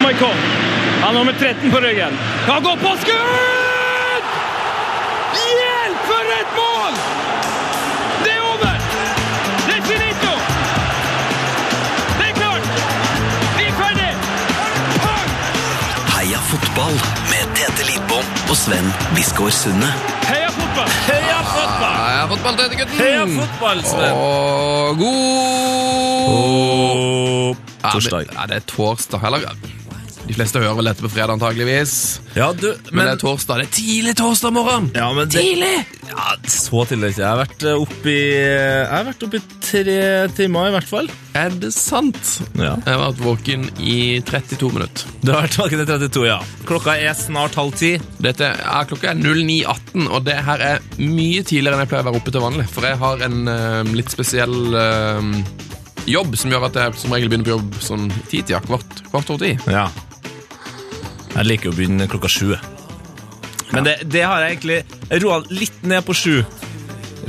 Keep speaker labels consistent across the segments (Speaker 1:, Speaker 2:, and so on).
Speaker 1: Boikov. Han har nummer 13 på ryggen. Han går på skudd! Hjelp, for et mål! Det er over! Det er finito! Det er klart! Vi er ferdig!
Speaker 2: Heia fotball med Tete Lidbom og Sven Biskår Sunde.
Speaker 1: Heia fotball!
Speaker 3: Heia fotball!
Speaker 4: Heia fotball, Tete gutten!
Speaker 3: Heia
Speaker 5: Mm.
Speaker 3: fotball, Sven!
Speaker 4: Og god Ja,
Speaker 3: Torsdag.
Speaker 4: men- Ja, det er torsdag. Eller de fleste hører vel dette på fredag, antageligvis.
Speaker 3: Ja, du,
Speaker 4: Men, det er torsdag. Det er tidlig torsdag morgen!
Speaker 3: ja, men det,
Speaker 4: Tidlig!
Speaker 3: ja, så tidlig ikke. Jeg har vært eh, oppe i Jeg har vært oppe i tre timer, i hvert fall.
Speaker 4: Er det sant?
Speaker 3: Ja.
Speaker 4: Jeg har vært våken i 32 minutter.
Speaker 3: Du har vært våken i 32, ja. Klokka er snart halv ti.
Speaker 4: Dette er, klokka er 09.18, og det her er mye tidligere enn jeg pleier å være oppe til vanlig. For jeg har en eh, litt spesiell eh, jobb som gjør at jeg som regel begynner på jobb sånn i titida. Kvart, kvart over ti.
Speaker 3: Ja. Jeg liker jo å begynne klokka sju. Men det, det har jeg egentlig roa litt ned på sju.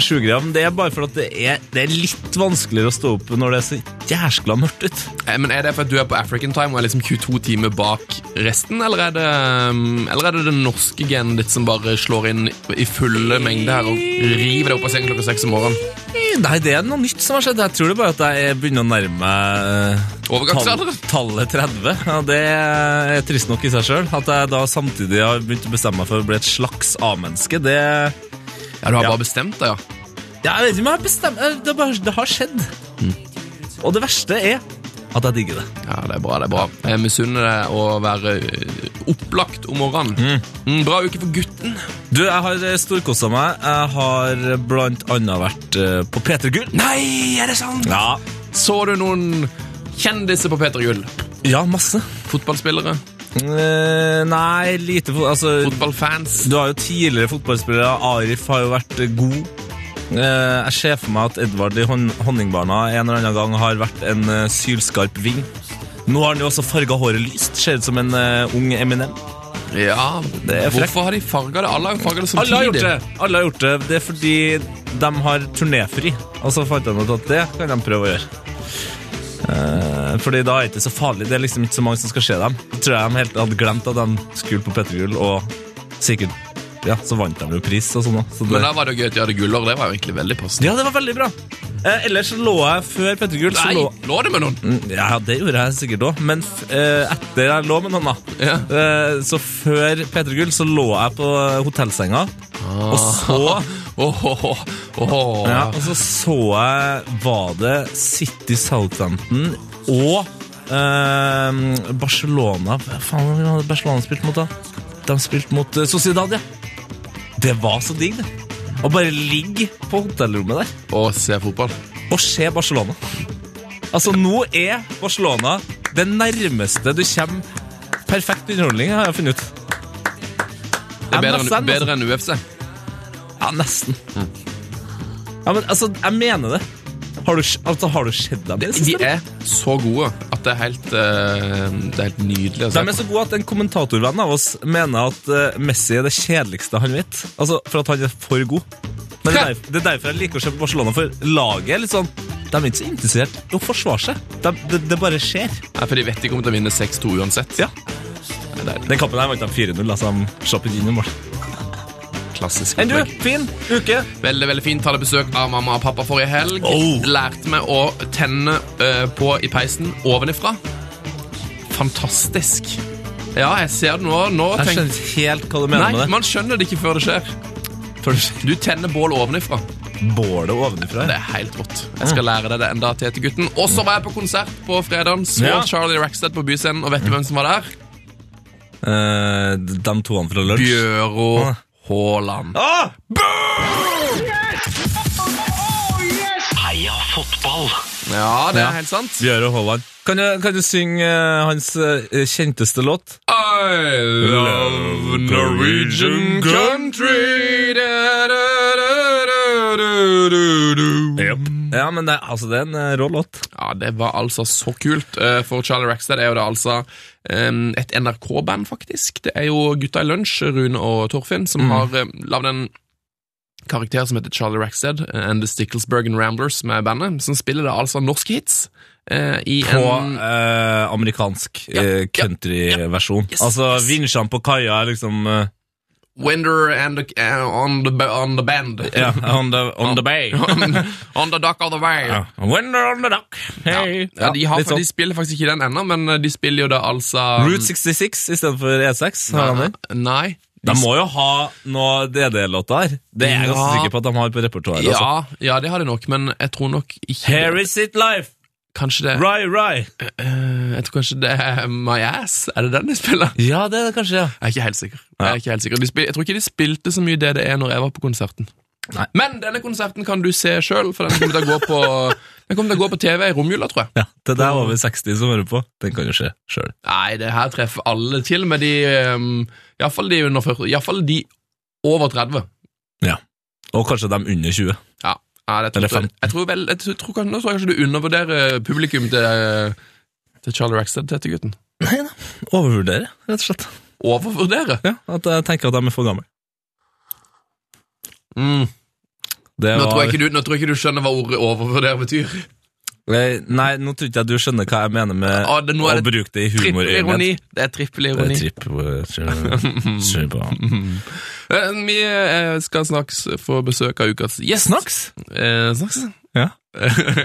Speaker 3: Sjugreia, men det er bare fordi at det er, det er litt vanskeligere å stå opp når det er så jæskla mørkt ut.
Speaker 4: Eh, Men Er det fordi du er på African time og er liksom 22 timer bak resten, eller er det, um, eller er det den norske genen ditt som bare slår inn i fulle mengder her og river deg opp av sengen klokka seks om morgenen?
Speaker 3: Nei, det er noe nytt som har skjedd. Jeg tror det bare at jeg begynner å nærme meg eh,
Speaker 4: Overgangsalder?
Speaker 3: tall- tallet 30. Ja, det er trist nok i seg sjøl. At jeg da samtidig har begynt å bestemme meg for å bli et slags A-menneske, det
Speaker 4: Ja, du har
Speaker 3: Ja.
Speaker 4: bare bestemt deg, ja.
Speaker 3: Ja, Jeg vet ikke om jeg har bestemt eh, Det, er bare, det har skjedd. Mm. Og det verste er at jeg digger det.
Speaker 4: Ja, Det er bra. det er bra. Jeg misunner deg å være eh, opplagt om morgenen. Mm, bra uke for gutten.
Speaker 3: Du, jeg har storkosa meg. Jeg har blant annet vært eh, på P3 Gull.
Speaker 4: Nei, er det sant?
Speaker 3: Ja.
Speaker 4: Så du noen kjendiser på Peter Gull?
Speaker 3: ja, masse.
Speaker 4: Fotballspillere?
Speaker 3: Eh, nei, lite fo- Altså,
Speaker 4: Fotballfans?
Speaker 3: du har jo tidligere fotballspillere. Arif har jo vært eh, god. Eh, jeg ser for meg at Edvard i hon Honningbarna en eller annen gang har vært en eh, sylskarp ving. Nå har han jo også farga håret lyst. Ser ut som en eh, ung Eminem.
Speaker 4: Ja,
Speaker 3: Det er frekt.
Speaker 4: Hvorfor har de farga det? Alle har jo farga det samtidig.
Speaker 3: Alle har gjort det! Alle har gjort Det Det er fordi de har turnéfri. Og så fant de ut at det kan de prøve å gjøre. Eh, fordi da er det ikke så farlig. Det er liksom ikke så mange som skal se dem. Jeg tror jeg de helt hadde glemt at de skulle på Petter Gull, og sikkert Ja, så vant de jo pris og sånn. da. Så det,
Speaker 4: Men da var det jo gøy at de hadde gullår. Det var jo egentlig veldig passende.
Speaker 3: ja, det var veldig bra. Eh, ellers så lå jeg før Petter Gull, så
Speaker 4: Nei,
Speaker 3: lå
Speaker 4: lå det med noen?
Speaker 3: Mm, Ja, det gjorde jeg sikkert òg, men f eh, etter jeg lå med noen, da
Speaker 4: Ja.
Speaker 3: eh, Så før P3 Gull så lå jeg på hotellsenga,
Speaker 4: Ah.
Speaker 3: og så
Speaker 4: Åh, åh, åh, åh.
Speaker 3: Ja, og så så jeg Var det City Southampton og ehm, Barcelona Hva faen hadde Barcelona spilt mot da? De spilte mot eh, Sociedad, ja. Det var så digg, det. Å bare ligge på hotellrommet der
Speaker 4: Å, se fotball.
Speaker 3: og se Barcelona. Altså, nå er Barcelona det nærmeste du kommer perfekt underholdning, har jeg funnet ut.
Speaker 4: Det er
Speaker 3: MSN,
Speaker 4: bedre, enn-
Speaker 3: altså.
Speaker 4: bedre Mm. enn UFC.
Speaker 3: Ja, nesten. Ja, men altså, jeg mener det. Har du, altså, har du sett dem? i det
Speaker 4: De
Speaker 3: siste, eller?
Speaker 4: er så gode at det er helt, eh, det er helt nydelig å
Speaker 3: De
Speaker 4: se
Speaker 3: er
Speaker 4: på.
Speaker 3: så gode at en kommentatorvenn av oss mener at eh, Messi er det kjedeligste han vet. Altså, For at han er for god. Men det er, derfor, det er derfor jeg liker å se på Barcelona, for laget er litt sånn De er ikke så interessert i å forsvare seg. De, det, det bare skjer.
Speaker 4: Ja, for de vet ikke om de vinner 6-2 uansett.
Speaker 3: Ja.
Speaker 4: Det er et
Speaker 3: Den kampen her vant de 4-0, altså. han slapp ikke inn noe mål.
Speaker 4: klassisk
Speaker 3: Enn du?
Speaker 4: opplegg.
Speaker 3: Fin uke.
Speaker 4: Veldig veldig fint. Hadde besøk av mamma og pappa forrige helg.
Speaker 3: Oh.
Speaker 4: Lærte meg å tenne eh, på i peisen ovenifra. Fantastisk. Ja, jeg ser det nå. nå
Speaker 3: Jeg
Speaker 4: tenk-
Speaker 3: skjønner ikke helt hva du mener
Speaker 4: Nei,
Speaker 3: med det.
Speaker 4: man skjønner det ikke før det skjer. Du tenner bål ovenifra.
Speaker 3: Bålet ovenfra.
Speaker 4: Det er helt rått. Jeg skal lære deg det enda til til gutten. Og så var jeg på konsert på fredagen. Så
Speaker 3: Ja.
Speaker 4: Charlie Rackstead på Byscenen, og vet du hvem som var der?
Speaker 3: Eh, de toene fra lunsj.
Speaker 4: Bjøro Haaland.
Speaker 3: Ah!
Speaker 2: Heia fotball!
Speaker 4: Ja, det
Speaker 3: Ja.
Speaker 4: er helt sant.
Speaker 3: Bjøre Haaland. Kan du, kan du synge eh, hans eh, kjenteste låt?
Speaker 4: I love Norwegian country da, da, da, da, da, da, da.
Speaker 3: Ja, men det, er- altså, det er en eh, rå låt.
Speaker 4: Ja, det var altså så kult. Eh, For Charlie Rackstead er jo det altså eh, et NRK-band, faktisk. Det er jo gutta i lunsj, Rune og Torfinn,
Speaker 3: Mm.
Speaker 4: som har eh, lagd en karakter som heter Charlie Rackstead and The Sticklesbergen Ramblers, med bandet, som spiller da altså norske hits. eh, i
Speaker 3: På
Speaker 4: en
Speaker 3: eh, amerikansk
Speaker 4: Ja,
Speaker 3: eh,
Speaker 4: ja,
Speaker 3: countryversjon.
Speaker 4: yes,
Speaker 3: altså,
Speaker 4: yes.
Speaker 3: vinsjene på kaia er liksom eh,
Speaker 4: Winder and the, eh, on, the, ba- on the band.
Speaker 3: ja, on, the, on the bay.
Speaker 4: on, on the dock of the way.
Speaker 3: Ja. Winner on the duck. Hey.
Speaker 4: Ja, de, har,
Speaker 3: litt sånn.
Speaker 4: de spiller faktisk ikke den ennå, men eh, de spiller jo da altså
Speaker 3: Route 66 istedenfor E6. Har han
Speaker 4: Nei.
Speaker 3: den?
Speaker 4: nei.
Speaker 3: De må jo ha noe DD-låter her. Det er jeg ganske
Speaker 4: Ja.
Speaker 3: sikker på at de har på repertoaret. altså.
Speaker 4: Ja, ja, det har de nok, men jeg tror nok ikke
Speaker 3: Here is it life!
Speaker 4: Kanskje det
Speaker 3: Rai, rai!
Speaker 4: eh, Jeg tror kanskje det er My Ass. Er det den de spiller?
Speaker 3: Ja, det er det kanskje, ja.
Speaker 4: Jeg er ikke helt sikker. Jeg, er ikke helt sikker. De spil, jeg tror ikke de spilte så mye DDE når jeg var på konserten.
Speaker 3: Nei.
Speaker 4: Men denne konserten kan du se sjøl, for den kommer til å gå på Den kommer til å gå på TV i romjula, tror jeg.
Speaker 3: ja. Det der er over 60 som hører på. Den kan jo skje sjøl.
Speaker 4: Nei, det her treffer alle, til og med de um, Iallfall de under 40. Iallfall de over 30.
Speaker 3: Ja. Og kanskje de under 20.
Speaker 4: Ja, ja det tror
Speaker 3: Eller
Speaker 4: jeg.
Speaker 3: 15.
Speaker 4: Jeg tror vel, jeg tror, kan- nå tror jeg kanskje du undervurderer publikum til, eh, til Charlie Rackstead, dette gutten.
Speaker 3: Nei da. Overvurdere, rett og slett.
Speaker 4: Overvurdere?
Speaker 3: Ja, At jeg tenker at de er for gamle.
Speaker 4: Mm.
Speaker 3: Det
Speaker 4: Nå,
Speaker 3: var-
Speaker 4: tror jeg ikke du, nå tror jeg ikke du skjønner hva ordet overvurdere betyr.
Speaker 3: Nei, Nei, nå tror ikke jeg du skjønner hva jeg mener med
Speaker 4: Ah, det- nå er
Speaker 3: å
Speaker 4: det
Speaker 3: bruke det i humorøyemed.
Speaker 4: Trippelironi. Det er
Speaker 3: Det er
Speaker 4: trippelironi.
Speaker 3: tripp- Skjønner på.
Speaker 4: Eh, Vi eh, skal snaks få besøk av ukas gjest.
Speaker 3: Snaks?
Speaker 4: Eh, snaks.
Speaker 3: Ja.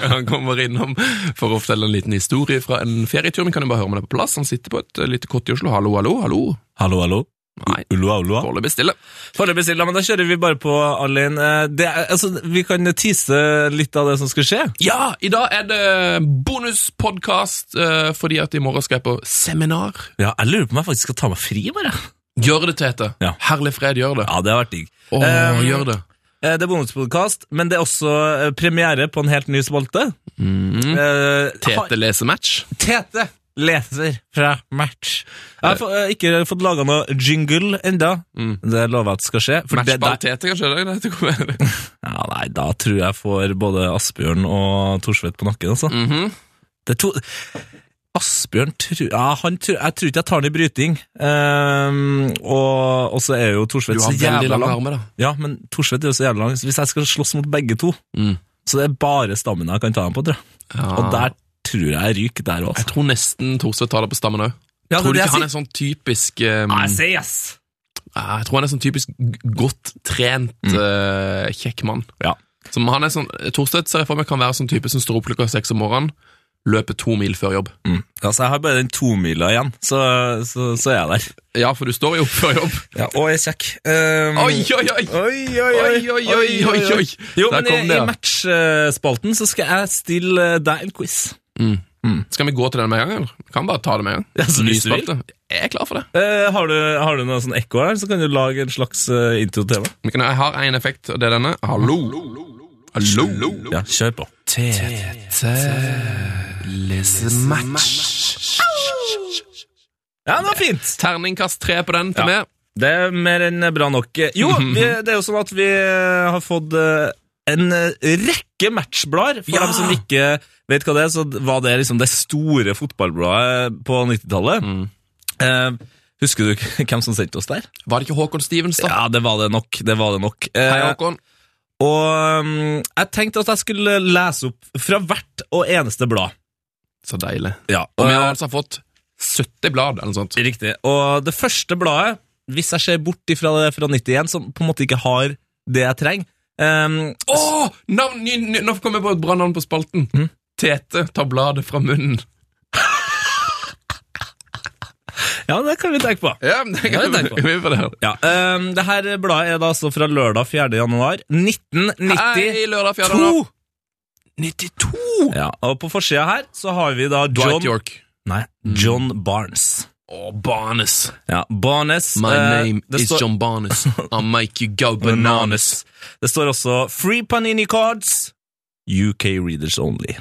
Speaker 4: Han kommer innom for å fortelle en liten historie fra en ferietur. Vi kan jo bare høre om det er på plass. Han sitter på et eh, lite kott i Oslo. Hallo, hallo, hallo.
Speaker 3: Hallo, hallo.
Speaker 4: Nei,
Speaker 3: Ulloa, ulloa.
Speaker 4: foreløpig stille.
Speaker 3: Foreløpig stille, men da kjører vi bare på, Arlin. Eh, det er- Altså, vi kan tease litt av det som skal skje.
Speaker 4: Ja, i dag er det bonuspodkast, eh, fordi at i morgen skal jeg på seminar.
Speaker 3: Ja, jeg lurer på om jeg faktisk skal ta meg fri, bare.
Speaker 4: Gjør det, Tete.
Speaker 3: Ja.
Speaker 4: Herlig fred, gjør det.
Speaker 3: Ja, det har vært digg.
Speaker 4: Åh,
Speaker 3: Eh,
Speaker 4: gjør det.
Speaker 3: Eh, Det er bonuspodkast, men det er også eh, premiere på en helt ny spalte.
Speaker 4: Mm.
Speaker 3: Eh, ha-
Speaker 4: Tete leser match.
Speaker 3: Tete leser fra match. Jeg har få- eh, ikke fått laga noe jingle enda.
Speaker 4: Mm.
Speaker 3: Det lover jeg at skal skje. for det-
Speaker 4: Matchball
Speaker 3: det-
Speaker 4: Tete, kanskje? Det, det kommer.
Speaker 3: ja, nei, da tror jeg får både Asbjørn og Thorsvedt på nakken, altså.
Speaker 4: Mhm.
Speaker 3: Det er to... Asbjørn tror ja, han tror, Jeg tror ikke jeg tar den i bryting. Ehm, og, og så er jo
Speaker 4: Du
Speaker 3: Thorsvedt så
Speaker 4: har
Speaker 3: jævla
Speaker 4: veldig
Speaker 3: lang.
Speaker 4: lange armer, da.
Speaker 3: Ja, men Thorsvedt er jo så jævla lang. så Hvis jeg skal slåss mot begge to,
Speaker 4: Mm.
Speaker 3: så det er bare stamina jeg kan ta dem på, tror jeg.
Speaker 4: Ja.
Speaker 3: Og der tror jeg jeg ryker der òg.
Speaker 4: Jeg tror nesten Thorstvedt tar det på stammen òg. tror du ikke han er sånn typisk um,
Speaker 3: Nei, si Ah, yes!
Speaker 4: Ja, Jeg tror han er sånn typisk g- godt trent, eh, kjekk mann.
Speaker 3: Mm. Ja.
Speaker 4: Som han er sånn, Thorstvedt ser jeg for meg kan være sånn type som står opp klokka seks om morgenen, løper to mil før jobb.
Speaker 3: Mm. Altså, jeg har bare den tomila igjen, så, så, så er jeg der.
Speaker 4: Ja, for du står jo opp før jobb.
Speaker 3: Ja, og jeg er kjekk. Um,
Speaker 4: Oi, oi, oi!
Speaker 3: Oi, oi,
Speaker 4: Oi, oi, oi, oi, oi.
Speaker 3: Jo,
Speaker 4: Der
Speaker 3: men
Speaker 4: kom
Speaker 3: i,
Speaker 4: det,
Speaker 3: i
Speaker 4: ja.
Speaker 3: matchspalten så skal jeg stille eh, deg en quiz.
Speaker 4: Skal vi gå til den med en gang? eller? Vi kan bare ta det med en gang.
Speaker 3: Ja, så
Speaker 4: Ny
Speaker 3: hvis du vil.
Speaker 4: spalte. Jeg er klar for det.
Speaker 3: Eh, har, du, har du noe sånn ekko her, så kan du lage en slags eh, intro-tema.
Speaker 4: Vi kan- Jeg har én effekt, og det er denne. Hallo. Hallo.
Speaker 3: Ja, kjør på. Ja, det var fint!
Speaker 4: Terningkast tre på den til
Speaker 3: Ja.
Speaker 4: meg.
Speaker 3: Det er mer enn bra nok. Jo, vi, det er jo sånn at vi har fått eh, en rekke matchblader. For
Speaker 4: Ja!
Speaker 3: dem som ikke vet hva det er, så var det liksom det store fotballbladet på 90-tallet.
Speaker 4: Mm.
Speaker 3: Eh, husker du hvem som sendte oss der?
Speaker 4: Var det ikke Håkon Stivenstad?
Speaker 3: Ja, det var det nok. det var det nok. Eh,
Speaker 4: Hei, Håkon.
Speaker 3: og mm, jeg tenkte at jeg skulle lese opp fra hvert og eneste blad.
Speaker 4: Så deilig.
Speaker 3: Ja,
Speaker 4: Og vi har altså fått 70 blad, eller noe sånt.
Speaker 3: Riktig. Og det første bladet, hvis jeg ser bort ifra det fra 91, som på en måte ikke har det jeg trenger ehm,
Speaker 4: Åh, navn, ny, ny, nå kom jeg på et bra navn på spalten. Tete tar bladet fra munnen.
Speaker 3: Ja, det kan vi tenke på.
Speaker 4: Ja, men det
Speaker 3: Ja,
Speaker 4: kan
Speaker 3: det tenker
Speaker 4: vi- vi vurdere.
Speaker 3: Ja, ehm, det her bladet er da altså fra lørdag 4. januar 1992.
Speaker 4: Hei, lørdag 4. januar. 92!
Speaker 3: Ja, og på forsida her så har vi da
Speaker 4: Dwight
Speaker 3: John,
Speaker 4: York.
Speaker 3: nei, John Barnes.
Speaker 4: Åh, Barnes.
Speaker 3: Ja, Barnes.
Speaker 4: My
Speaker 3: eh,
Speaker 4: name
Speaker 3: det
Speaker 4: is
Speaker 3: står-
Speaker 4: John Barnes. I'll make you go bananas.
Speaker 3: Bananas. Det står også Free Panini Cards. UK Readers Only.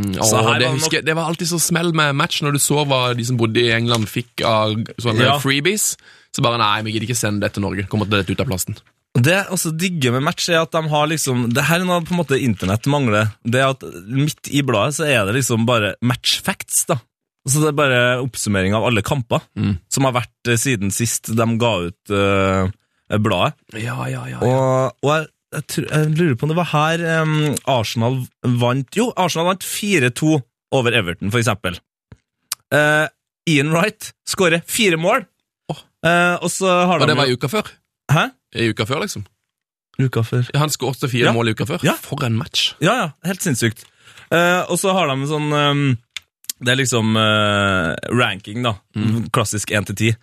Speaker 4: Mm,
Speaker 3: Så her
Speaker 4: åh,
Speaker 3: var
Speaker 4: det,
Speaker 3: det nok-
Speaker 4: husker, jeg- det var alltid så smell med match når du så hva de som bodde i England fikk av sånne
Speaker 3: Ja.
Speaker 4: freebies. Så bare nei, vi gidder ikke sende det til Norge. Kommer det ut av plasten.
Speaker 3: Og Det jeg også digger med match, er at de har liksom Det her er noe på en måte internett mangler. Det er at midt i bladet så er det liksom bare match facts, da. Så det er bare oppsummering av alle kamper
Speaker 4: Mm.
Speaker 3: som har vært eh, siden sist de ga ut eh, bladet.
Speaker 4: Ja, ja, ja.
Speaker 3: Og, og jeg, jeg, tror, jeg lurer på om det var her eh, Arsenal vant Jo, Arsenal vant 4-2 over Everton, for eksempel. Eh, Ian Wright skårer fire mål, Eh, og så har
Speaker 4: Og
Speaker 3: de
Speaker 4: det var
Speaker 3: jo-
Speaker 4: i uka før.
Speaker 3: Hæ?
Speaker 4: I uka før, liksom.
Speaker 3: Uka før.
Speaker 4: Ja, Han skåret fire
Speaker 3: Ja.
Speaker 4: mål i uka før.
Speaker 3: Ja.
Speaker 4: For en match!
Speaker 3: Ja, ja, helt sinnssykt. Eh, og så har de en sånn ehm, Det er liksom eh, ranking, da. Klassisk 1 til 10.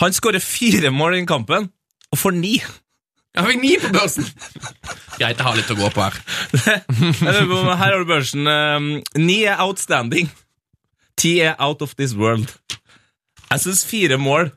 Speaker 3: Han skårer fire mål i den kampen, og får ni!
Speaker 4: Jeg fikk ni på børsen! Greit, jeg har litt å gå på her.
Speaker 3: Jeg lurer på om- Her har du børsen. ehm, Ni er outstanding. Ti er out of this world. Jeg syns fire mål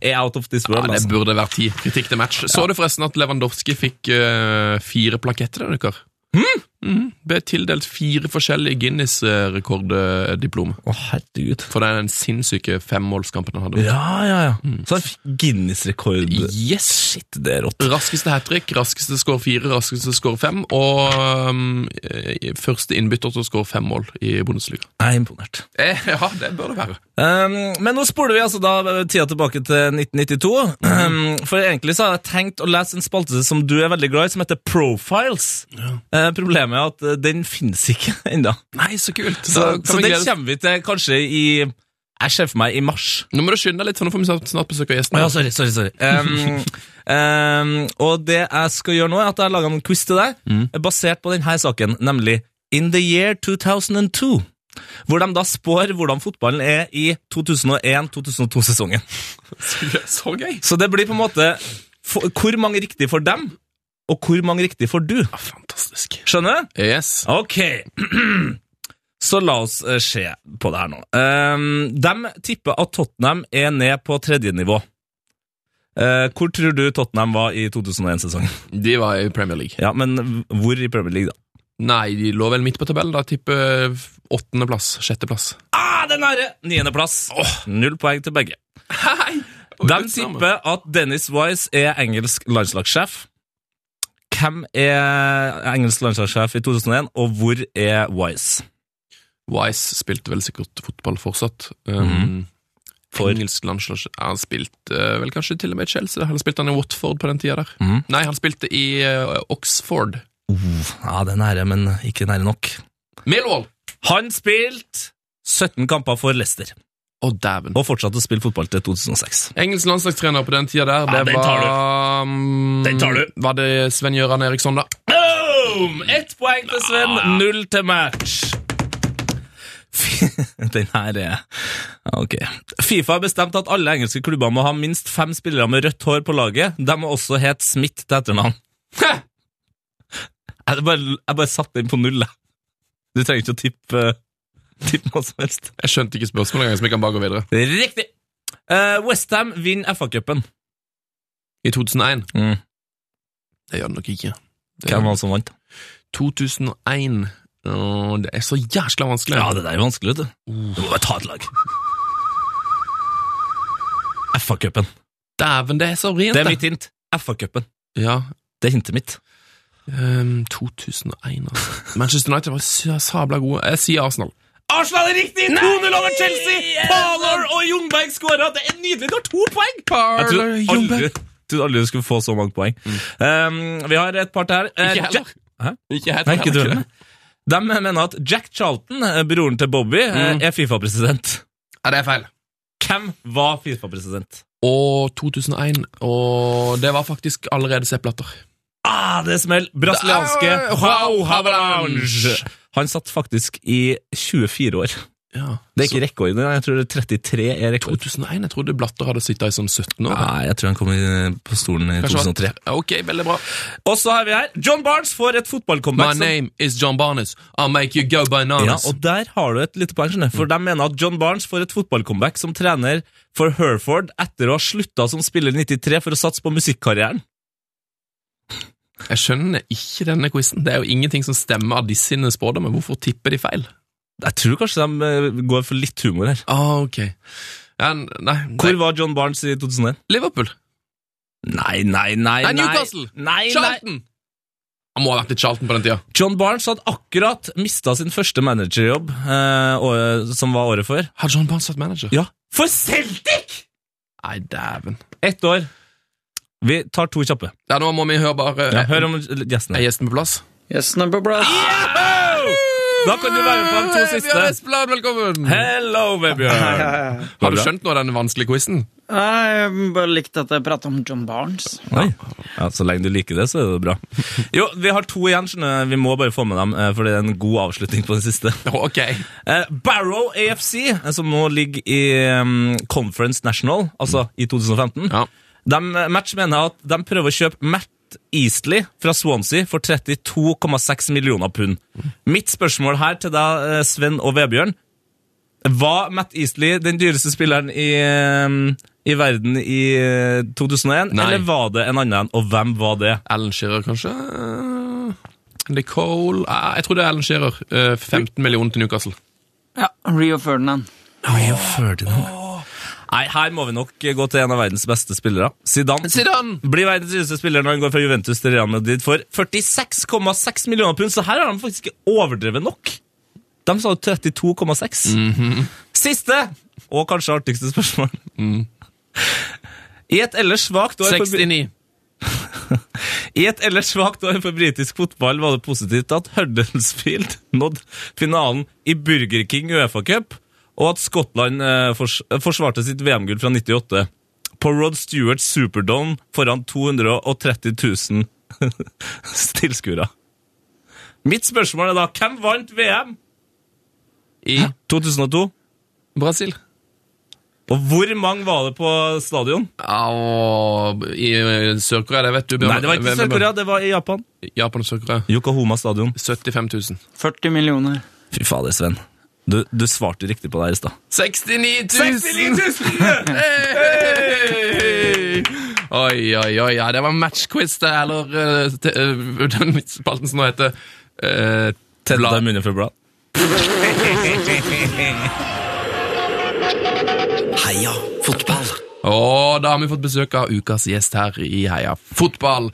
Speaker 3: er out of this
Speaker 4: Ja,
Speaker 3: world.
Speaker 4: det
Speaker 3: altså.
Speaker 4: burde vært ti. Kritikk til match. Så du forresten at Lewandowski fikk eh, fire plaketter denne uka?
Speaker 3: Hmm?
Speaker 4: Mhm. Ble tildelt fire forskjellige Guinness-rekorddiplomer.
Speaker 3: Å, herregud.
Speaker 4: For den sinnssyke femmålskampen han hadde.
Speaker 3: Ja, ja, ja. Så han fikk Guinness-rekord.
Speaker 4: Yes!
Speaker 3: Shit, Mm. det er rått.
Speaker 4: Raskeste hat trick, raskeste score fire, raskeste score fem, og um, eh, første innbytter til å score fem mål i Bundesliga.
Speaker 3: Jeg er imponert.
Speaker 4: Eh, ja, det bør det være.
Speaker 3: Um, men nå spoler vi altså da eh, tida tilbake til 1992. Um, for egentlig så har jeg tenkt å lese en spalte som du er veldig glad i, som heter Profiles. Eh, problemet er at eh, den finnes ikke ennå.
Speaker 4: Nei, så kult.
Speaker 3: Så,
Speaker 4: Da kan
Speaker 3: så
Speaker 4: vi
Speaker 3: den
Speaker 4: glede oss.
Speaker 3: kommer vi til kanskje i Jeg ser for meg i mars.
Speaker 4: Nå må du skynde deg litt, for nå får vi snart- snart besøk av gjestene.
Speaker 3: sorry, sorry, sorry. Um, um, og det jeg skal gjøre nå, er at jeg har laga en quiz til deg eh, basert på denne saken, nemlig In the year 2002. Hvor de da spår hvordan fotballen er i 2001-2002-sesongen.
Speaker 4: Så gøy!
Speaker 3: Så det blir på en måte for, hvor mange riktig for dem, og hvor mange riktig for du.
Speaker 4: Fantastisk.
Speaker 3: Skjønner du?
Speaker 4: Yes.
Speaker 3: Ok. Så la oss eh, se på det her nå. Um, de tipper at Tottenham er ned på tredje nivå. Eh, hvor tror du Tottenham var i 2001-sesongen?
Speaker 4: De var i Premier League.
Speaker 3: Ja, men hvor i Premier League, da?
Speaker 4: Nei, de lå vel midt på tabellen, da. Tipper åttendeplass, sjetteplass.
Speaker 3: Ah, det er nære! Niendeplass. Null poeng til begge.
Speaker 4: Hei!
Speaker 3: De tipper at Dennis Wise er engelsk landslagssjef. Hvem er engelsk landslagssjef i 2001, og hvor er Wise?
Speaker 4: Wise spilte vel sikkert fotball fortsatt. Um,
Speaker 3: Mhm. For?
Speaker 4: Engelsk landslag Han spilte eh, vel kanskje til og med i Chelsea. da. Eller spilte han i Watford på den tida der?
Speaker 3: Mhm.
Speaker 4: Nei, han spilte i eh, Oxford.
Speaker 3: Ja, det er nære, men ikke nære nok.
Speaker 4: Millwall!
Speaker 3: Han spilte 17 kamper for Leicester,
Speaker 4: Å, dæven.
Speaker 3: og fortsatte å spille fotball til 2006.
Speaker 4: Engelsk landslagstrener på den tida der, det
Speaker 3: Ja, den tar
Speaker 4: var um,
Speaker 3: Den tar du.
Speaker 4: Var det Sven-Gøran Eriksson, da?
Speaker 3: Boom! Ett poeng til Sven, null til match. Fy- Den her er Ok. Fifa har bestemt at alle engelske klubber må ha minst fem spillere med rødt hår på laget. De må også hete Smith til etternavn.
Speaker 4: Hæ?
Speaker 3: Jeg bare, jeg bare satte den på null, jeg. Du trenger ikke å tippe, tippe noe som helst.
Speaker 4: Jeg skjønte ikke spørsmålet engang, så vi kan bare gå videre.
Speaker 3: Riktig! Uh, Westham vinner FA-cupen.
Speaker 4: I 2001?
Speaker 3: Mm.
Speaker 4: Det gjør det nok ikke. Det
Speaker 3: Hvem
Speaker 4: gjør
Speaker 3: var det som vant?
Speaker 4: 2001 Åh, Det er så jæskla vanskelig.
Speaker 3: Ja, det der er vanskelig, vet du. Du må bare ta et lag. FA-cupen.
Speaker 4: Dæven, det er så vrient.
Speaker 3: Det er
Speaker 4: det.
Speaker 3: mitt hint. FA-cupen.
Speaker 4: Ja,
Speaker 3: Det er hintet mitt.
Speaker 4: ehm, 2001, altså. Manchester United var så sabla gode. Jeg sier Arsenal.
Speaker 3: Arsenal er riktig! 2-0 over Chelsea! Parler og Jungberg skåra! Det er nydelig! Du har to poeng! Jeg trodde aldri,
Speaker 4: Jungberg.
Speaker 3: trodde aldri du skulle få så mange poeng. Um, vi har et par til her. Eh,
Speaker 4: Ikke heller.
Speaker 3: Jack- Hæ?
Speaker 4: Ikke
Speaker 3: Nei, ikke du
Speaker 4: heller.
Speaker 3: heller. De mener at Jack Charlton, eh, broren til Bobby, eh, er Fifa-president.
Speaker 4: Ja, det er feil.
Speaker 3: Hvem var Fifa-president?
Speaker 4: Og 2001, og det var faktisk allerede Sepp Blatter.
Speaker 3: Ah, det smell! Brasilianske
Speaker 4: Det er-
Speaker 3: Joao Havelange! Han satt faktisk i 24 år.
Speaker 4: Ja.
Speaker 3: Det er ikke rekorden, jeg tror det er 33 er
Speaker 4: Så
Speaker 3: rekord.
Speaker 4: 2001, jeg trodde Blatter hadde sittet i sånn 17 år.
Speaker 3: Nei, jeg tror han kom i- eh, på stolen i
Speaker 4: Kanskje
Speaker 3: 2003.
Speaker 4: var- Ok, veldig bra.
Speaker 3: Og så har vi her John Barnes får et
Speaker 4: My
Speaker 3: fotballcomeback. som-
Speaker 4: name is John Barnes. I'll make you go
Speaker 3: Ja,
Speaker 4: bananas.
Speaker 3: og der har du et lite poeng, skjønner du. For de mener at John Barnes får et fotballcomeback som trener for Herford etter å ha slutta som spiller i 93 for å satse på musikkarrieren.
Speaker 4: Jeg skjønner ikke denne quizen. Det er jo ingenting som stemmer av de sine spådommer. Hvorfor tipper de feil?
Speaker 3: Jeg tror kanskje de eh, går for litt humor her.
Speaker 4: Ah, ok. Ja, n- nei,
Speaker 3: Hvor
Speaker 4: nei.
Speaker 3: var John Barnes i 2001?
Speaker 4: Liverpool.
Speaker 3: Nei, nei, nei,
Speaker 4: Nei, Newcastle.
Speaker 3: Nei, nei.
Speaker 4: Charlton! Han må ha vært i Charlton på den tida.
Speaker 3: John Barnes hadde akkurat mista sin første managerjobb, eh, året- som var året før.
Speaker 4: Har John Barnes vært manager?
Speaker 3: Ja, For Celtic!
Speaker 4: Nei, dæven.
Speaker 3: Ett år. Vi tar to kjappe.
Speaker 4: Ja, nå må vi høre bare eh,
Speaker 3: Ja, hør om gjestene.
Speaker 4: Er gjesten på plass?
Speaker 5: Gjesten er på plass.
Speaker 3: Yahoo! Da kan du være med på de to siste.
Speaker 4: Bjørn Espeland, velkommen!
Speaker 3: Hello, Vebjørn.
Speaker 4: Har du skjønt nå den vanskelige quizen?
Speaker 5: Jeg bare likte at jeg pratet om John Barnes.
Speaker 3: Oi. Ja, så lenge du liker det, så er det bra. Jo, vi har to igjen, skjønner du. Vi må bare få med dem, eh, for det er en god avslutning på den siste.
Speaker 4: Ok.
Speaker 3: Eh, Barrow AFC, eh, som nå ligger i mm, Conference National, altså i 2015,
Speaker 4: Ja.
Speaker 3: de, eh, match mener jeg at de prøver å kjøpe Matt Eastley fra Swansea for 32,6 millioner pund. Mitt spørsmål her til deg, eh, Sven og Vebjørn. Var Matt Eastley den dyreste spilleren i, eh, i verden i eh, 2001,
Speaker 4: Nei.
Speaker 3: eller var det en annen, og hvem var det?
Speaker 4: Alan Shearer, kanskje? Andy Cole ah, Jeg tror det er Alan Shearer. Eh, 15 millioner til Newcastle.
Speaker 5: Ja, Rio Ferdinand.
Speaker 3: Nei, her må vi nok gå til en av verdens beste spillere. Zidane.
Speaker 4: Zidane!
Speaker 3: Blir verdens dyreste spiller når han går fra Juventus til Real Madrid for 46,6 millioner pund, så her har de faktisk ikke overdrevet nok. De sa jo 32,6. Siste, og kanskje artigste spørsmål. I et ellers svakt år for,
Speaker 4: 69.
Speaker 3: i et ellers svakt år for britisk fotball var det positivt at Huddersfield nådde finalen i Burger King UEFA Cup, og at Skottland eh, fors forsvarte sitt VM-gull fra 98 på Rod Stewarts Superdome foran 230 000 tilskuere. Mitt spørsmål er da hvem vant VM
Speaker 4: I
Speaker 3: 2002?
Speaker 4: Brasil.
Speaker 3: Og hvor mange var det på stadion?
Speaker 4: Au, I eh, Sør-Korea, det vet du, Bjørn.
Speaker 3: Nei, det var ikke
Speaker 4: Hvem- hvem-
Speaker 3: Sør-Korea, det var i Japan.
Speaker 4: Japan og Sør-Korea.
Speaker 3: Yokohama stadion.
Speaker 4: 75 000.
Speaker 5: 40 millioner.
Speaker 3: Fy fader, Sven. Du, du svarte riktig på det her i stad.
Speaker 4: 69 000! Hey! Oi, oi, oi. Ja, det var matchquiz, det. Eller eh, te- eh, den spalten som nå heter eh,
Speaker 3: Tedde
Speaker 4: Blad-
Speaker 3: deg munnen for blad.
Speaker 2: Heia fotball.
Speaker 4: Og da har vi fått besøk av ukas gjest her i Heia Fotball.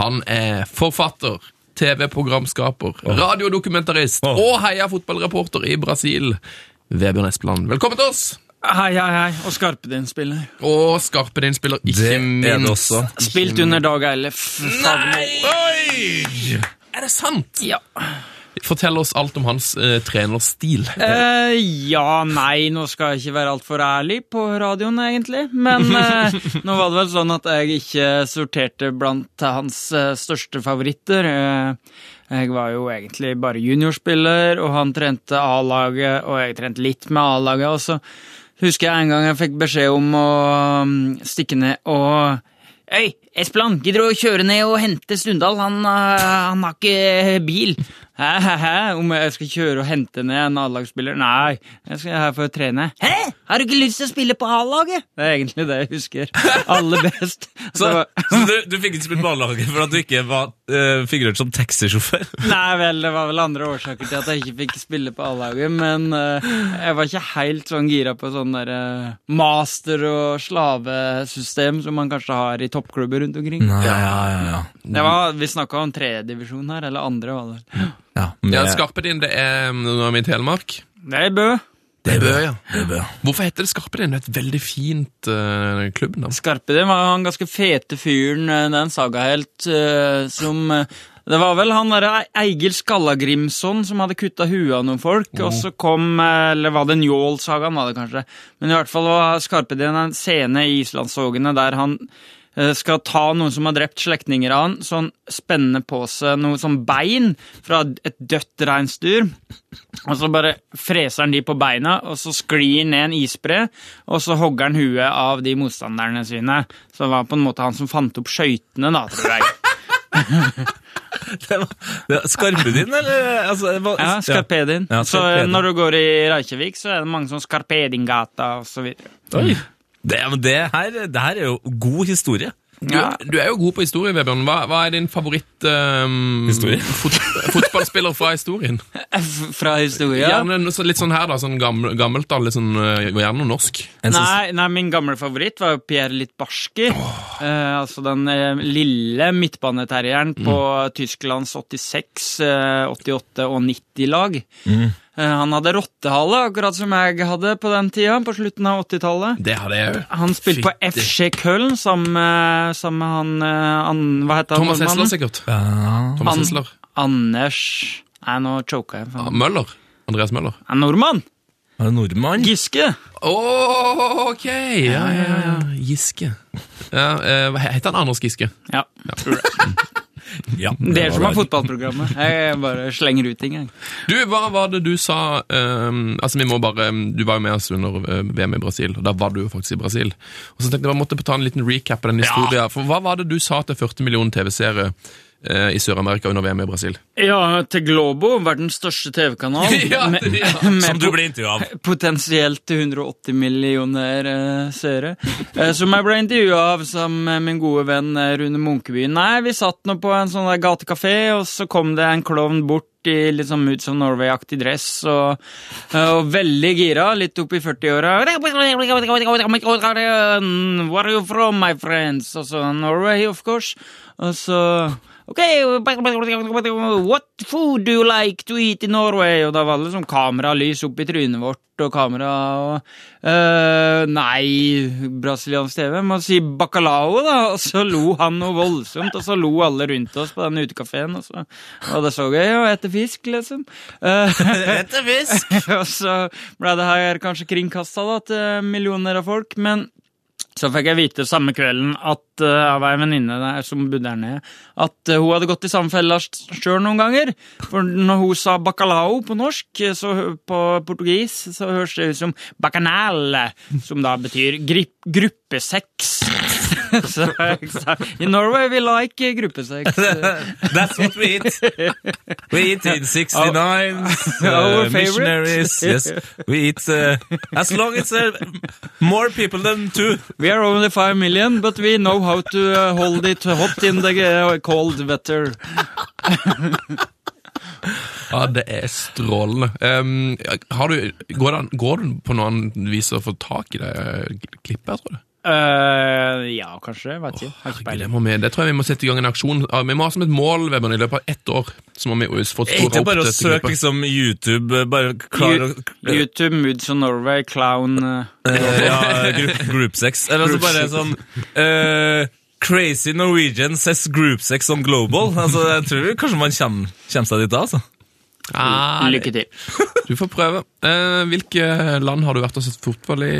Speaker 4: Han er forfatter, TV-programskaper, radiodokumentarist
Speaker 3: Åh.
Speaker 4: og Heia Fotball-reporter i Brasil. Vebjørn Espeland, velkommen til oss!
Speaker 5: Hei, hei, hei. Og Skarpedin-spiller.
Speaker 4: Og skarpe din spiller, ikke
Speaker 3: Det er
Speaker 4: minst.
Speaker 3: det også.
Speaker 5: Spilt under Dag Eilef.
Speaker 4: Oi! Er det sant?
Speaker 5: Ja.
Speaker 4: Fortell oss alt om hans eh, trenerstil.
Speaker 5: Eh, ja, nei, nå skal jeg ikke være altfor ærlig på radioen, egentlig. Men eh, nå var det vel sånn at jeg ikke sorterte blant hans eh, største favoritter. Eh, jeg var jo egentlig bare juniorspiller, og han trente A-laget, og jeg trente litt med A-laget. Og så husker jeg en gang jeg fikk beskjed om å mm, stikke ned og Øy, Espeland, gidder du å kjøre ned og hente Stundal? Han, eh, han har ikke eh, bil. Hæ, hæ, hæ? Om jeg skal kjøre og hente ned en A-lagsspiller? Nei, jeg skal her for å trene. Hæ? Har du ikke lyst til å spille på A-laget? Det er egentlig det jeg husker aller best.
Speaker 3: Så,
Speaker 5: Det var-
Speaker 3: så du, du fikk ikke spilt barnelaget for at du ikke var eh, figurert som taxisjåfør?
Speaker 5: Nei vel, det var vel andre årsaker til at jeg ikke fikk spille på A-laget, men eh, jeg var ikke helt sånn gira på sånn der eh, master- og slavesystem som man kanskje har i toppklubber rundt omkring.
Speaker 3: Nei, ja, ja, ja.
Speaker 5: Det var, vi snakka om tredjedivisjon her, eller andre, var det vel?
Speaker 3: ja, med,
Speaker 4: Ja, skarpe din, det er mm, nå er vi i Telemark.
Speaker 5: Det er Bø.
Speaker 4: Det bør, ja.
Speaker 3: det bør.
Speaker 4: Hvorfor heter det skarpe din? Det er et veldig fint eh, klubbnavn.
Speaker 5: Skarpe, det var han ganske fete fyren, eh, den sagahelt, eh, som eh, Det var vel han derre Eigil Skallagrimson som hadde kutta huet av noen folk, og så kom eh, Eller var det Njål-sagaen, var det kanskje? Men i hvert fall var Skarpedien en scene i Islandshogene der han eh, skal ta noen som har drept slektninger av han, sånn spenne på seg noe sånn bein fra et dødt reinsdyr. Og så bare freser han de på beina, og så sklir han ned en isbre, og så hogger han huet av de motstanderne sine. Så det var på en måte han som fant opp skøytene, da, tror jeg.
Speaker 3: Det var, det var Skarpedin, eller? Altså, det var,
Speaker 5: Ja, Skarpedin.
Speaker 3: Ja,
Speaker 5: så eh,
Speaker 3: Skarpedin.
Speaker 5: når du går i Reykjavik, så er det mange sånn Skarpedingata og så videre.
Speaker 3: Oi. Det, men det, her, det her er jo god historie.
Speaker 4: Du,
Speaker 5: eh,
Speaker 4: du er jo god på historie, Vebjørn. Hva, hva er din favoritt ehm,
Speaker 3: Historie?
Speaker 4: fot, fotballspiller fra historien?
Speaker 5: F- Fra historia.
Speaker 4: Gjerne noe så- litt sånn her, da. Sånn gammel, gammelt, da. Litt sånn, eh, gjerne noe norsk.
Speaker 3: En som-
Speaker 5: Nei, nei, min gamle favoritt var jo Pierre Littbarski. Eh, altså den eh, lille midtbaneterrieren på Tysklands 86, eh, 88 og 90-lag. Eh, han hadde rottehale, akkurat som jeg hadde på den tida, på slutten av 80-tallet.
Speaker 4: Det hadde jeg òg.
Speaker 5: Han spilte på FC Köln sammen med, sammen med han, eh, han Hva heter han?
Speaker 4: Thomas Hessler,
Speaker 5: nordmannen?
Speaker 4: sikkert.
Speaker 3: Ja.
Speaker 4: Thomas
Speaker 5: Han-
Speaker 4: Hessler.
Speaker 5: Anders Nei, nå choka jeg.
Speaker 4: Ja,
Speaker 5: Faen.
Speaker 4: Møller. Andreas Møller.
Speaker 5: Nei, nordmann!
Speaker 3: Er det nordmann?
Speaker 5: Giske!
Speaker 4: Å, ok! Ja, ja, ja, ja. Giske. Ja, eh, hva heter han Anders Giske?
Speaker 5: Ja.
Speaker 3: Ja,
Speaker 5: Det er som
Speaker 3: var
Speaker 5: er
Speaker 3: det.
Speaker 5: fotballprogrammet. Jeg bare slenger ut ting, jeg.
Speaker 4: Du, hva var det du sa ehm, Altså, vi må bare Du var jo med oss under eh, VM i Brasil, og da var du jo faktisk i Brasil. Og så tenkte jeg bare måtte ta en liten recap av den historien. For hva var det du sa til 40 millioner TV-seere eh, i Sør-Amerika under VM i Brasil?
Speaker 5: Ja, til Globo, verdens største TV-kanal.
Speaker 4: Ja,
Speaker 5: med-
Speaker 4: ja.
Speaker 5: med
Speaker 3: Som du
Speaker 5: po-
Speaker 3: ble intervjua av.
Speaker 5: Potensielt til 180 millioner eh, seere. Eh, som jeg ble intervjua av sammen med min gode venn eh, Rune Munkeby. Nei, vi satt nå på en sånn der gatekafé, og så kom det en klovn bort i litt sånn Moods of Norway-aktig dress, og, eh, og veldig gira, litt opp i 40-åra. Where are you from, my friends? Og så Norway, of course. Og så Ok, what food do you like to eat in Norway? Og da var det liksom kameralys opp i trynet vårt og kamera og eh, Nei, brasiliansk TV. Må si bacalao, da. Og så lo han noe voldsomt, og så lo alle rundt oss på den utekafeen. Og så var det så gøy å ete fisk, liksom. Eh,
Speaker 3: Etter fisk!
Speaker 5: og så ble det her kanskje kringkasta da, til millioner av folk, men så fikk jeg vite samme kvelden at, eh, av ei venninne der som bodde her nede, at eh, hun hadde gått i samme fella sjøl noen ganger. For når hun sa bacalao på norsk, eh, så hø- på portugis, så høres det ut som bacanal, som da betyr grip, gruppesex. så jeg sa, In Norway we like eh, gruppesex.
Speaker 3: That's what we eat. We eat in 69s,
Speaker 5: Our
Speaker 3: uh,
Speaker 5: favorite.
Speaker 3: missionaries. Yes. We eat uh, as long as uh, more people than two.
Speaker 5: We are only five million, but we know how to eh, hold it hot in the eh, cold weather.
Speaker 4: Ja, det er strålende. Ehm, har du, går, det, an- går det på noe annet vis å få tak i det klippet, tror du?
Speaker 5: Eh, ja, kanskje. Jeg vet ikke. Har ikke
Speaker 4: Herregud,
Speaker 5: peiling.
Speaker 4: det, må vi, det tror jeg vi må sette i gang en aksjon. Ja, Vi må ha som et mål, Vebjørn, i løpet av ett år. Så må vi jo få spora
Speaker 3: Ikke
Speaker 4: opp
Speaker 3: bare å
Speaker 4: dette
Speaker 3: søke
Speaker 4: klippet.
Speaker 3: liksom YouTube, eh, bare klar å
Speaker 5: YouTube, Moods of Norway, Clown eh,
Speaker 3: Eh, ja, group, group sex. Eller altså bare sånn eh, Crazy Norwegian says group sex on global. Altså, jeg tror kanskje man kommer, kommer seg dit da, altså.
Speaker 4: Ah, det-
Speaker 5: Lykke til.
Speaker 4: Du får prøve. Eh, hvilke land har du vært og sett fotball i,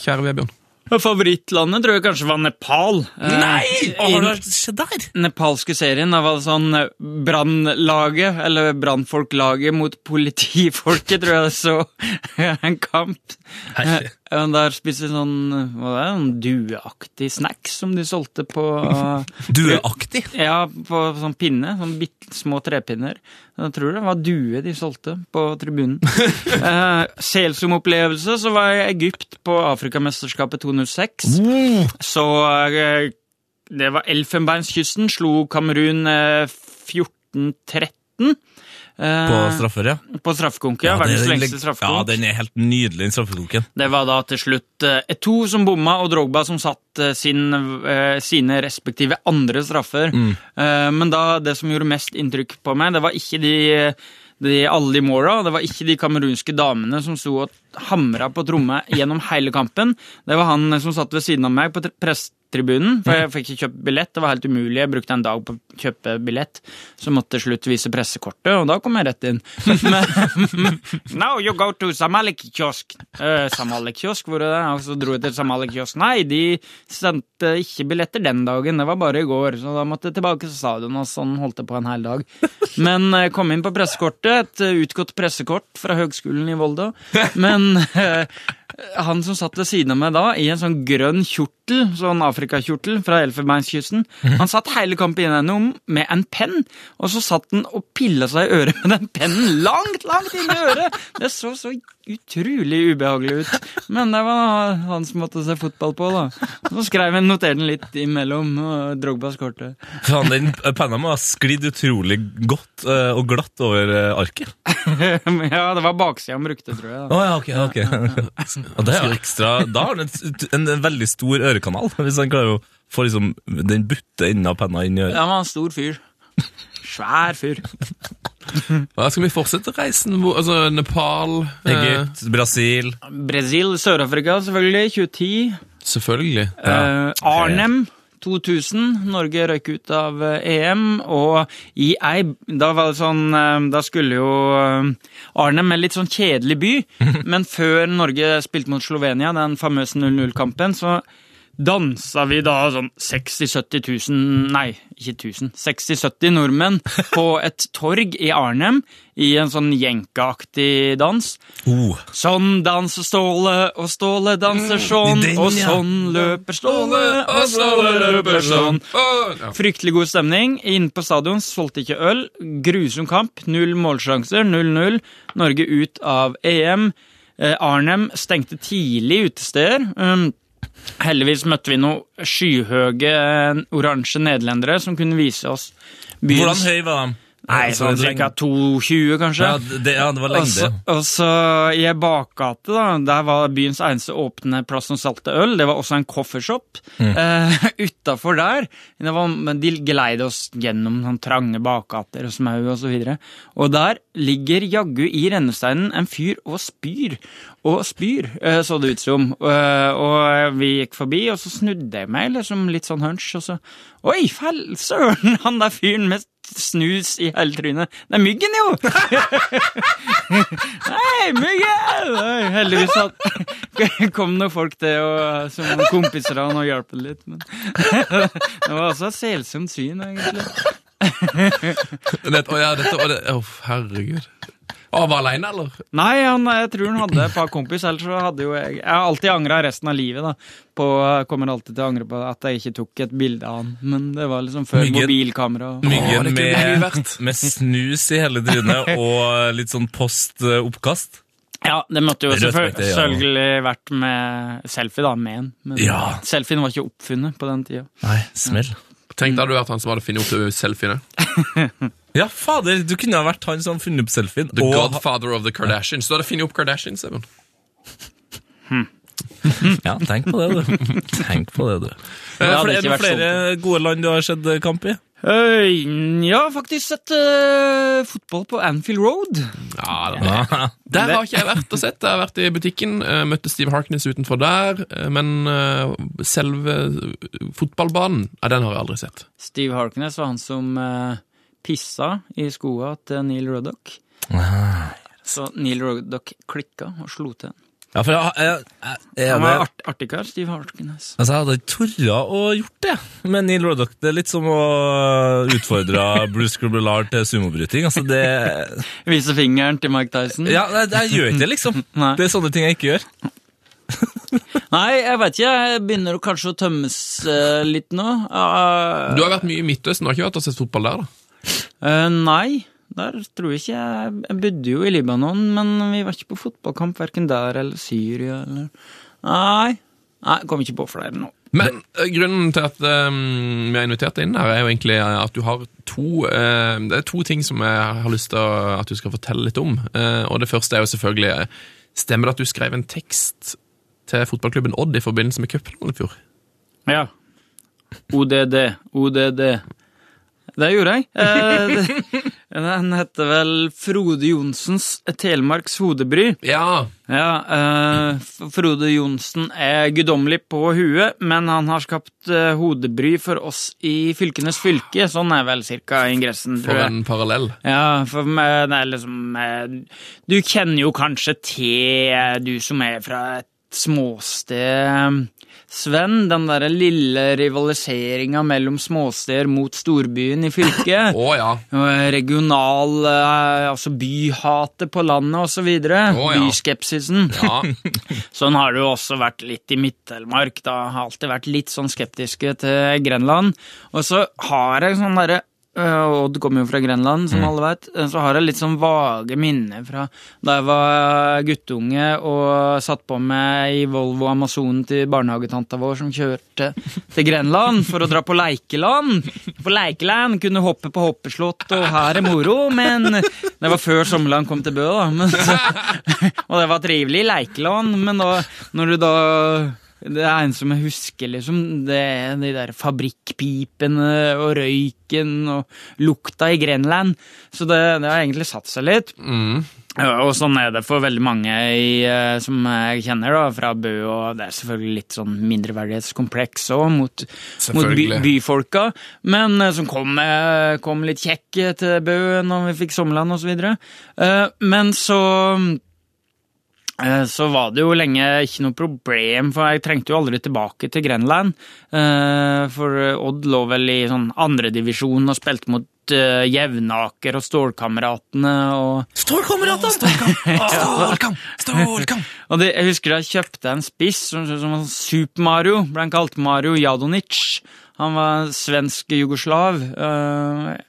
Speaker 4: kjære Vebjørn?
Speaker 5: Favorittlandet tror jeg kanskje var Nepal. Eh,
Speaker 3: Har
Speaker 5: I
Speaker 3: det skjedd der?
Speaker 5: den nepalske serien da var det sånn eh, brannlaget, eller brannfolklaget mot politifolket, tror jeg det så en kamp. Eh, og Der spiste vi sånn, eh, hva var det, sånn dueaktig snacks som de solgte på eh,
Speaker 3: Dueaktig.
Speaker 5: Ja, på sånn pinne. Sånn bitte små trepinner. Jeg tror det var due de solgte på tribunen. eh, Selsom-opplevelse, så var jeg i Egypt på Afrikamesterskapet
Speaker 3: Mm.
Speaker 5: 2006.
Speaker 3: Oh,
Speaker 5: Så eh, det var Elfenbeinskysten. Slo Kamerun eh, 14-13. eh,
Speaker 3: På straffer, ja.
Speaker 5: på straffekonk, ja.
Speaker 3: det er
Speaker 5: verdens
Speaker 3: den
Speaker 5: lengste
Speaker 3: leg-
Speaker 5: straffekonk.
Speaker 3: Ja, den er helt nydelig, den straffekonken.
Speaker 5: Det var da til slutt eh, Eto'o som bomma, og Drogba som satt eh, sin, eh, sine respektive andre straffer. Eh, Men da, det som gjorde mest inntrykk på meg, det var ikke de, de alle de måla, det var ikke de kamerunske damene som sto og hamra på tromme gjennom hele kampen. Det var han som satt ved siden av meg på tre- pressetribunen, for jeg fikk ikke kjøpt billett. Det var helt umulig. Jeg brukte en dag på å kjøpe billett, så måtte jeg til slutt vise pressekortet, og da kom jeg rett inn. Men, Now you go to Samalik-kiosk. Uh, Samalik-kiosk, hvor er det? Og så dro jeg til Samalik-kiosk. Nei, de sendte ikke billetter den dagen, det var bare i går. Så da måtte jeg tilbake til stadion, og sånn holdt det på en hel dag. Men eh, kom inn på pressekortet, et eh, utgått pressekort fra Høgskolen i Volda. Men eh, han som satt ved siden av meg da, i en sånn grønn kjortel, sånn Afrikakjortel fra Elfenbeinskysten, han satt hele kampen gjennom med en penn, og så satt han og pilla seg i øret med den pennen langt, langt inn i øret! Det så så utrolig ubehagelig ut. Men det var han som måtte se fotball på, da. Så skrev jeg noterte den litt imellom og Drogbas kortet.
Speaker 3: Faen, den eh, penna må ha sklidd utrolig godt eh, og glatt over eh, arket.
Speaker 5: Ja, det var baksida han brukte, tror jeg. da.
Speaker 3: Å ja, ok. ok. Og det er jo ekstra Da har han et- en, en veldig stor ørekanal, hvis han klarer å få liksom den butte enden av penna inn i øret.
Speaker 5: Ja, han var en stor fyr. Svær fyr.
Speaker 4: Da skal vi fortsette reisen? Hvor, altså Nepal eh,
Speaker 3: Egypt, Brasil
Speaker 5: Brasil, Sør-Afrika selvfølgelig, 2010.
Speaker 4: Selvfølgelig.
Speaker 5: Eh, Arnhem, 2000. Norge røyk ut av eh, EM, og i ei Da var det sånn eh, Da skulle jo eh, Arnhem en litt sånn kjedelig by, men før Norge spilte mot Slovenia, den famøse 0-0-kampen, så dansa vi da sånn 60 000-70 000 Nei, ikke 1000. 60-70 nordmenn på et torg i Arnhem i en sånn jenkeaktig dans.
Speaker 3: Oh.
Speaker 5: Sånn danser Ståle, og Ståle danser sånn,
Speaker 3: den,
Speaker 5: og
Speaker 3: ja.
Speaker 5: sånn løper Ståle, og Ståle løper sånn.
Speaker 4: Ja.
Speaker 5: Fryktelig god stemning. Inne på stadion solgte ikke øl. Grusom kamp. Null målsjanser. 0-0. Norge ut av EM. Eh, Arnhem stengte tidlig utesteder. Um, heldigvis møtte vi noen skyhøye eh, oransje nederlendere som kunne vise oss
Speaker 3: Hvordan høy var de?
Speaker 5: Nei,
Speaker 3: Altså,
Speaker 5: sånn
Speaker 3: lenge-
Speaker 5: ca. 2,20 kanskje.
Speaker 3: ja, det, ja, det var
Speaker 5: Og så-
Speaker 3: lengde.
Speaker 5: Og så i ei bakgate, da, der var byens eneste åpne plass som salte øl. Det var også en coffeeshop.
Speaker 3: Mm.
Speaker 5: Eh, Utafor der det var, men De geleide oss gjennom sånn trange bakgater og smau og så videre. Og der ligger jaggu i rennesteinen en fyr og spyr. Og spyr, eh, så det ut som. Eh, og vi gikk forbi, og så snudde jeg meg liksom litt sånn hunch, og så Oi, fell søren! Han der fyren med snus i hele trynet. Det er myggen, jo! Hei, Myggen! Nei, Heldigvis at, kom noen folk til og, som kompiser av han og hjalp det litt. Men. Det var også et selsomt syn, egentlig.
Speaker 4: Det, å, ja, dette, å, det, å, herregud. Å, han var aleine, eller?
Speaker 5: Nei, han, jeg tror han hadde et par kompis, ellers så hadde jo jeg Jeg har alltid angra resten av livet, da. På, kommer alltid til å angre på at jeg ikke tok et bilde av han. Men det var liksom før
Speaker 3: Myggen.
Speaker 5: mobilkamera. og-
Speaker 4: Å,
Speaker 3: Myggen
Speaker 4: det kunne
Speaker 3: med,
Speaker 4: mye vært.
Speaker 3: med snus i hele trynet og litt sånn post eh, oppkast.
Speaker 5: Ja, det måtte jo
Speaker 3: Rødt
Speaker 5: selvføl-
Speaker 3: belte, ja.
Speaker 5: selvfølgelig vært med selfie, da, med en. Men
Speaker 3: Ja.
Speaker 5: selfien var ikke oppfunnet på den tida.
Speaker 3: Nei, smell.
Speaker 4: Tenk, da hadde du vært han som hadde funnet opp selfiene.
Speaker 3: Ja, fader, du kunne ha vært han som funnet opp selfien.
Speaker 4: The
Speaker 3: og-
Speaker 4: godfather of the Kardashians. Du hadde funnet opp Kardashians, Even.
Speaker 3: Ja, tenk på det, du. Tenk på det, du.
Speaker 5: hadde
Speaker 3: er
Speaker 5: ikke
Speaker 3: det
Speaker 5: vært
Speaker 3: flere gode land du har sett eh, kamp i?
Speaker 5: Eh, ja, faktisk sett eh, fotball på Anfield Road.
Speaker 4: Ja, det var
Speaker 3: Ja.
Speaker 4: Der har ikke jeg vært og sett. Jeg har vært i butikken, eh, møtte Steve Harkness utenfor der. eh, Men eh, selve fotballbanen, ja, den har jeg aldri sett.
Speaker 5: Steve Harkness var han som eh, pissa i skoa til Neil Ruddock.
Speaker 3: Ah.
Speaker 5: Så Neil Ruddock klikka og slo til.
Speaker 3: Ja, for jeg, jeg, jeg, jeg,
Speaker 5: Han
Speaker 3: jeg,
Speaker 5: var art artig kar, Steve Harkness.
Speaker 3: altså, jeg hadde ikke torra å gjort det. Men Neil Roddock, det er litt som å utfordre Bruce Grubbelard til sumobryting. Altså, det
Speaker 5: Vise fingeren til Mike Tyson.
Speaker 3: Ja, jeg, jeg gjør ikke det, liksom.
Speaker 5: Nei.
Speaker 3: Det er sånne ting jeg ikke gjør.
Speaker 5: Nei, jeg veit ikke. Jeg begynner å kanskje å tømmes eh, litt nå. Eh,
Speaker 4: Du har vært mye i Midtøsten, du har ikke vært og sett fotball der? da?
Speaker 5: eh, nei, der tror jeg ikke jeg Jeg bodde jo i Libanon, men vi var ikke på fotballkamp verken der eller Syria eller Nei. Nei, kom ikke på flere nå.
Speaker 4: Men eh, grunnen til at eh, vi har invitert deg inn her, er jo egentlig eh, at du har to eh, Det er to ting som jeg har lyst til å- at du skal fortelle litt om. Eh, og det første er jo selvfølgelig eh, Stemmer det at du skrev en tekst til fotballklubben Odd i forbindelse med cupfinalen i fjor?
Speaker 5: Ja. ODD, ODD. Det gjorde jeg. Eh, det- Den heter vel Frode Johnsens Telemarks hodebry.
Speaker 4: Ja!
Speaker 5: Ja, eh, F- Frode Johnsen er guddommelig på huet, men han har skapt eh, hodebry for oss i Fylkenes fylke. Sånn er vel cirka ingressen, tror
Speaker 4: For
Speaker 5: jeg.
Speaker 4: en parallell.
Speaker 5: Ja, for meg, det er liksom eh, Du kjenner jo kanskje til, eh, du som er fra et småsted, Sven, den derre lille rivaliseringa mellom småsteder mot storbyen i fylket.
Speaker 4: Å ja.
Speaker 5: og Regional eh, Altså byhatet på landet og så videre.
Speaker 4: Å, ja.
Speaker 5: Byskepsisen.
Speaker 4: ja.
Speaker 5: Sånn har det jo også vært litt i Midt-Telemark. Da har jeg alltid vært litt sånn skeptiske til Grenland. Og så har jeg sånn derre øh, Odd kommer jo fra Grenland, som alle veit. Så har jeg litt sånn vage minner fra da jeg var øh, guttunge og satt på meg i Volvo Amazonen til barnehagetanta vår som kjørte til Grenland for å dra på leikeland. På leikeland kunne hoppe på hoppeslott, og her er moro, men det var før sommerland kom til Bø, da. Men så, og det var trivelig leikeland, men da, når du da Det er en som jeg husker, liksom. Det, de der fabrikkpipene og røyken og lukta i Grenland. Så det, det har egentlig satt seg litt.
Speaker 4: Mm.
Speaker 5: Ja, Og sånn er det for veldig mange i, eh, som jeg kjenner da, fra Bø, og det er selvfølgelig litt sånn mindreverdighetskompleks òg mot, mot by,
Speaker 4: Selvfølgelig.
Speaker 5: byfolka, men eh, som kom, eh, kom litt kjekk eh, til Bø når vi fikk Sommerland osv. Men så eh, så var det jo lenge ikke noe problem, for jeg trengte jo aldri tilbake til Grenland. Eh, For Odd lå vel i sånn andredivisjon og spilte mot eh, Jevnaker og Stålkameratene og
Speaker 3: Stålkameratene! Stålkam! Stålkam!
Speaker 5: og det, jeg husker jeg kjøpte en spiss som, som var Super Mario, ble han kalt Mario Jadonic. Han var svensk jugoslav. øh,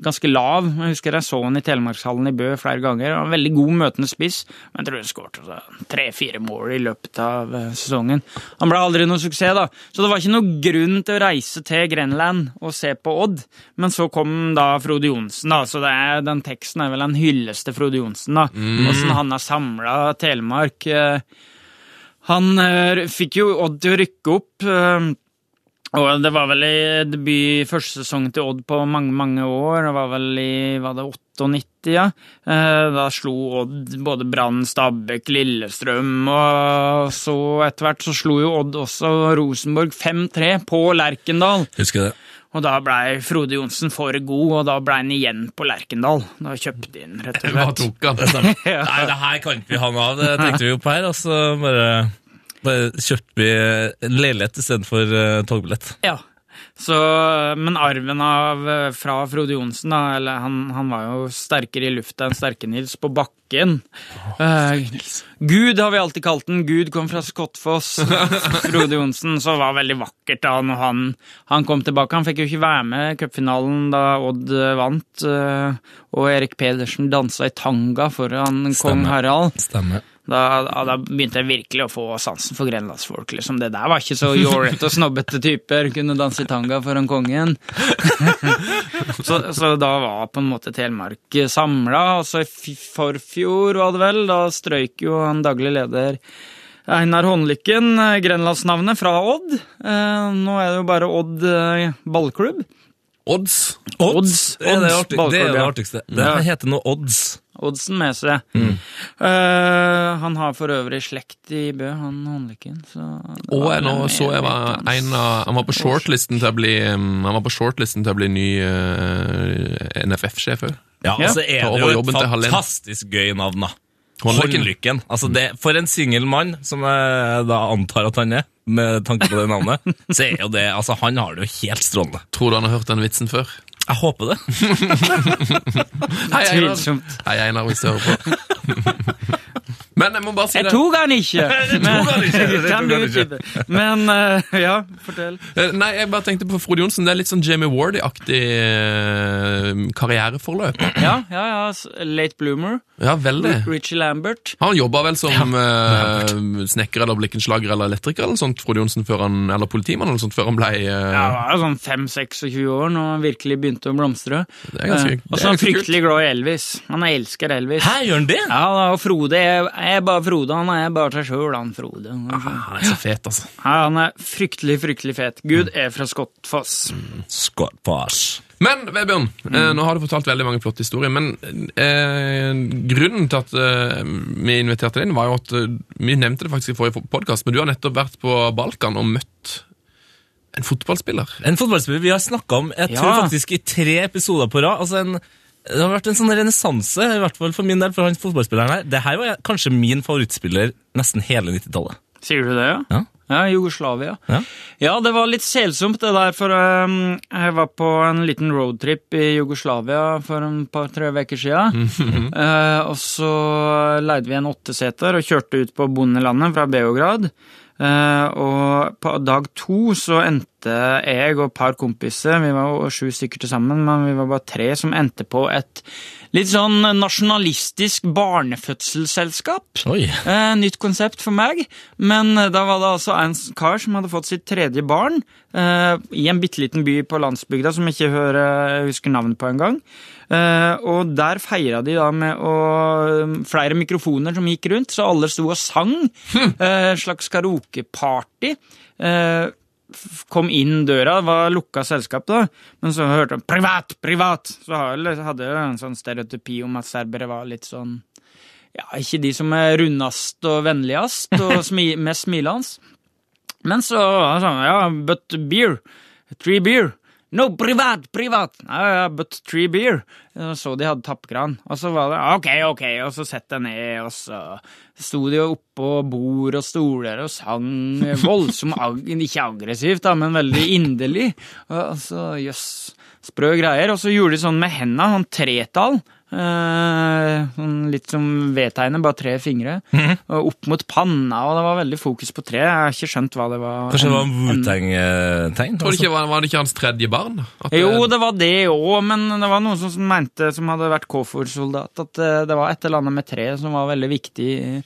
Speaker 5: ganske lav. Jeg husker jeg så han i Telemarkshallen i Bø flere ganger. Han var en veldig god møtende spiss, men jeg tror han skåret altså, tre-fire mål i løpet av øh, sesongen. Han ble aldri noe suksess, da. Så det var ikke noe grunn til å reise til Grenland og se på Odd. Men så kom da Frode Johnsen, da, så det er, den teksten er vel en hyllest til Frode Johnsen, da. Åssen han har samla Telemark. eh, han eh, fikk jo Odd til å rykke opp. eh, og det var vel i debut første sesong til Odd på mange, mange år. Det var vel i var det 98, ja. Eh, Da slo Odd både Brann, Stabæk, Lillestrøm, og så etter hvert så slo jo Odd også Rosenborg 5-3 på Lerkendal.
Speaker 3: Husker det.
Speaker 5: Og da blei Frode Johnsen for god, og da blei han igjen på Lerkendal. Da kjøpte de inn, rett og
Speaker 4: Hva
Speaker 5: slett.
Speaker 4: tok han?
Speaker 5: Ja.
Speaker 3: Nei, det her kan ikke vi ha noe av. Det tenkte vi jo på her. Altså, bare, bare kjøpte vi en leilighet istedenfor uh, togbillett.
Speaker 5: Ja. Så, men arven av, eh, fra Frode Johnsen, da, eller han, han var jo sterkere i lufta enn Sterke-Nils på bakken. Eh, Gud har vi alltid kalt den. Gud kom fra Skottfoss. Frode Johnsen så var veldig vakkert da når han, han kom tilbake. Han fikk jo ikke være med i cupfinalen da Odd eh, vant, eh, og Erik Pedersen dansa i tanga foran kong
Speaker 3: Stemmer.
Speaker 5: Harald.
Speaker 3: Stemmer.
Speaker 5: Da, da- da begynte jeg virkelig å få sansen for grenlandsfolk. Liksom. Det der var ikke så jålete og snobbete typer. Kunne danse tanga foran kongen. så, så da var på en måte Telemark samla. Og så i f- forfjor, var det vel, da strøyk jo han daglig leder Einar Håndlykken eh, grenlandsnavnet fra Odd. Eh, nå er det jo bare Odd eh, ballklubb.
Speaker 4: Odds?
Speaker 5: Odds.
Speaker 3: Det er det,
Speaker 5: Odds
Speaker 3: artig, det,
Speaker 5: ballklubb,
Speaker 3: er det
Speaker 5: ja.
Speaker 3: artigste. Det
Speaker 5: Ja.
Speaker 3: heter noe odds.
Speaker 5: Oddsen med seg.
Speaker 4: Mm.
Speaker 5: Eh, han har for øvrig slekt i Bø, han håndlykken. Så
Speaker 4: Og jeg nå så jeg var en av Han var på shortlisten til å bli um, Han var på shortlisten til å bli ny eh, NFF-sjef òg.
Speaker 3: Ja,
Speaker 5: Ja.
Speaker 3: altså er
Speaker 4: Ta
Speaker 3: det
Speaker 4: over
Speaker 3: jo
Speaker 4: jobben
Speaker 3: et
Speaker 4: til Hallén.
Speaker 3: fantastisk gøy navn, da.
Speaker 4: Håndlykken.
Speaker 3: Håndlykken. Altså det, for en singel mann, som jeg da antar at han er, med tanke på det navnet, så er jo det Altså, han har det jo helt strålende.
Speaker 4: Tror du han har hørt den vitsen før?
Speaker 3: Jeg håper det.
Speaker 4: Hei, Einar.
Speaker 5: Tvilsomt.
Speaker 4: Hei, Einar, hvis du hører på. Men jeg må bare si
Speaker 5: Jeg
Speaker 4: det.
Speaker 5: tok han ikke! Men-
Speaker 3: han ikke, det tok
Speaker 5: Kan du
Speaker 3: han ikke.
Speaker 5: utdype? Men eh, ja, fortell.
Speaker 4: Eh, Nei, jeg bare tenkte på Frode Johnsen. Det er litt sånn Jamie Wardy-aktig eh, karriereforløp.
Speaker 5: Ja, ja, ja. s- Late Bloomer.
Speaker 4: Ja, veldig.
Speaker 5: Richie Lambert.
Speaker 4: Han jobba vel som eh, snekker eller blikkenslager eller elektriker eller sånt, Frode Johnsen, før han, eller politimann eller sånt, før han ble eh,
Speaker 5: Ja, han var jo sånn 5-26 år når han virkelig begynte å blomstre.
Speaker 4: Det er ganske-
Speaker 5: Eh,
Speaker 4: det er
Speaker 5: Og så er han
Speaker 4: ganske kult.
Speaker 5: fryktelig glad i Elvis. Han elsker Elvis.
Speaker 3: Hæ, gjør han det?
Speaker 5: Ja, da, og Frode er, er bare Frode. Han er bare seg sjøl, han Frode.
Speaker 3: Ah,
Speaker 4: Han er så fet, altså.
Speaker 5: Ja, han er fryktelig, fryktelig fet. Gud er fra Skottfoss.
Speaker 3: Skål på oss.
Speaker 4: Men, Vebjørn,
Speaker 5: Mm.
Speaker 4: eh, nå har du fortalt veldig mange flotte historier, men eh, grunnen til at eh, vi inviterte deg inn, var jo at eh, vi nevnte det faktisk i forrige podkast, men du har nettopp vært på Balkan og møtt en fotballspiller.
Speaker 3: En fotballspiller vi har snakka om jeg
Speaker 5: Ja.
Speaker 3: tror faktisk i tre episoder på rad. Altså en, det har vært en sånn renessanse, i hvert fall for min del, for han fotballspilleren her. Det her var kanskje min favorittspiller nesten hele 90-tallet.
Speaker 5: Sier du det, ja?
Speaker 3: Ja.
Speaker 5: Jugoslavia.
Speaker 3: Ja.
Speaker 5: Ja, det var litt selsomt det der, for øhm, jeg var på en liten roadtrip i Jugoslavia for en par-tre uker siden.
Speaker 3: Mhm.
Speaker 5: Eh, og så leide vi en åtteseter og kjørte ut på bondelandet fra Beograd. Eh, og på dag to så endte endte jeg og et par kompiser, vi var jo sju stykker til sammen, men vi var bare tre, som endte på et litt sånn nasjonalistisk barnefødselsselskap.
Speaker 3: Oi.
Speaker 5: Eh, nytt konsept for meg, men eh, da var det altså en s- kar som hadde fått sitt tredje barn eh, i en bitte liten by på landsbygda som jeg ikke hører, jeg husker navnet på engang. Eh, og der feira de da med å, eh, flere mikrofoner som gikk rundt, så alle sto og sang. Eh, slags karaokeparty. Eh, f- kom inn døra, det var lukka selskap da, men så hørte jeg 'privat, privat', så har jeg- hadde jeg en sånn stereotypi om at serbere var litt sånn ja, ikke de som er rundest og vennligst og smi mest smilende. Men så var det sånn, ja, but beer, three beer. No, privat, privat! Ja, ja, but three beer. Og Så de hadde tappkran. Og så var det ok, ok, og så sett deg ned, og så sto de jo oppå bord og stoler og sang voldsomt, ag ikke aggressivt, da, men veldig inderlig. Og så, jøss, sprø greier. Og så gjorde de sånn med henda, sånn tretall. Eh, sånn litt som V-tegnet, bare tre fingre. Og opp mot panna, og det var veldig fokus på tre. Jeg har ikke skjønt hva det var.
Speaker 3: Kanskje det var en
Speaker 5: En- en-
Speaker 3: Wu-Tang-tegn?
Speaker 4: Tror det ikke, var, var det ikke hans tredje barn? At eh, det-
Speaker 5: Jo, det var det òg, men det var noen som som mente, som hadde vært KFOR-soldat, at eh, det var et eller annet med tre som var veldig viktig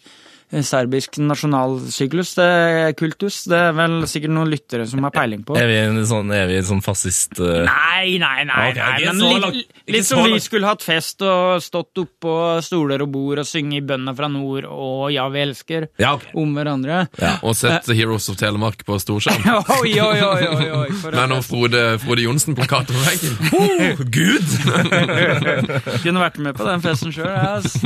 Speaker 5: i serbisk nasjonalsyklus, det, kultus. Det er vel sikkert noen lyttere som har peiling på.
Speaker 3: Er vi en sånn, er vi en sånn fascist... eh,
Speaker 5: Nei, nei, nei.
Speaker 3: Ok,
Speaker 5: nei
Speaker 3: ikke
Speaker 5: men
Speaker 3: så
Speaker 5: litt-
Speaker 3: langt-
Speaker 5: litt,
Speaker 3: ikke så
Speaker 5: som vi
Speaker 3: langt.
Speaker 5: skulle hatt fest og stått oppå stoler og bord og synge i 'Bønda fra nord' og 'Ja, vi elsker'
Speaker 3: Ja, ok.
Speaker 5: om hverandre.
Speaker 4: Og sett The Heroes of Telemark på storskjerm.
Speaker 5: Oi, oi, oi, oi, oi. for
Speaker 4: Men
Speaker 5: å-
Speaker 4: og Frode, Frode Johnsen-plakat på veggen.
Speaker 3: Oh, Gud!
Speaker 5: Kunne vært med på den festen sjøl. ass.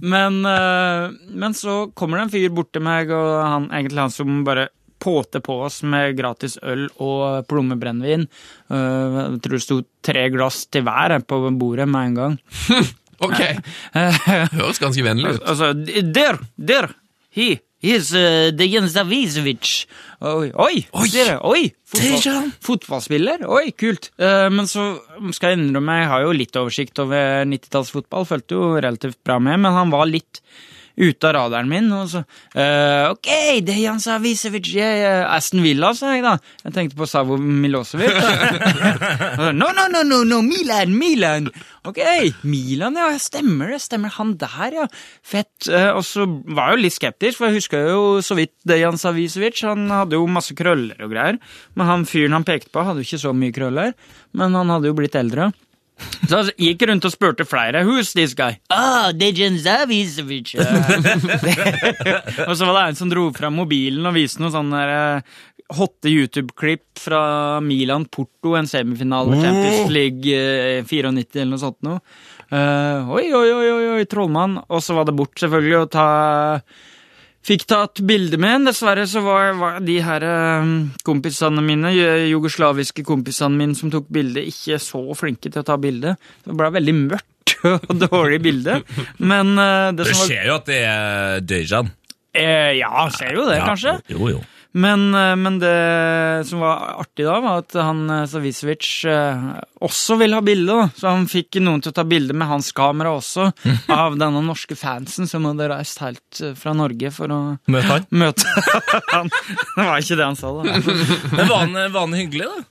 Speaker 5: Men, eh, men så kommer det en fyr bort til meg, og han, egentlig han som bare påte på oss med gratis øl og plommebrennevin. Eh, Jeg tror det sto tre glass til hver på bordet med en gang.
Speaker 4: Ok, høres ganske vennlig ut.
Speaker 5: Altså, der, der, he, he's uh, Dejan Zavicevic. Oi, oi, sier jeg, oi, fotball,
Speaker 3: Dejan!
Speaker 5: fotballspiller, oi, kult. Eh, men så skal jeg innrømme, jeg har jo litt oversikt over 90-tallsfotball, følte jo relativt bra med, men han var litt ute av radaren min, og så, eh, ok, Dejan Zavicevic, jeg, eh, Aston Villa, sa jeg da. Jeg tenkte på Savo Milosevic. da. Eh, no, no, no, no, no, Milan, Milan. Ok, Milan, ja, stemmer det, stemmer han der, ja. Fett. Eh, Og så var jeg jo litt skeptisk, for jeg husker jo så vidt Dejan Savicevic, han hadde jo masse krøller og greier, men han fyren han pekte på hadde jo ikke så mye krøller, men han hadde jo blitt eldre. Så han gikk rundt og spurte flere, who's this guy? Ah, Dejan Savicevic. og så var det en som dro fra mobilen og viste noen sånne der, eh, hotte YouTube-klipp fra Milan Porto, en semifinale Champions League eh, 94 eller noe sånt noe. Eh, oi, oi, oi, oi, oi, trollmann. Og så var det bort, selvfølgelig, å ta Fikk tatt bilde med en. Dessverre så var, var de her eh, kompisene mine, ju- jugoslaviske kompisene mine som tok bilde, ikke så flinke til å ta bilde. Det ble veldig mørkt og dårlig bilde. Men eh, det
Speaker 3: Det
Speaker 5: som var
Speaker 3: skjer jo at det er Dejan.
Speaker 5: Eh, Ja, ser jo det,
Speaker 3: Ja,
Speaker 5: kanskje.
Speaker 3: Jo, jo.
Speaker 5: Men, eh, men det som var artig da, var at han eh, Savicevic eh, også ville ha bilde. da. Så han fikk noen til å ta bilde med hans kamera også, av denne norske fansen som hadde reist helt eh, fra Norge for å
Speaker 3: Møt han.
Speaker 5: møte han. Det var ikke det han sa, da.
Speaker 3: Men var han, var han hyggelig, da?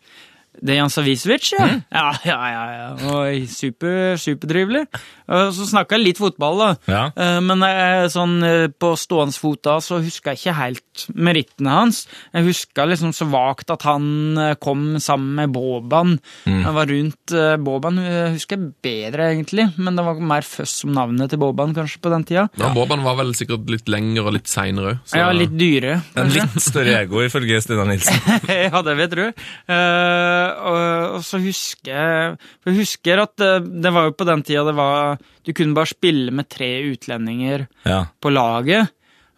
Speaker 5: Det er Jan Savicevic, ja. Mm. Ja, ja, ja. ja. Oi, super, superdrivelig. Eh, Så snakka jeg litt fotball, da.
Speaker 3: Ja.
Speaker 5: Eh, Men eh, sånn eh, på stående fot da, så huska jeg ikke helt merittene hans. Jeg huska liksom så vagt at han eh, kom sammen med Boban. Han var rundt eh, Boban, eh, husker jeg bedre egentlig, men det var mer føss om navnet til Boban kanskje på den tida.
Speaker 4: Ja, Boban var vel sikkert litt lengre og litt seinere òg.
Speaker 5: Ja, litt dyre.
Speaker 3: En
Speaker 5: kanskje.
Speaker 3: litt større ego, ifølge Stina Nilsen.
Speaker 5: ja, det vet du. Eh, og, og så husker jeg For jeg husker at det, det var jo på den tida det var Du kunne bare spille med tre utlendinger
Speaker 3: Ja.
Speaker 5: på laget.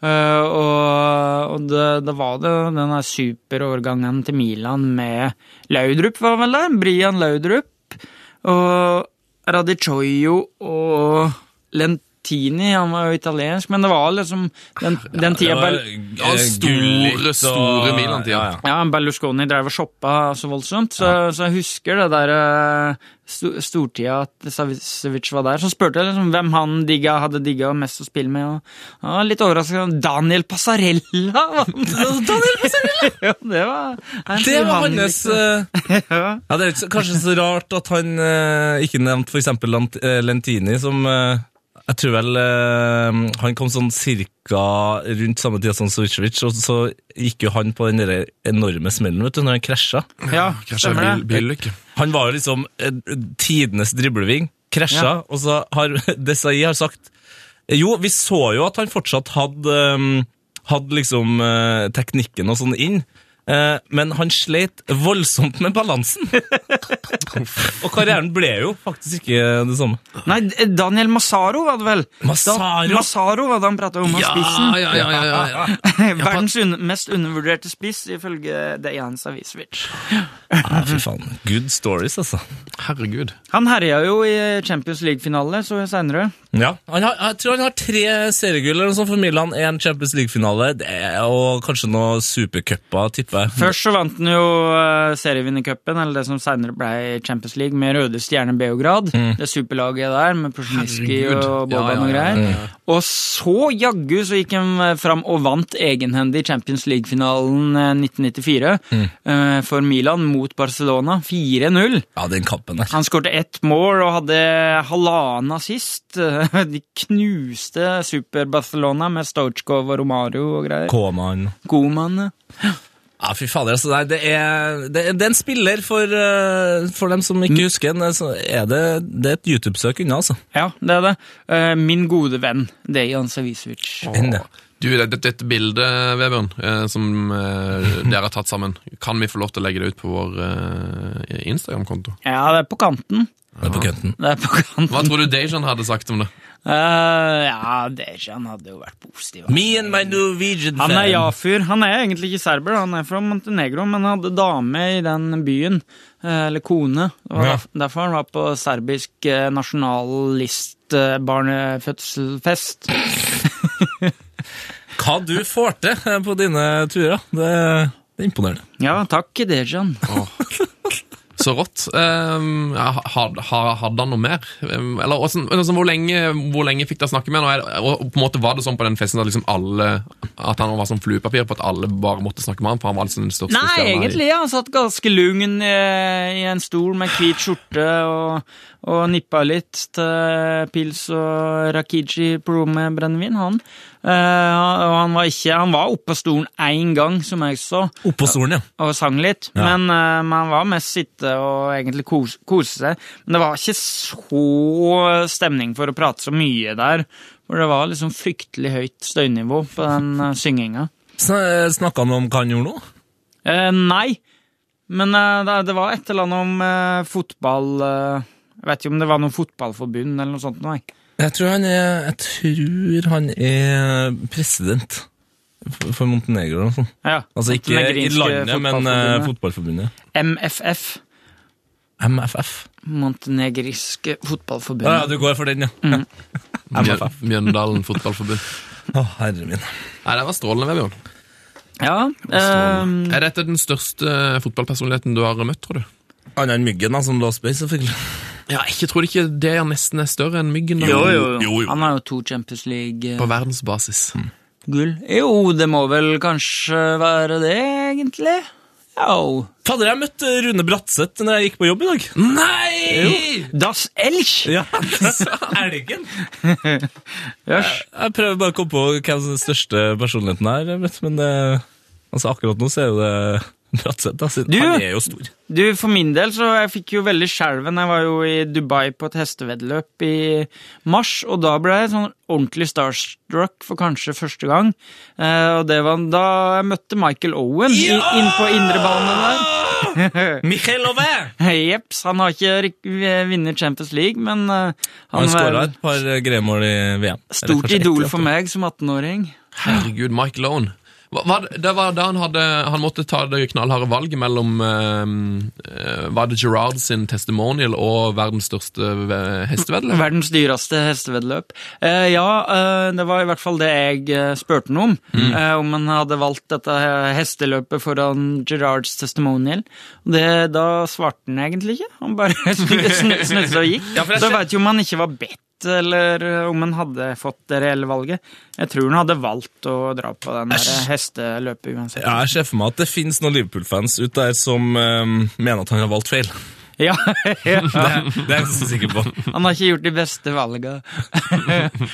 Speaker 5: Eh, og og det, det var det den der superårgangen til Milan med Laudrup, var vel der? Brian Laudrup. Og Radichoyo og Lent Platini, han var jo italiensk, men det var liksom den, den tida Bal-
Speaker 4: Ja, store, store Milan-tida.
Speaker 3: Ja, ja.
Speaker 5: ja, Berlusconi drev og shoppa så voldsomt, så, så jeg husker det der eh, sto- stortida at Savicevic var der. Så spurte jeg liksom hvem han digga, hadde digga mest å spille med. Og, ja, litt overraskende. Daniel Passarella! Daniel Passarella! ja, det var nei,
Speaker 3: Det var
Speaker 5: han liksom.
Speaker 3: hans
Speaker 5: likte.
Speaker 3: eh,
Speaker 5: ja.
Speaker 3: Ja, Det er ikke så, kanskje så rart at han eh, ikke nevnte f.eks. Lentini, som eh, Jeg tror vel eh, han kom sånn cirka rundt samme tid som Sojcevic, og så gikk jo han på den der enorme smellen vet du, når han krasja.
Speaker 5: ja,
Speaker 4: Krasja
Speaker 5: stemmer
Speaker 4: bil,
Speaker 5: det.
Speaker 4: bilulykke.
Speaker 3: Han var jo liksom eh, tidenes dribleving, krasja,
Speaker 5: Ja.
Speaker 3: og så har Desai har sagt eh, Jo, vi så jo at han fortsatt hadde eh, Hadde liksom eh, teknikken og sånn inn, eh, men han sleit voldsomt med balansen. og karrieren ble jo faktisk ikke det samme.
Speaker 5: Nei, eh, Daniel Massaro var det vel?
Speaker 3: Massaro?
Speaker 5: Da, Massaro var det han prata om, han spissen.
Speaker 4: ja, ja, ja, ja, ja.
Speaker 5: Verdens un mest undervurderte spiss, ifølge Dejan Savicevic.
Speaker 3: Ja, fy faen. Good stories, altså.
Speaker 4: Herregud.
Speaker 5: Han herja jo i Champions League-finale, så jeg seinere.
Speaker 3: Ja. Han har, jeg tror han har tre seriegull eller noe sånt for Milan, én Champions League-finale det er- og kanskje noen supercuper, tipper jeg.
Speaker 5: Først så vant han jo eh, serievinnercupen, eller det som seinere ble Champions League, med Røde Stjerne Beograd. Det superlaget der, med Prosjniski
Speaker 4: Mm. Herregud.
Speaker 5: og Boban
Speaker 4: Ja,
Speaker 5: og
Speaker 4: ja, ja,
Speaker 5: greier. Og så, jaggu, så gikk han eh, fram og vant egenhendig Champions League-finalen eh, 1994
Speaker 4: Mm.
Speaker 5: eh, for Milan mot Barcelona. 4-0.
Speaker 3: Ja, den kampen der.
Speaker 5: Han skårte ett mål og hadde halvannen assist. De knuste Super-Barcelona med Stoichkov og Romario og greier.
Speaker 3: K-mann.
Speaker 5: Koman. ja.
Speaker 3: Ja, fy fader. Altså, nei, det, er, det, er, det er en spiller for, eh, for dem som ikke husker den. Så er det, det er et YouTube-søk unna, altså.
Speaker 5: Ja, det er det. Eh, Min gode venn, Dejan Savicevic.
Speaker 3: Enn det.
Speaker 4: Du, det- Dette dette bildet, Vebjørn, eh, som eh, dere har tatt sammen, kan vi få lov til å legge det ut på vår eh, Instagram-konto?
Speaker 5: Ja, det er på kanten.
Speaker 3: Det er på kønten.
Speaker 5: Det er på
Speaker 4: Hva
Speaker 5: kanten.
Speaker 4: tror du Dejan hadde sagt om det?
Speaker 5: Eh, ja, Dejan hadde jo vært positiv. han.
Speaker 3: Me and my Norwegian
Speaker 5: Han er
Speaker 3: fan.
Speaker 5: ja-fyr. Han er egentlig ikke serber, han er fra Montenegro, men han hadde dame i den byen. eh, Eller kone. Det var
Speaker 3: Ja.
Speaker 5: derf- derfor han var på serbisk eh, nasjonalistbarnefødselfest.
Speaker 3: Hva du får til eh, på dine turer, det, det er imponerende.
Speaker 5: Ja, takk, Dejan.
Speaker 4: Så rått. Um, ja, had, ha- hadde han noe mer? Um, eller hvordan- altså, hvor, lenge, hvor lenge fikk dere snakke med han? Og er- Og på en måte var det sånn på den festen at, liksom alle, at han var som fluepapir på at alle bare måtte snakke med han? For han var liksom den største
Speaker 5: Nei,
Speaker 4: stjerna i-
Speaker 5: egentlig. ja. Han satt ganske lugn eh, i en stol med hvit skjorte og, og nippa litt til pils og rakiji på rommet brennevin, han. Eh, og han var ikke Han var oppå stolen én gang, som jeg så,
Speaker 3: Oppå stolen, ja.
Speaker 5: og sang litt.
Speaker 3: Ja.
Speaker 5: Men eh, men han var mest sitte og egentlig kos, kose seg. Men det var ikke så stemning for å prate så mye der. For det var liksom fryktelig høyt støynivå på den eh, synginga.
Speaker 3: Sn- Snakka han om hva han gjorde nå?
Speaker 5: Eh, nei, men eh, det, det var et eller annet om eh, fotball eh, Jeg vet ikke om det var noe fotballforbund eller noe sånt. Nei.
Speaker 3: Jeg tror han er, jeg tror han er president for for Montenegro eller noe sånt.
Speaker 5: Ja,
Speaker 3: Altså ikke i
Speaker 5: Montenegrinske
Speaker 3: landet, men eh,
Speaker 5: fotballforbundet.
Speaker 3: fotballforbundet.
Speaker 5: MFF.
Speaker 3: MFF.
Speaker 5: Montenegriske fotballforbund.
Speaker 3: Ja, ja, du går for den, ja. ja.
Speaker 4: Mjø-
Speaker 3: MFF.
Speaker 4: Mjøndalen Fotballforbund.
Speaker 3: Å, herre min.
Speaker 4: Nei, det var strålende, Vebjørn.
Speaker 5: Ja, eh,
Speaker 4: Er dette den største fotballpersonligheten du har møtt, tror du?
Speaker 3: Annet enn myggen, da, som lå og spøy, selvfølgelig.
Speaker 4: Ja, jeg tror ikke det er nesten er større enn myggen. da.
Speaker 5: Han har jo Mm. to Champions League-gull.
Speaker 4: På verdensbasis.
Speaker 5: Jo, det må vel kanskje være det, egentlig? Jo.
Speaker 3: Fader, jeg møtte Rune Bratseth når jeg gikk på jobb i dag.
Speaker 4: Nei!
Speaker 5: Das Elch!
Speaker 3: Ja, Elgen.
Speaker 5: Jøss.
Speaker 3: Jeg prøver bare å komme på hvem som den største personligheten er, vet, du, men det, altså, akkurat nå så er jo det Bratseth. da, siden
Speaker 5: Du-
Speaker 3: Han er jo stor.
Speaker 5: Du, for min del så jeg fikk jo veldig skjelven. Jeg var jo i Dubai på et hesteveddeløp i mars, og da ble jeg sånn ordentlig starstruck for kanskje første gang. Eh, og det var da jeg møtte Michael Owen i, inn på indrebane der.
Speaker 3: Michael Auvin!
Speaker 5: Jepps, han har ikke rik- vunnet Champions League, men eh, han, var
Speaker 3: Han skåra et par greiemål i VM. Eller
Speaker 5: stort
Speaker 3: kanskje ett,
Speaker 5: idol
Speaker 3: ja.
Speaker 5: for meg som 18-åring.
Speaker 4: Herregud, Mike Lone. Hva- hva- Det var da han, hadde, han måtte ta det knallharde valget mellom eh, eh, Var det Gerard sin testimonial og verdens største eh, hesteveddeløp?
Speaker 5: Verdens dyreste hesteveddeløp. Eh, ja, eh, det var i hvert fall det jeg eh, spurte ham om.
Speaker 3: Mm.
Speaker 5: Eh, om han hadde valgt dette eh, hesteløpet foran Gerards testimonial. Det, da svarte han egentlig ikke. Han bare snudde snu- snudde seg og gikk.
Speaker 3: Ja, for jeg
Speaker 5: da
Speaker 3: ser-
Speaker 5: veit jo om han ikke var bedt. Eller eh, om han hadde fått det reelle valget. Jeg tror han hadde valgt å dra på den der
Speaker 3: Æsj.
Speaker 5: hesteløpet uansett.
Speaker 3: Ja, jeg ser for meg at det finnes noen Liverpool-fans ut der som eh, mener at han har valgt feil.
Speaker 5: Ja,
Speaker 3: Det, det er jeg så sikker på.
Speaker 5: Han har ikke gjort de beste valga.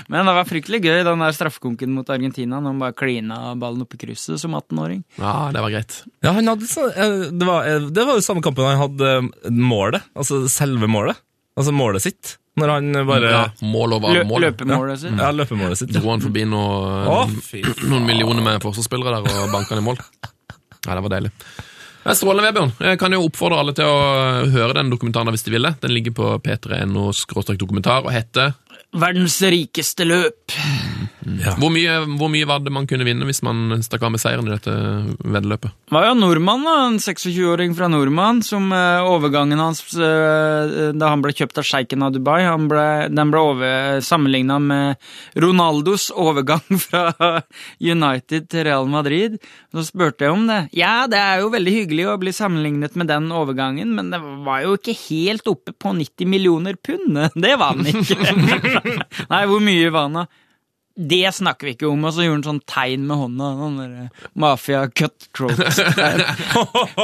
Speaker 5: Men det var fryktelig gøy, den der straffekonken mot Argentina, når han bare klina ballen oppi krysset som 18-åring.
Speaker 4: Ja, det var greit.
Speaker 3: Ja, han hadde, så- eh, det, var, eh, det var jo samme kampen han hadde eh, målet, altså selve målet. Altså målet sitt. Når han eh, bare
Speaker 4: Ja, mål over
Speaker 5: Lø
Speaker 4: alle mål.
Speaker 5: løpemålet sitt.
Speaker 3: Ja, løpemålet sitt.
Speaker 4: Dro han forbi noe,
Speaker 3: Å, fy
Speaker 4: noen millioner med forsvarsspillere der og banka han i mål. Ja, det var deilig. Det er Strålende, Vebjørn. Jeg kan jo oppfordre alle til å høre den dokumentaren hvis de ville. Den ligger på p3.no dokumentar og heter
Speaker 5: Verdens rikeste løp!
Speaker 4: hvor mye, hvor mye var det man kunne vinne hvis man stakk av med seieren i dette veddeløpet?
Speaker 5: Det var jo en nordmann, da, en 26-åring fra nordmann, som eh, overgangen hans eh, da han ble kjøpt av sjeiken av Dubai, han ble, den ble over, sammenligna med Ronaldos overgang fra United til Real Madrid. Så spurte jeg om det. Ja, det er jo veldig hyggelig å bli sammenlignet med den overgangen, men det var jo ikke helt oppe på 90 millioner pund. Det var han ikke. Nei, hvor mye var han da? Det snakker vi ikke om, og så gjorde han sånn tegn med hånda. Sånn der, mafia cutthroat.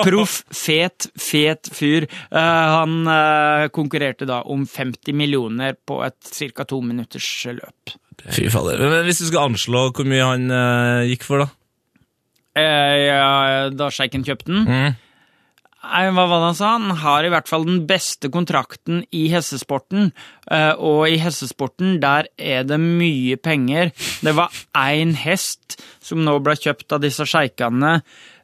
Speaker 5: Proff, fet, fet fyr. Eh, han eh, konkurrerte da om 50 millioner på et ca. to minutters løp.
Speaker 3: Fy fader. Men men hvis du skal anslå hvor mye han eh, gikk for, da?
Speaker 5: Eh, ja, da sjeiken kjøpte den
Speaker 3: Mm.
Speaker 5: Nei, hva var det han sa? Han har i hvert fall den beste kontrakten i hestesporten, eh, og i hestesporten der er det mye penger. Det var én hest som nå ble kjøpt av disse sjeikene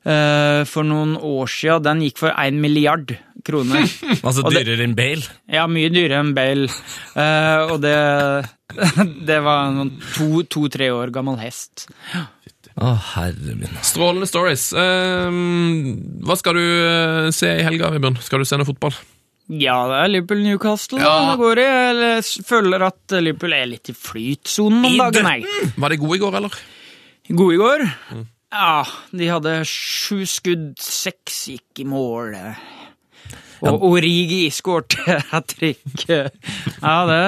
Speaker 5: eh, for noen år siden. Den gikk for én milliard kroner.
Speaker 3: Altså
Speaker 5: Og det-
Speaker 3: dyrere enn Bale?
Speaker 5: Ja, mye dyrere enn Bale. Eh, og det, det var noen to-tre år gammel hest.
Speaker 3: Å, herre min.
Speaker 4: Strålende stories. Ehm, hva skal du eh, se i helga, Vibjørn? Skal du se noe fotball?
Speaker 5: Ja, det er Liverpool-Newcastle.
Speaker 4: Ja.
Speaker 5: Ja. Det går i. Jeg s- føler at Liverpool er litt i flytsonen om dagen. Jeg.
Speaker 4: Var de gode i går, eller?
Speaker 5: Gode i går. Ja, de hadde sju skudd, seks gikk i mål. Og Origi skårte hat trick. Ja, det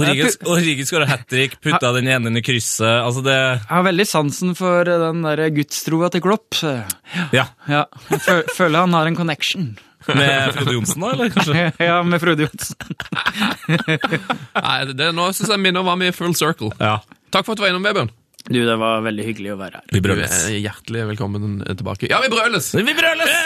Speaker 3: Origi Origi skåra hat trick, putta den ene inn i krysset. Altså, det
Speaker 5: Jeg har veldig sansen for den der gudstroa til Klopp.
Speaker 3: Ja.
Speaker 5: Ja, jeg fø- føler han har en connection.
Speaker 3: Med Frode Johnsen, da, eller? Kanskje?
Speaker 5: Ja, med Frode Johnsen.
Speaker 4: Nei, det, nå syns jeg minner om hva vi er i full circle.
Speaker 3: Ja.
Speaker 4: Takk for at du var innom, Vebjørn.
Speaker 5: Du, det var veldig hyggelig å være her.
Speaker 3: Vi
Speaker 4: Du
Speaker 3: brøles.
Speaker 4: er hjertelig velkommen tilbake. Ja, vi brøles!
Speaker 3: Vi brøles!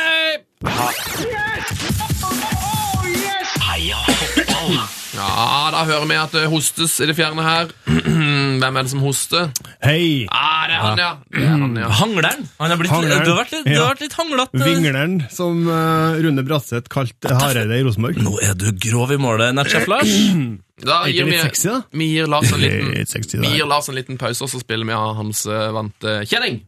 Speaker 2: Heia fotball!
Speaker 4: Ja, da hører vi at det hostes i det fjerne her. Hvem er det som hoster?
Speaker 6: Hei!
Speaker 4: Ah, det er han, ja! Det er han, ja.
Speaker 3: Hangleren. Han har blitt,
Speaker 6: Hangleren.
Speaker 3: Du har vært litt, du har
Speaker 6: Ja.
Speaker 3: vært litt eh. hanglete.
Speaker 6: Vingleren, som eh, Rune Bratseth kalte Hareide i Rosenborg.
Speaker 3: Nå er du grov i målet, Nepsjef Lars.
Speaker 4: Da
Speaker 6: Er
Speaker 4: gir
Speaker 6: ikke
Speaker 4: vi,
Speaker 6: litt sexy, da?
Speaker 4: vi gir Lars en liten,
Speaker 6: Litt sexy,
Speaker 4: vi
Speaker 6: det.
Speaker 4: gir Lars en liten pause, og så spiller vi av hans eh, vante kjenning.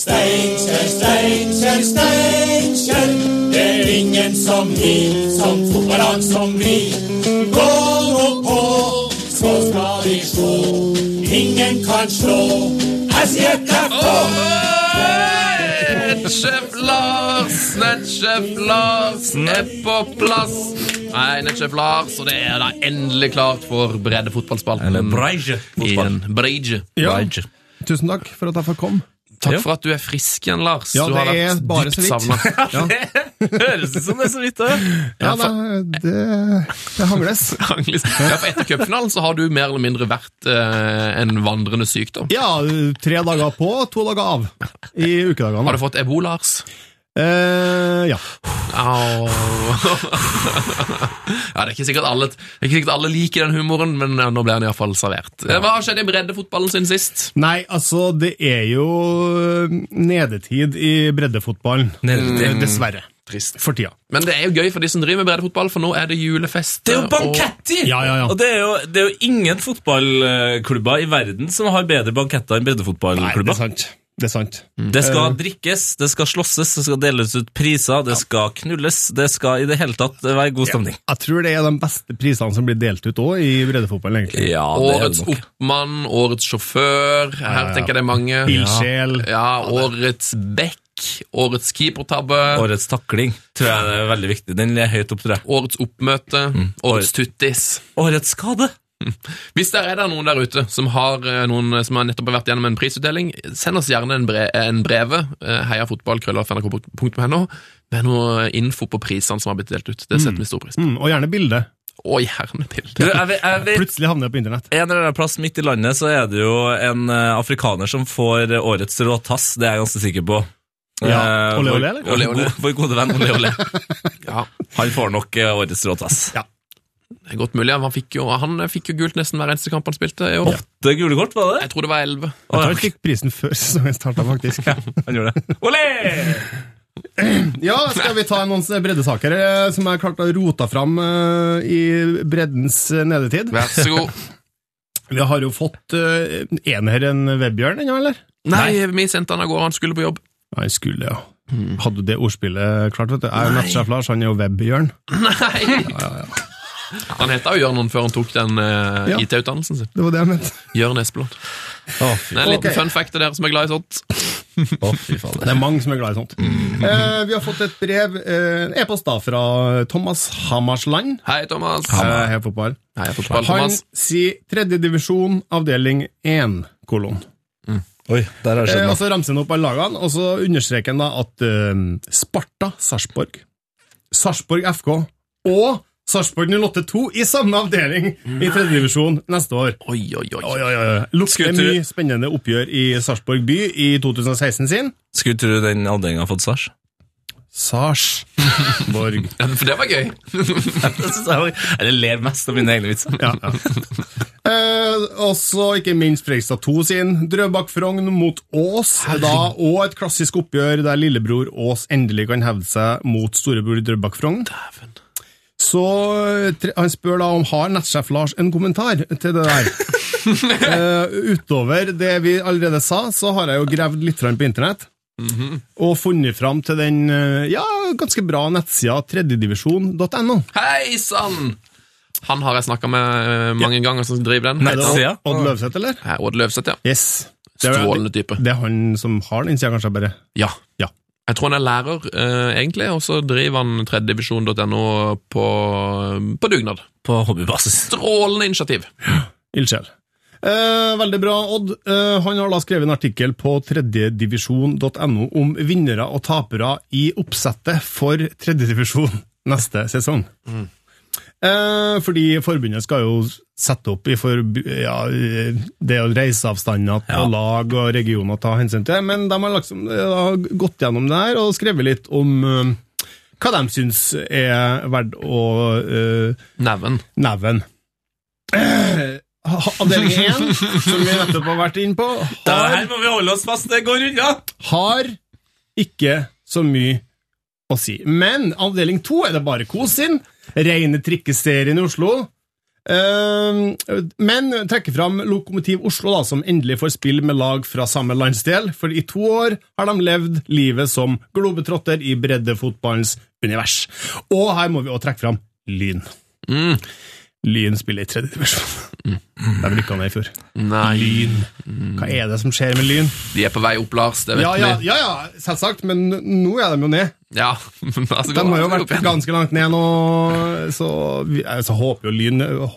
Speaker 7: Steinkjer, Steinkjer, Steinkjer. Det er ingen som vi, som fotballag som vi. Gå nå på, så skal vi slå. Ingen kan slå. Jeg sier FK!
Speaker 4: Nettsjef Lars, nettsjef Lars er på plass. Nei, nettsjef Lars, og det er da endelig klart for bredde fotballspalten.
Speaker 3: Eller Breige.
Speaker 4: I en Breige.
Speaker 6: Ja.
Speaker 3: Breige.
Speaker 6: Tusen takk for at jeg fikk komme.
Speaker 4: Takk
Speaker 3: Ja.
Speaker 4: for at du er frisk igjen, Lars.
Speaker 6: Ja,
Speaker 4: du har
Speaker 6: det er
Speaker 4: vært
Speaker 6: bare så
Speaker 4: dypt
Speaker 6: vidt.
Speaker 4: savna.
Speaker 6: Ja,
Speaker 3: Høres ut som det er så vidt, det.
Speaker 6: ja det, det, det hangles.
Speaker 4: Anglis. Ja, for etter cupfinalen så har du mer eller mindre vært eh, en vandrende sykdom.
Speaker 6: Ja, tre dager på, to dager av i
Speaker 4: Har
Speaker 6: ukedagene.
Speaker 4: du fått ebola, Lars?
Speaker 6: Eh, ja.
Speaker 4: Au. ja, det er, ikke sikkert alle, det er ikke sikkert alle liker den humoren, men eh, nå ble den iallfall servert. Eh, Hva har skjedd i breddefotballen siden sist?
Speaker 6: Nei, altså, det er jo eh, nedetid i breddefotballen.
Speaker 3: Nedetid.
Speaker 6: Eh, Dessverre.
Speaker 4: trist.
Speaker 6: for tida.
Speaker 4: Men det er jo gøy for de som driver med breddefotball, for nå er det julefest.
Speaker 3: Det
Speaker 4: eh,
Speaker 3: er jo banketter!
Speaker 6: Ja, ja, ja.
Speaker 3: Og det er, jo, det er jo ingen fotballklubber i verden som har bedre banketter enn
Speaker 6: Nei, det er
Speaker 3: breddefotballklubber.
Speaker 6: sant. Det er sant.
Speaker 3: Det, skal drikkes, det skal slåsses, det skal deles ut priser, det skal knulles, det skal i det hele tatt være god stemning.
Speaker 6: Jeg tror det er de beste prisene som blir delt ut òg i breddefotballen, egentlig.
Speaker 3: Ja,
Speaker 4: Årets oppmann, årets sjåfør. Her tenker jeg det er mange.
Speaker 6: Ildsjel.
Speaker 4: Ja, årets bekk, årets keepertabbe,
Speaker 3: Årets takling tror jeg er veldig viktig. Den er høyt opp, tror jeg.
Speaker 4: årets oppmøte,
Speaker 3: Mm.
Speaker 4: årets tuttis.
Speaker 3: Årets skade.
Speaker 4: Hvis der er det noen der ute som har eh, noen som har nettopp har vært gjennom en prisutdeling, send oss gjerne en, bre en breve, eh, heiafotballkrøllalf.nrk.no, med noe info på prisene som har blitt delt ut. Det setter vi stor pris på.
Speaker 6: Mm, og gjerne bilde.
Speaker 4: Og gjerne
Speaker 3: Du,
Speaker 4: bilde.
Speaker 3: jeg, vet- jeg vet
Speaker 6: Plutselig havner jeg på internett.
Speaker 3: en eller annen plass midt i landet så er det jo en eh, afrikaner som får eh, årets råtass, det er jeg ganske sikker på.
Speaker 6: Ja,
Speaker 3: Eh,
Speaker 6: ole,
Speaker 3: vår-
Speaker 6: ole, eller?
Speaker 3: Vår,
Speaker 4: Ole, ole.
Speaker 3: go- vår gode venn Ole Ole.
Speaker 4: Ja,
Speaker 3: Han får nok eh, årets råtass.
Speaker 4: det er godt mulig. Han fikk, jo, han eh, fikk jo gult nesten hver eneste kamp han spilte i år.
Speaker 3: Åtte gule kort, var det det?
Speaker 4: Jeg tror det var elleve.
Speaker 6: Jeg tror han fikk prisen før sesongen starta, faktisk.
Speaker 3: Han gjorde det. Ole!
Speaker 6: Ja, skal vi ta noen breddesaker eh, som jeg klarte å rota fram eh, i breddens eh, nedetid?
Speaker 4: Vær så god.
Speaker 6: Vi har jo fått eh, en her en Vebjørn ennå, eller?
Speaker 4: Nei, vi sendte han av gårde. Han skulle på jobb.
Speaker 6: Nei, skulle, ja. Hadde du det ordspillet klart, vet du? Jeg er jo nettsjef Lars, han er jo Vebjørn.
Speaker 4: Nei! Han heta jo Jørn før han tok den eh,
Speaker 6: Ja.
Speaker 4: IT-utdannelsen sin.
Speaker 6: Det var det jeg mente.
Speaker 4: Jørn Espeland. Det er en liten
Speaker 6: Ok.
Speaker 4: fun fact til dere som er glad i sånt.
Speaker 6: Det er mange som er glad i sånt. Eh, vi har fått et brev, eh, en e-post da, fra Thomas Hammarsland.
Speaker 4: Hei, Thomas.
Speaker 6: Eh, her fotball.
Speaker 4: Hei, jeg forstår,
Speaker 6: Han
Speaker 4: Thomas.
Speaker 6: sier tredje divisjon, avdeling 1, kolon.
Speaker 3: Oi, der har det
Speaker 6: Eh,
Speaker 3: skjedd
Speaker 6: og
Speaker 3: noe.
Speaker 6: så ramser han opp alle lagene, og så understreker han da at eh, Sparta, Sarpsborg, Sarpsborg FK og Sarpsborg 082 i samme avdeling i tredje divisjon neste år.
Speaker 4: Oi, oi, oi.
Speaker 6: Oi, oi, oi. Lukter
Speaker 3: Skulle tro-
Speaker 6: mye spennende oppgjør i Sarpsborg by i 2016 sin.
Speaker 3: Eh, Skulle tro den avdelinga har fått sars.
Speaker 6: Sarpsborg.
Speaker 4: Ja, For det var gøy.
Speaker 3: Eller ler mest av mine egne vitser.
Speaker 6: Ja, ja. Eh, og så ikke minst Fredrikstad 2 sin Drøbak Frogn mot Ås. Da, og et klassisk oppgjør der lillebror Ås endelig kan hevde seg mot storebror Drøbak Frogn. Så eh, tre- han spør da om har nettsjef Lars en kommentar til det der. Eh, utover det vi allerede sa, så har jeg jo gravd litt grann på internett.
Speaker 4: Mhm.
Speaker 6: Og funnet fram til den eh, ja, ganske bra nettsida tredjedivisjon.no.
Speaker 4: Hei sann! Han har jeg snakka med eh, mange ganger, som driver den.
Speaker 3: Nei,
Speaker 4: Heter han-
Speaker 3: Nettsida?
Speaker 6: Odd Løvseth, eller?
Speaker 4: Hei, Odd Løvseth, ja.
Speaker 6: Yes. Det er-
Speaker 4: Strålende type.
Speaker 6: Det er han som har den sida, kanskje, bare.
Speaker 4: Ja.
Speaker 6: Ja.
Speaker 4: Jeg tror han er lærer, eh, egentlig, og så driver han tredjedivisjon.no på, på dugnad.
Speaker 3: På hobbybasis.
Speaker 4: Strålende initiativ.
Speaker 6: Ildsjel. Eh, veldig bra, Odd. Eh, han har da skrevet en artikkel på tredjedivisjon.no om vinnere og tapere i oppsettet for tredjedivisjon neste sesong. Eh, fordi forbundet skal jo sette opp i forb ja, eh, det er jo reiseavstander på
Speaker 3: Ja.
Speaker 6: lag og regioner å ta hensyn til, men de har liksom, eh, da gått gjennom det her og skrevet litt om eh, hva de syns er verdt å eh,
Speaker 4: Neven.
Speaker 6: neven. Eh, Avdeling 1, som vi nettopp har vært inne på,
Speaker 3: Det
Speaker 6: har,
Speaker 3: her må vi holde oss fast, det går unna!
Speaker 6: har ikke så mye å si. Men avdeling 2 er det bare kos inn. Rene trikkeserien i Oslo. Eh, Men trekker fram Lokomotiv Oslo, da, som endelig får spille med lag fra samme landsdel. For i to år har de levd livet som globetrotter i breddefotballens univers. Og her må vi også trekke fram Lyn. Lyn spiller i tredje divisjon. De rykka ned i fjor.
Speaker 4: Nei.
Speaker 6: Lyn. Hva er det som skjer med Lyn?
Speaker 4: De er på vei opp, Lars. Det vet
Speaker 6: Ja, ja,
Speaker 4: vi.
Speaker 6: ja, ja selvsagt, men nå er de jo ned.
Speaker 4: Ja, men altså,
Speaker 6: De
Speaker 4: går
Speaker 6: har jo
Speaker 4: han opp
Speaker 6: vært
Speaker 4: igjen?
Speaker 6: ganske langt ned nå, så vi, jeg så håper jo Lyn åh,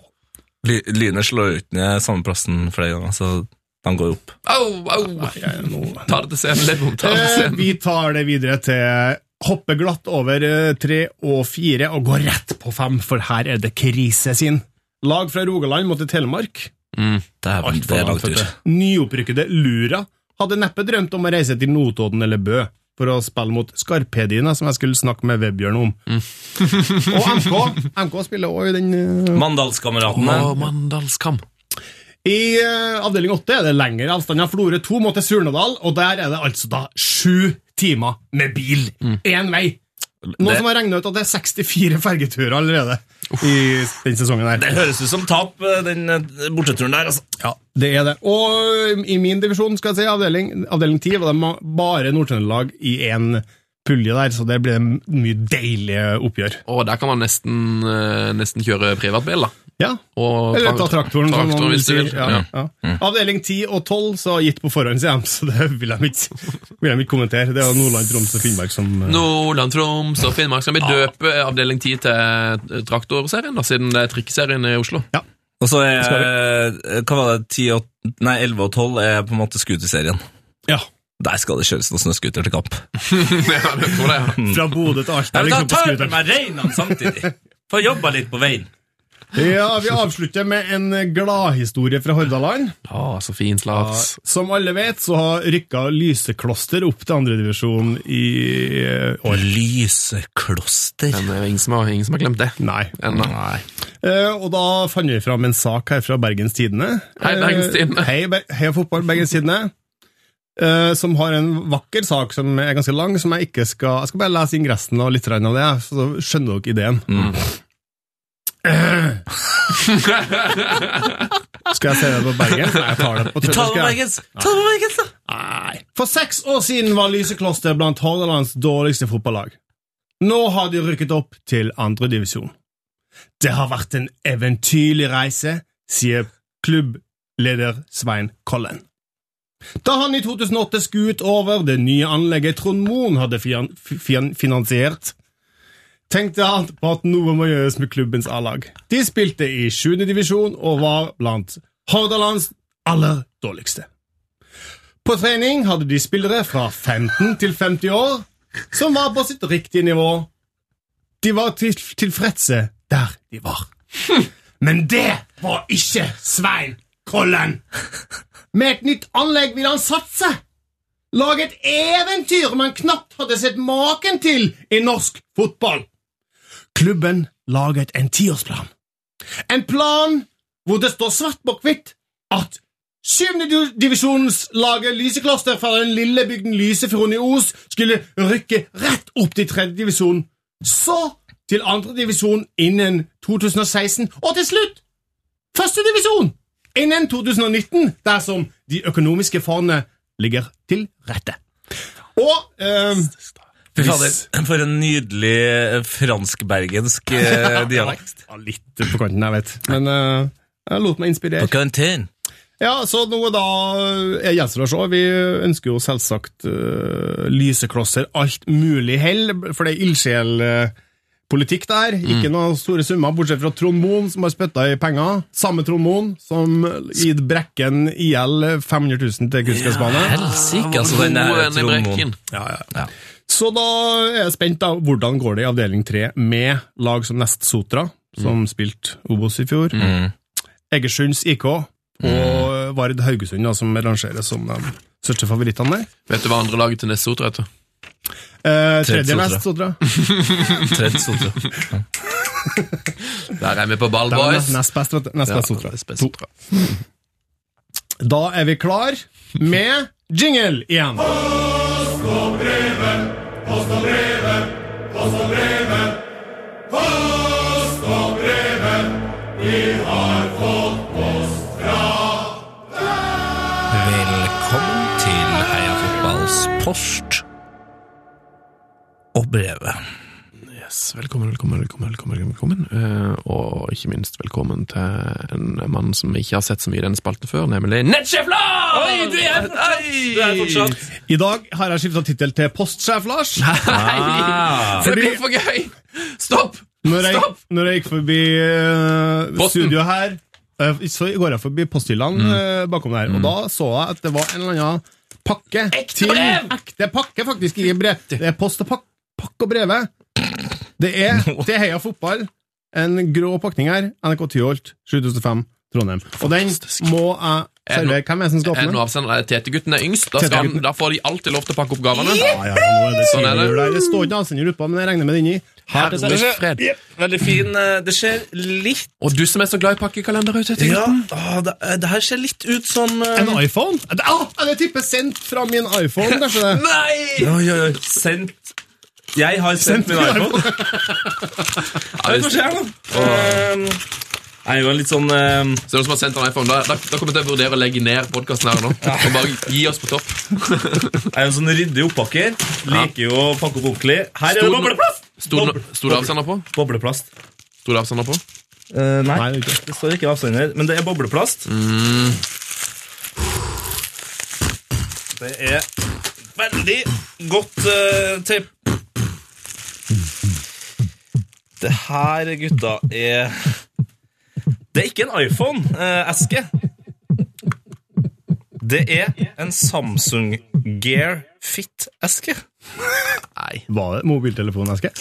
Speaker 3: Lynet slår ut ned samme plassen flere ganger, så de går opp.
Speaker 4: Au, au!
Speaker 6: jeg er nå-
Speaker 4: Ta det til scenen, Lidbom. Ta det til
Speaker 6: Eh,
Speaker 4: scenen.
Speaker 6: Vi tar det videre til hoppe glatt over eh, tre og fire og gå rett på fem, for her er det krise sin. Lag fra Rogaland måtte Telemark.
Speaker 4: Mm.
Speaker 3: Dæven, det er langt ut.
Speaker 6: Nyopprykkede Lura hadde neppe drømt om å reise til Notodden eller Bø for å spille mot Skarpediene, som jeg skulle snakke med Vebjørn om.
Speaker 4: Mm.
Speaker 6: og MK MK spiller også i den eh,
Speaker 3: Mandalskameratene.
Speaker 4: Å, Mandalskam.
Speaker 6: I eh, avdeling 8 er det lengre avstander. Florø 2 må til Surnadal, og der er det altså da sju timer med bil én vei. Noen
Speaker 3: Mm. Det-
Speaker 6: som har regnet ut at det er 64 fergeturer allerede i den sesongen her.
Speaker 3: Det høres ut som tap, eh, den eh, borteturen der. altså.
Speaker 6: Ja, det er det. Og eh, i min divisjon, skal jeg si, avdeling, avdeling 10, var det ma- bare Nord-Trøndelag i én pulje der, så det blir en mye deilige oppgjør.
Speaker 4: Og der kan man nesten, eh, nesten kjøre privatbil, da.
Speaker 6: Ja.
Speaker 4: Og
Speaker 6: Eller ta traktoren, som
Speaker 4: traktoren,
Speaker 6: noen
Speaker 4: hvis du
Speaker 6: sier.
Speaker 4: vil. Mm.
Speaker 6: Ja, ja. Avdeling 10 og 12 så gitt på forhånd, sier de, så det vil de ikke, vil de ikke kommentere. Det er jo Nordland, Troms og Finnmark som eh,
Speaker 4: Nordland, Troms og Finnmark skal vi døpe avdeling 10 til eh, traktorserien, da, siden det er trikkeserien i Oslo.
Speaker 3: Og så er eh, Hva var det? 10 og, nei, 11 og 12 er på en måte scooterserien.
Speaker 6: Ja.
Speaker 3: Der skal det kjøres noen snøscooter til kamp.
Speaker 4: ja, det tror jeg, ja.
Speaker 6: Fra Bodø til Alta. liksom, på scooter.
Speaker 3: meg reinene samtidig! Få jobba litt på veien.
Speaker 6: Ja, Vi avslutter med en gladhistorie fra Hordaland.
Speaker 4: Ah, så fint, Lars.
Speaker 6: Som alle vet, så har rykka Lysekloster opp til andredivisjon i eh, år.
Speaker 3: Lysekloster.
Speaker 4: Men det er ingen som har, ingen som har glemt det.
Speaker 6: Nei.
Speaker 4: Ennå.
Speaker 6: Eh, og da fant vi fram en sak her fra Bergens Tidende.
Speaker 4: Hei, Bergens Tidende.
Speaker 6: Eh, hei, Ber- hei, fotball, Bergens Tidende. Eh, som har en vakker sak som er ganske lang, som jeg ikke skal Jeg skal bare lese ingressen og litt grann av det, så skjønner dere ideen.
Speaker 4: Mm.
Speaker 6: Eh. skal jeg se det på Bergens? Nei, jeg tar det på
Speaker 3: Ta
Speaker 6: trøndersk.
Speaker 3: det på
Speaker 6: jeg.
Speaker 3: Bergens! Ta det på Bergens, da!
Speaker 6: For seks år siden var Lysekloster blant Hordalands dårligste fotballag. Nå har de rykket opp til andredivisjon. Det har vært en eventyrlig reise, sier klubbleder Svein Kollen. Da han i 2008 skuet over det nye anlegget Trond Moen hadde fian- fian- finansiert, tenkte han på at noe må gjøres med klubbens A-lag. De spilte i 7. divisjon og var blant Hordalands aller dårligste. På trening hadde de spillere fra 15 til 50 år som var på sitt riktige nivå. De var til tilfredse der de var. Men det var ikke Svein Kollen! Med et nytt anlegg ville han satse. Lage et eventyr man knapt hadde sett maken til i norsk fotball. Klubben laget en tiårsplan. En plan hvor det står svart på hvitt at Syvende div- divisjonens laget Lysekloster fra den lille bygden Lysefjorden i Os skulle rykke rett opp til tredje divisjon, så til andre divisjon innen 2016, og til slutt første divisjon innen 2019, dersom de økonomiske fondene ligger til rette. Og ehm,
Speaker 3: Fy fader, for en nydelig eh, fransk-bergensk eh, dialekt.
Speaker 6: ja, Litt på kanten, jeg vet. Men eh, jeg lot meg inspirere.
Speaker 3: Karanten.
Speaker 6: Ja, så nå da er gjenstår å se. Vi ønsker jo selvsagt eh, lyseklosser alt mulig hell, for det er ildsjelpolitikk der. Ikke noen store summer, bortsett fra Trond Moen, som har spytta i penger. Samme Trond Moen som gitt Brekken IL 500 000 til kunstgressbane.
Speaker 3: Helsike, altså den
Speaker 4: God
Speaker 3: der
Speaker 4: venn i
Speaker 3: trommoen.
Speaker 4: brekken.
Speaker 6: Så da er jeg spent da, hvordan går det i avdeling 3 med lag som Nest Sotra,
Speaker 4: Mm.
Speaker 6: som spilte Obos i fjor, Egersunds IK og
Speaker 4: Mm.
Speaker 6: Vard Haugesund, da, som rangeres som de største favorittene der.
Speaker 4: Vet du hva andre laget til Nessotra heter?
Speaker 6: Eh, tredje
Speaker 3: Tredje
Speaker 6: Nest Sotra.
Speaker 3: Tredd sotra.
Speaker 4: Der er vi på ball,
Speaker 6: Det er
Speaker 4: boys.
Speaker 6: nest- Nest best, vet du. Nest
Speaker 4: Ja,
Speaker 6: best Sotra.
Speaker 4: nest best
Speaker 6: To. Da er vi klar med jingle igjen.
Speaker 3: Velkommen til Heia fotballs post og brevet.
Speaker 4: Yes, velkommen, velkommen, velkommen, velkommen, velkommen. Eh, og ikke minst velkommen til en mann som vi ikke har sett så mye i denne spalten før, nemlig Nettsjef Lars! Oi, du er, fortsatt!
Speaker 6: I dag har jeg skifta tittel til postsjef, Lars.
Speaker 4: Det blir for gøy! Stopp!
Speaker 6: Når jeg,
Speaker 4: Stopp!
Speaker 6: når jeg gikk forbi eh,
Speaker 4: Posten. Mm.
Speaker 6: studio her, eh, så går jeg forbi posthyllene eh, bakom der, og da så jeg at det var en eller annen pakke. Ekte brev! Ekte pakke, faktisk. Ikke brev. Det er post og pakk, pakk og brevet. Det er til Heia Fotball, en grå pakning her. NRK Tyholt, 7005, Trondheim. Og den må jeg
Speaker 4: Er det noe-
Speaker 6: servere. Hvem er det som skal
Speaker 4: Er
Speaker 6: åpne
Speaker 4: Eh, nå
Speaker 6: den?
Speaker 4: avsender er Tetegutten er yngst. Da, skal han, da får de alltid lov til å pakke opp gavene.
Speaker 6: Ja, ja, nå er det
Speaker 4: Sånn er det.
Speaker 6: tidlig der. Det står ikke avsender utpå, men jeg regner med det inni.
Speaker 4: Herre fred.
Speaker 3: Veldig fin. eh, Det ser litt
Speaker 4: Og du som er så glad i pakkekalender, Aud Tetegutten.
Speaker 3: Ja, ah, det, eh, det her ser litt ut som eh,
Speaker 6: En iPhone? Ah, det tipper sendt fra min iPhone, kanskje det.
Speaker 3: Oi, oi, oi. Sendt Jeg har sendt min iPhone. Hva
Speaker 4: det-
Speaker 3: skjer nå? Ehm, Jeg er jo en litt sånn ehm,
Speaker 4: Så noen som har sendt en iPhone, da, da, da kommer jeg til å vurdere å legge ned podkasten her nå. Og bare gi oss på topp.
Speaker 3: Jeg er jo en sånn ryddig opppakker. Liker jo å pakke opp ordentlig. Her er det
Speaker 4: Stod-
Speaker 3: bobleplast!
Speaker 4: Sto det
Speaker 3: Boble-
Speaker 4: sto det avsender på?
Speaker 3: Bobleplast.
Speaker 4: Sto det avsender på?
Speaker 3: Eh, nei,
Speaker 6: Nei, det er
Speaker 3: det står ikke avsender, men det er bobleplast. Det er veldig godt uh, teip. Det her, gutta, er Det er ikke en iPhone-eske. det er en Samsung Gear Fit-eske.
Speaker 6: Var det mobiltelefoneske?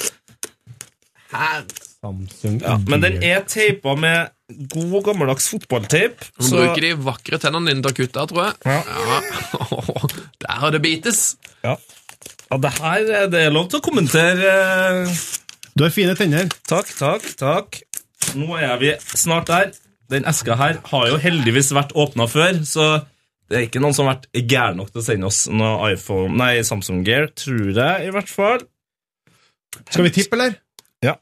Speaker 6: Samsung
Speaker 3: Ja, men den er teipa med god, gammeldags fotballteip.
Speaker 4: Du
Speaker 3: så-
Speaker 4: bruker de vakre tennene dine til å kutte, tror jeg.
Speaker 3: Ja.
Speaker 4: Ja. Der har det bites!
Speaker 3: Ja. ja, det her er det er lov til å kommentere. eh,
Speaker 6: Du har fine tenner.
Speaker 3: Takk, takk, takk. Nå er vi snart der. Den eska her har jo heldigvis vært åpna før, så det er ikke noen som har vært gæren nok til å sende oss noe iPhone, nei, Samsung Gear, tror jeg i hvert fall.
Speaker 6: Skal vi tippe, eller?
Speaker 3: Ja.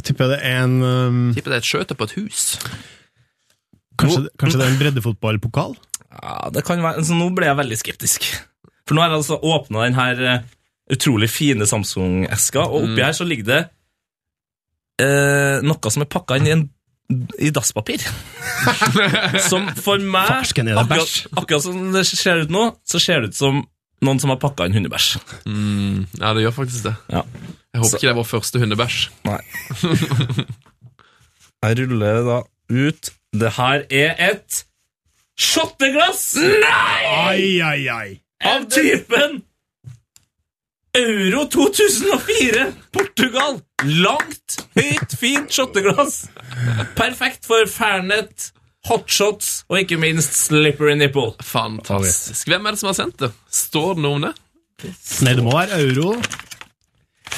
Speaker 6: Jeg tipper det er en um,
Speaker 4: Tipper det er et skjøte på et hus.
Speaker 6: kanskje, kanskje det er en breddefotballpokal?
Speaker 3: Ja, det kan være, så Nå ble jeg veldig skeptisk. For nå har jeg altså åpna den her eh, utrolig fine Samsung-eska, og oppi her så ligger det eh, noe som er pakka inn i en i dasspapir. som for meg,
Speaker 6: Farsken, er det
Speaker 3: akkurat,
Speaker 6: bæsj?
Speaker 3: akkurat som det ser ut nå, så ser det ut som noen som har pakka inn hundebæsj.
Speaker 4: Mm, ja, det gjør faktisk det.
Speaker 3: Ja.
Speaker 4: Jeg håper
Speaker 3: Så-
Speaker 4: ikke det er vår første hundebæsj.
Speaker 3: Nei. Jeg ruller da ut. Det her er et shotteglass!
Speaker 6: Ai, ai, ai.
Speaker 3: av typen Euro 2004 Portugal. Langt, høyt, fint shotteglass. Perfekt for Fernet, hotshots og ikke minst slippery nipple.
Speaker 4: Fantastisk. Hvem er det som har sendt det? Står det noe om det?
Speaker 6: Nei, det må være euro.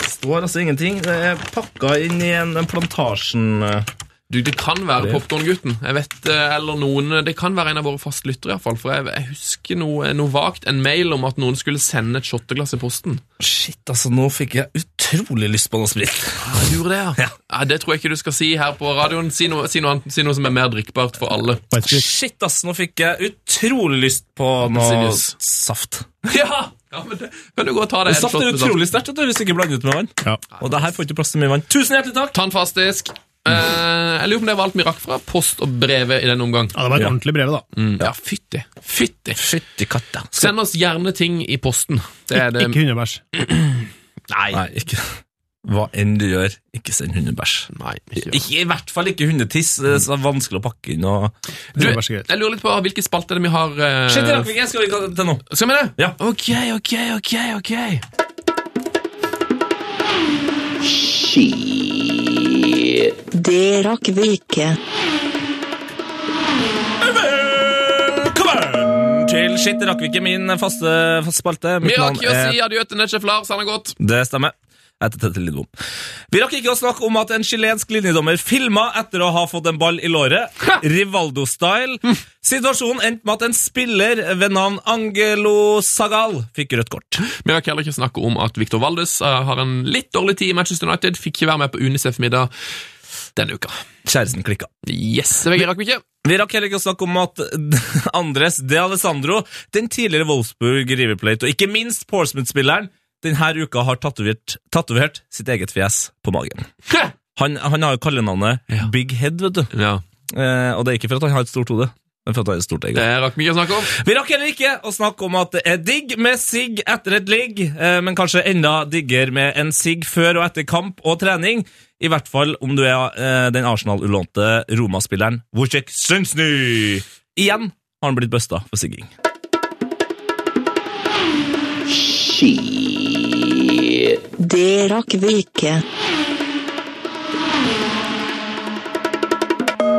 Speaker 3: Står altså ingenting. Det er pakka inn i en en plantasjen eh,
Speaker 4: Du, Det kan være Popkorn-gutten. Jeg vet, eh, eller noen, Det kan være en av våre fastlyttere, i hvert fall, For jeg, jeg husker noe, noe vagt, en mail om at noen skulle sende et shotteglass i posten.
Speaker 3: Shit, altså, nå fikk jeg utrolig lyst på noe sprit.
Speaker 4: Ja, du gjorde det, ja. ja. Det tror jeg ikke du skal si her på radioen. Si noe, si noe, annet, si noe som er mer drikkbart for alle.
Speaker 3: Shit, ass, nå fikk jeg utrolig lyst på noe
Speaker 4: Seriøs.
Speaker 3: saft.
Speaker 4: Ja! ja men det, kan du gå og ta deg en
Speaker 3: Saft
Speaker 4: shot
Speaker 3: er
Speaker 4: med sånn saft?
Speaker 3: utrolig sterkt vet du, hvis du ikke blander ut med vann.
Speaker 6: Ja.
Speaker 3: Og det her får ikke plass til mye vann. Tusen hjertelig takk!
Speaker 4: Tannfastisk. Eh, jeg lurer på om det var alt vi rakk fra post og brevet i den omgang.
Speaker 6: Ja, det var et
Speaker 3: Ja.
Speaker 6: ordentlig brev, da.
Speaker 4: Mm, ja, fytti. Fytti.
Speaker 3: Fytti katta.
Speaker 4: Send oss gjerne ting i posten. Det er det.
Speaker 6: Ikke hundebæsj.
Speaker 4: Nei.
Speaker 3: Nei, ikke Hva enn du gjør, ikke send hundebæsj.
Speaker 4: Nei ikke. gjør det.
Speaker 3: Ikke, I hvert fall ikke hundetiss. Det er så vanskelig å pakke inn og
Speaker 4: Du,
Speaker 6: Hundebæsj er greit.
Speaker 4: jeg lurer litt på hvilke spalter det vi har eh,
Speaker 3: Shit, det rakk vi ikke. Skal vi ikke til nå?
Speaker 4: Skal vi det?
Speaker 3: Ja.
Speaker 4: Ok, ok, ok, ok.
Speaker 8: Det rakk vi ikke.
Speaker 3: Velkommen til Shit, det rakk vi ikke. Min faste, faste spalte. Mitt
Speaker 4: Vi
Speaker 3: navn
Speaker 4: rakk jo å
Speaker 3: er-
Speaker 4: si adjø til Netchef Lars. Han er godt.
Speaker 3: Det stemmer. Jeg heter Tete Lidbom. Vi rakk ikke å snakke om at en chilensk linjedommer filma etter å ha fått en ball i låret. Rivaldo-style.
Speaker 4: Hm.
Speaker 3: Situasjonen endte med at en spiller ved navn Angelo Sagal fikk rødt kort.
Speaker 4: Vi rakk heller ikke snakke om at Victor Valdes eh, har en litt dårlig tid i Manchester United. Fikk ikke være med på Unicef-middag denne uka.
Speaker 3: Kjæresten klikka.
Speaker 4: Yes, det rakk vi ikke.
Speaker 3: Vi rakk heller ikke å snakke om at Andres de Alessandro, den tidligere Wolfsburg River Plate, og ikke minst Portsmouth-spilleren, denne uka har tatovert, tatovert sitt eget fjes på magen.
Speaker 4: Hæ!
Speaker 3: Han, han har jo kallenavnet
Speaker 4: Ja.
Speaker 3: Big Head, vet du.
Speaker 4: Ja,
Speaker 3: Eh, og det er ikke for at han har et stort hode, men for at han har et stort
Speaker 4: Det
Speaker 3: eget.
Speaker 4: rakk vi ikke å snakke om.
Speaker 3: Vi rakk heller ikke å snakke om at det er digg med sigg etter et ligg, eh, men kanskje enda diggere med en sigg før og etter kamp og trening. I hvert fall om du er eh, den Arsenal-ulånte Roma-spilleren Wojciech Szczęsny. Igjen har han blitt busta for sigging.
Speaker 8: Det rakk vi ikke.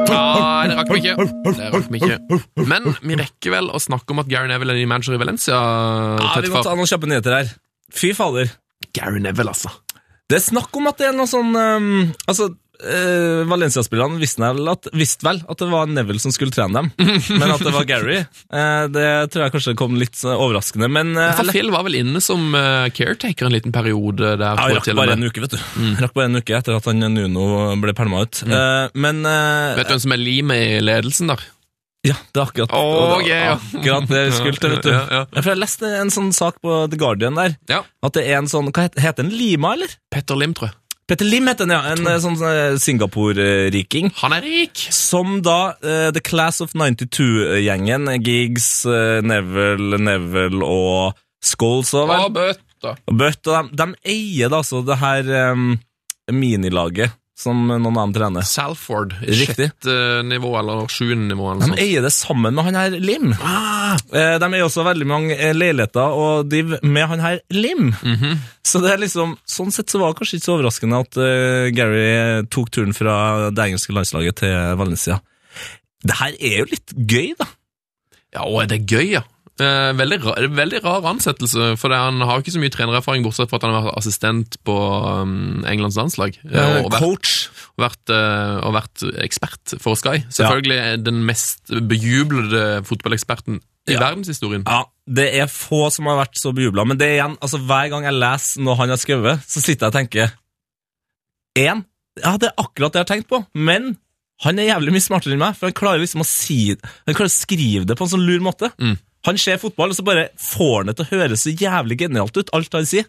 Speaker 4: Ja, det rakk vi ikke. Det rakk vi ikke. Men vi rekker vel å snakke om at Gary Neville er ny manager i Valencia.
Speaker 3: Ja,
Speaker 4: tett
Speaker 3: vi må
Speaker 4: fra-
Speaker 3: ta noen kjappe nyheter her. Fy fader.
Speaker 4: Gary Neville, altså.
Speaker 3: Det er snakk om at det er noe sånn ehm, Altså, eh, Valencia-spillerne visste vel, at, visste vel at det var Neville som skulle trene dem, men at det var Gary, eh, det tror jeg kanskje kom litt eh, overraskende. Men eh,
Speaker 4: For Phil var vel inne som eh, caretaker en liten periode der.
Speaker 3: Ja,
Speaker 4: tror jeg
Speaker 3: jeg rakk
Speaker 4: til og
Speaker 3: bare
Speaker 4: med.
Speaker 3: en uke, vet du. Mm. Rakk bare en uke etter at han eh, Nuno ble pælma ut.
Speaker 4: Mm.
Speaker 3: Eh, men eh,
Speaker 4: Vet du hvem som er limet i ledelsen der?
Speaker 3: Ja, det er akkurat,
Speaker 4: Å,
Speaker 3: det,
Speaker 4: gøy, ja.
Speaker 3: akkurat det vi skulle til, vet du.
Speaker 4: Ja, ja, ja.
Speaker 3: Ja, For jeg leste en sånn sak på The Guardian der,
Speaker 4: Ja,
Speaker 3: at det er en sånn, hva heter, heter den, Lima, eller?
Speaker 4: Petter Lim, tror jeg.
Speaker 3: Petter Lim heter den, ja, en eh, sånn eh, Singapore-riking.
Speaker 4: Han er rik!
Speaker 3: Som da eh, The Class of 92-gjengen, Giggs, eh, Neville, Neville og Scholes og vel?
Speaker 4: Å, bøtta.
Speaker 3: Og Butt, og de, de eier da altså det her em, minilaget som noen av dem trener.
Speaker 4: Salford. i
Speaker 3: Riktig.
Speaker 4: Sjette nivå, eller sjuende nivå, eller
Speaker 3: De
Speaker 4: noe sånt.
Speaker 3: eier det sammen med han her Lim. Eh, De eier også veldig mange eh, leiligheter og div med han her Lim. Så det er liksom, sånn sett så var det kanskje ikke så overraskende at eh, Gary tok turen fra det engelske landslaget til Valencia. Det her er jo litt gøy, da.
Speaker 4: Ja, å, det er gøy, ja. Eh, Veldig rar, veldig rar ansettelse, for det, han har jo ikke så mye trenererfaring, bortsett fra at han har vært assistent på um, Englands landslag. eh,
Speaker 3: Eh,
Speaker 4: og vært-
Speaker 3: Coach.
Speaker 4: vært, eh, og vært ekspert for Sky. Selvfølgelig er den mest bejublede fotballeksperten i
Speaker 3: Ja.
Speaker 4: verdenshistorien.
Speaker 3: Ja, det er få som har vært så bejubla, men det er igjen, altså hver gang jeg leser noe han har skrevet, så sitter jeg og tenker Én, ja, det er akkurat det jeg har tenkt på, men han er jævlig mye smartere enn meg, for han klarer liksom å si Han klarer å skrive det på en sånn lur måte.
Speaker 4: Mm.
Speaker 3: Han ser fotball, og så bare får han det til å høres så jævlig genialt ut, alt han sier.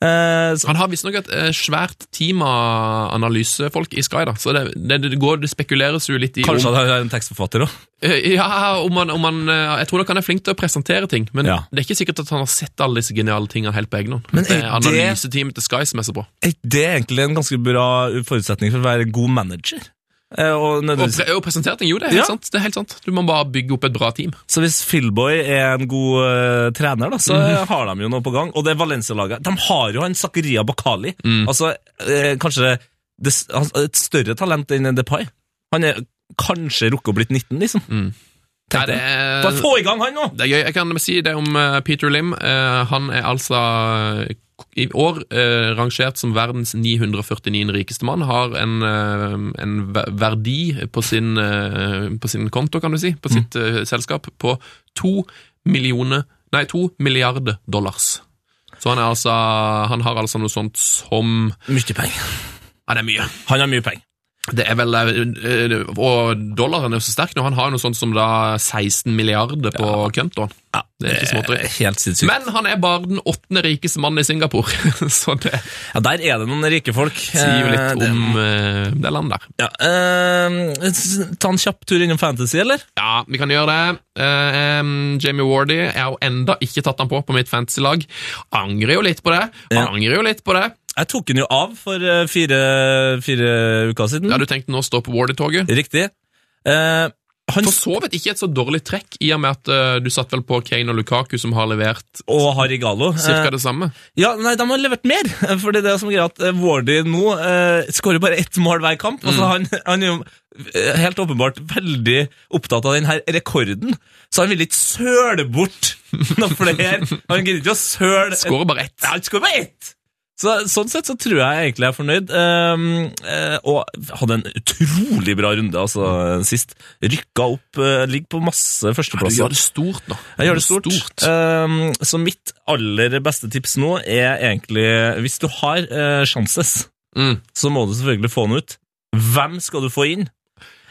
Speaker 3: Eh, så,
Speaker 4: Han har visstnok et eh, svært team av analysefolk i Sky, da. så det, det, det, går, det spekuleres jo litt i
Speaker 3: kanskje
Speaker 4: om,
Speaker 3: han er en tekstforfatter òg.
Speaker 4: Eh, ja, om, han, om han eh, Jeg tror nok han er flink til å presentere ting, men
Speaker 3: Ja.
Speaker 4: det er ikke sikkert at han har sett alle disse geniale tingene helt på egen hånd.
Speaker 3: Men
Speaker 4: Det er
Speaker 3: er det-
Speaker 4: analyseteamet til Sky som er så bra.
Speaker 3: Er ikke Eh, det egentlig en ganske bra forutsetning for å være en god manager? Eh, og
Speaker 4: Og,
Speaker 3: nødvendigvis
Speaker 4: pre og presentering, jo, det er helt
Speaker 3: Ja.
Speaker 4: sant. Det er helt sant. Du må bare bygge opp et bra team.
Speaker 3: Så hvis Philboy er en god eh, trener, da, så
Speaker 4: Mhm.
Speaker 3: har de jo noe på gang. Og det Valencia-laget De har jo han Zakaria Bakali.
Speaker 4: Mm.
Speaker 3: Altså, eh, kanskje det, s- han- et større talent enn Depay. Han er kanskje rukket å blitt 19, liksom.
Speaker 4: Mm. Nei,
Speaker 3: Tenk
Speaker 4: det
Speaker 3: deg.
Speaker 4: er-
Speaker 3: Bare få i gang han nå!
Speaker 4: Det er gøy. Jeg kan si det om eh, Peter Lim. Eh, han er altså eh, i år eh, rangert som verdens 949. rikeste mann. Har en, eh, en ver- verdi på sin, eh, på sin konto, kan du si, på sitt eh, selskap, på to millioner Nei, to milliarder dollars. Så han er altså Han har altså noe sånt som
Speaker 3: Mye penger.
Speaker 4: Ja, det er mye.
Speaker 3: Han har mye penger.
Speaker 4: Det er vel, eh, eh, Og dollaren er jo så sterk nå. Han har jo noe sånt som da 16 milliarder på kontoen. det er ikke småtteri.
Speaker 3: Eh, Helt sinnssykt.
Speaker 4: Men han er bare den åttende rikeste mannen i Singapore, så det
Speaker 3: Ja, der er det noen rike folk.
Speaker 4: sier jo
Speaker 3: Eh,
Speaker 4: litt
Speaker 3: det-
Speaker 4: om eh, det landet der.
Speaker 3: ja, eh, s- Ta en kjapp tur innom Fantasy, eller?
Speaker 4: Ja, vi kan gjøre det. Eh, em, Jamie Wardy Jeg har jo enda ikke tatt han på på mitt fantasy-lag. Angrer jo litt på det.
Speaker 3: Ja. Mm.
Speaker 4: Angrer jo litt på det.
Speaker 3: Jeg tok den jo av for eh, fire, fire uker siden.
Speaker 4: Ja, Du tenkte nå å stå på Wardy-toget?
Speaker 3: Riktig. Eh, han
Speaker 4: For så vidt ikke et så dårlig trekk, i og med at eh, du satt vel på Kane og Lukaku, som har levert
Speaker 3: og Harigalo.
Speaker 4: cirka det samme.
Speaker 3: Ja, nei, de har levert mer. For det er det som er greia, at eh, Wardy nå eh, skårer bare ett mål hver kamp. Altså,
Speaker 4: Mm.
Speaker 3: han, han er jo eh, helt åpenbart veldig opptatt av denne rekorden, så han vil ikke søle bort noen flere. Han gidder ikke å søle
Speaker 4: Skårer bare ett.
Speaker 3: Ja, han skårer bare ett! Så, sånn sett så tror jeg egentlig jeg er fornøyd, Ehm, eh, og hadde en utrolig bra runde altså, sist. Rykka opp, eh, ligger på masse
Speaker 4: Du
Speaker 3: førsteplasser.
Speaker 4: gjør det stort nå.
Speaker 3: Jeg gjør det stort. Ehm, så mitt aller beste tips nå er egentlig Hvis du har eh, chances,
Speaker 4: Mm.
Speaker 3: så må du selvfølgelig få den ut. Hvem skal du få inn?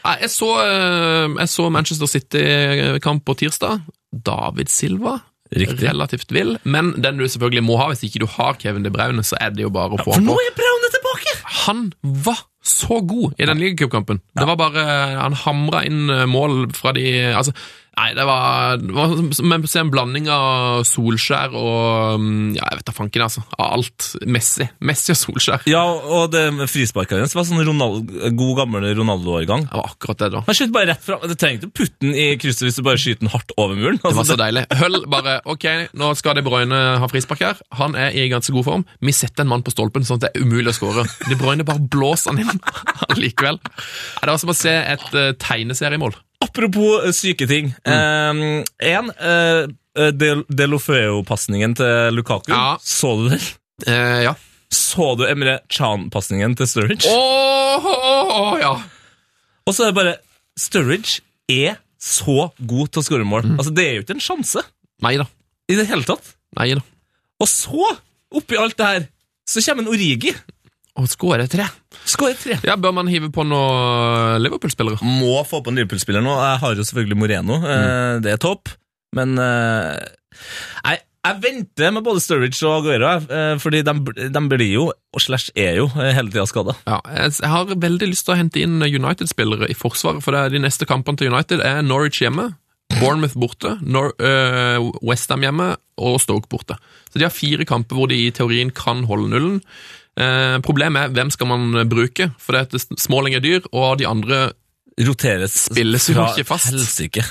Speaker 4: Nei, jeg så, eh, jeg så Manchester City-kamp på tirsdag. David Silva. Relativt vill, men den du selvfølgelig må ha hvis ikke du har Kevin De Bruyne, så er det jo bare å få
Speaker 3: For
Speaker 4: han
Speaker 3: nå
Speaker 4: på.
Speaker 3: er Braune tilbake!
Speaker 4: Han var så god i den ligacupkampen. Det var bare Han hamra inn eh, mål fra de Altså, nei, det var, det var som en- se en blanding av Solskjær og mm, Ja, jeg vet da fanken, altså. Av alt. Messi. Messi og Solskjær.
Speaker 3: Ja, og det med frisparket hans var sånn Ronald, god gammel Ronaldo-årgang.
Speaker 4: Det var akkurat det, da.
Speaker 3: Han skjøt bare rett fram. Du trenger ikke å putte den i krysset hvis du bare skyter den hardt over muren.
Speaker 4: Det var
Speaker 3: Altså,
Speaker 4: så deilig. Høll bare Ok, nå skal De Bruyne ha frispark her. Han er i ganske god form. Vi setter en mann på stolpen, sånn at det er umulig å skåre. De Bruyne bare blåser han inn likevel. Ja, Det var som å se et eh, tegneseriemål.
Speaker 3: Apropos eh, syke ting. Ehm, Én, eh, Delofeo-pasningen til Lukaku.
Speaker 4: Ja.
Speaker 3: Så du den?
Speaker 4: Eh, ja.
Speaker 3: Så du Emre Chan-pasningen til Sturridge?
Speaker 4: Åh, åh, åh, ja.
Speaker 3: Og så er det bare Sturridge er så god til å skåre mål. Altså, det er jo ikke en sjanse
Speaker 4: Nei da.
Speaker 3: i det hele tatt.
Speaker 4: Nei da.
Speaker 3: Og så, oppi alt det her, så kommer en Origi.
Speaker 4: Og skåre tre.
Speaker 3: Skårer tre.
Speaker 4: Ja, Bør man hive på noen Liverpool-spillere?
Speaker 3: Må få på en Liverpool-spiller nå. Jeg har jo selvfølgelig Moreno. eh, Det er topp. Men eh, Nei, jeg venter med både Sturridge og Aguero, jeg, eh, fordi de, de blir jo, og slash er jo, eh, hele tida skada.
Speaker 4: Ja, jeg jeg har veldig lyst til å hente inn United-spillere i forsvaret, for det er de neste kampene til United er Norwich hjemme, Bournemouth borte, Nor øh, Westham hjemme og Stoke borte. Så de har fire kamper hvor de i teorien kan holde nullen. Eh, problemet er hvem skal man bruke, for det at Småling er dyr, og de andre
Speaker 3: Roteres
Speaker 4: Spilles jo ikke fast.
Speaker 3: Helsike.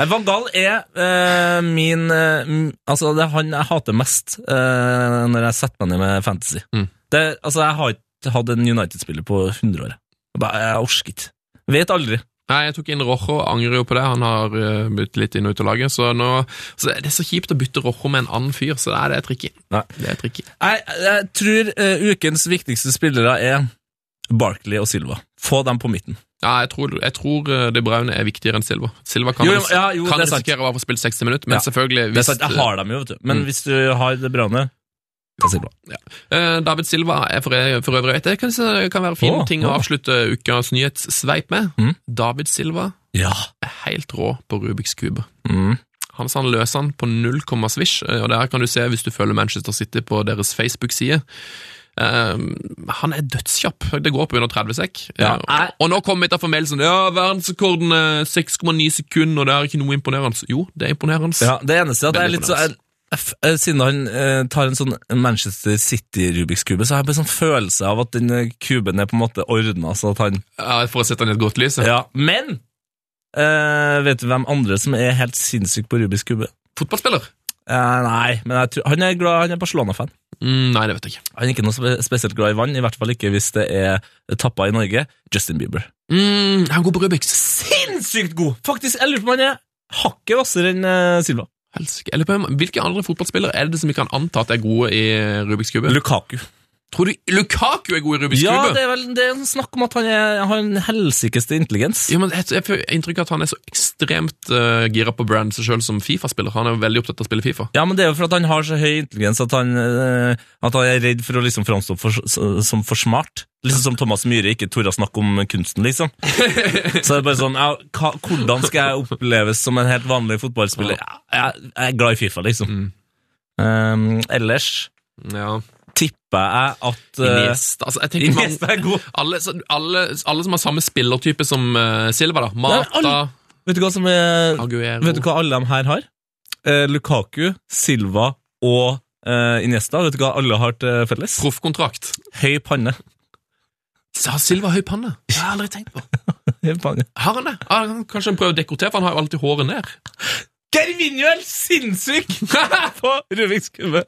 Speaker 3: Nei, Van Gaal er eh, min eh, m- Altså, det er han jeg hater mest eh, når jeg setter meg ned med fantasy.
Speaker 4: Mm.
Speaker 3: Det, altså, jeg har ikke hatt en United-spiller på 100 år. Jeg bare- Jeg orker ikke. Vet aldri.
Speaker 4: Nei, jeg tok inn Rojo, angrer jo på det. Han har eh, byttet litt inn og ut av laget. Så, nå, så det er så kjipt å bytte Rojo med en annen fyr, så nei, det er tricky.
Speaker 3: Nei.
Speaker 4: Det er tricky.
Speaker 3: Jeg, jeg tror eh, ukens viktigste spillere er Barkley og Silva. Få dem på midten.
Speaker 4: Ja, jeg tror, jeg tror eh, De Bruyne er viktigere enn Silva. Silva kan,
Speaker 3: Jo, jo, ja, jo,
Speaker 4: kan
Speaker 3: det er sant.
Speaker 4: risikere å få spilt 60 minutter, men
Speaker 3: Ja,
Speaker 4: selvfølgelig
Speaker 3: Det er sant, Jeg har dem jo, vet du. Men
Speaker 4: Mm.
Speaker 3: hvis du har det bra med det er Silva.
Speaker 4: Eh, David Silva er for, for øvrig et Det kan, kan være fin
Speaker 3: Åh,
Speaker 4: ting å
Speaker 3: åh.
Speaker 4: avslutte ukas nyhetssveip med.
Speaker 3: Mm.
Speaker 4: David Silva
Speaker 3: Ja.
Speaker 4: er helt rå på Rubiks kube.
Speaker 3: Mm.
Speaker 4: Han sa han løser han på 0, svisj, eh, og der kan du se hvis du følger Manchester City på deres Facebook-side. Ehm, han er dødskjapp. Det går på under 30 sekk.
Speaker 3: Ja,
Speaker 4: Eh,
Speaker 3: jeg-
Speaker 4: og nå kommer vi til å få mail sånn Ja, verdensrekorden er 6,9 sekunder, og det er ikke noe imponerende. Jo, det er imponerende.
Speaker 3: Ja, det eneste er at jeg er
Speaker 4: Veldig
Speaker 3: litt så jeg, f- eh, Siden han eh, tar en sånn Manchester City-Rubiks kube, så har jeg bare sånn følelse av at den eh, kuben er på en måte ordna. Så at han
Speaker 4: Ja, For å sette han i et godt lys.
Speaker 3: Ja, men eh, vet du hvem andre som er helt sinnssyk på Rubiks kube?
Speaker 4: Fotballspiller?
Speaker 3: Eh, nei, men jeg tror, han er glad Han er Barcelona-fan.
Speaker 4: Mm, nei, det vet jeg ikke.
Speaker 3: Han er ikke noe spe spesielt glad i vann, i hvert fall ikke hvis det er tappa i Norge. Justin Bieber.
Speaker 4: Mm, han går på Rubiks.
Speaker 3: Sinnssykt god! Faktisk, jeg lurer på om han er hakket hvassere enn eh, Silva.
Speaker 4: Helsike. Jeg lurer på hvem- Hvilke andre fotballspillere er det som vi kan anta at er gode i Rubiks kube?
Speaker 3: Lukaku.
Speaker 4: Tror du Lukaku er god i Rubiks
Speaker 3: Ja,
Speaker 4: kube?
Speaker 3: det er vel det er sånn snakk om at han er, har en helsikeste intelligens.
Speaker 4: Ja, men jeg, jeg får inntrykk av at han er så ekstremt uh, gira på brand seg sjøl som Fifa-spiller. Han er jo veldig opptatt av å spille Fifa.
Speaker 3: Ja, men det er jo for at han har så høy intelligens at han, eh, at han er redd for å liksom framstå for, s- som for smart. Liksom som Thomas Myhre ikke torde å snakke om kunsten, liksom. Så det er bare sånn, ja, hva, hvordan skal jeg oppleves som en helt vanlig fotballspiller? Ja, jeg, jeg er glad i Fifa, liksom. Um, ellers
Speaker 4: Ja.
Speaker 3: tipper jeg at eh,
Speaker 4: Iniesta, altså, jeg tenker man,
Speaker 3: Iniesta er god.
Speaker 4: alle, så- alle, alle som har samme spillertype som eh, Silva, da. Mata,
Speaker 3: Nei, Vet du hva som er
Speaker 4: Aguero
Speaker 3: Vet du hva alle de her har? Eh, Lukaku, Silva og eh, Iniesta. Vet du hva alle har til felles?
Speaker 4: Proffkontrakt.
Speaker 3: Høy panne.
Speaker 4: Så Har Silva høy panne? Det har jeg aldri tenkt på.
Speaker 3: Høy panne.
Speaker 4: Har han det? Har han, kanskje han prøver å dekortere, for han har jo alltid håret ned.
Speaker 3: Gervinho er sinnssyk på Rubiks kube.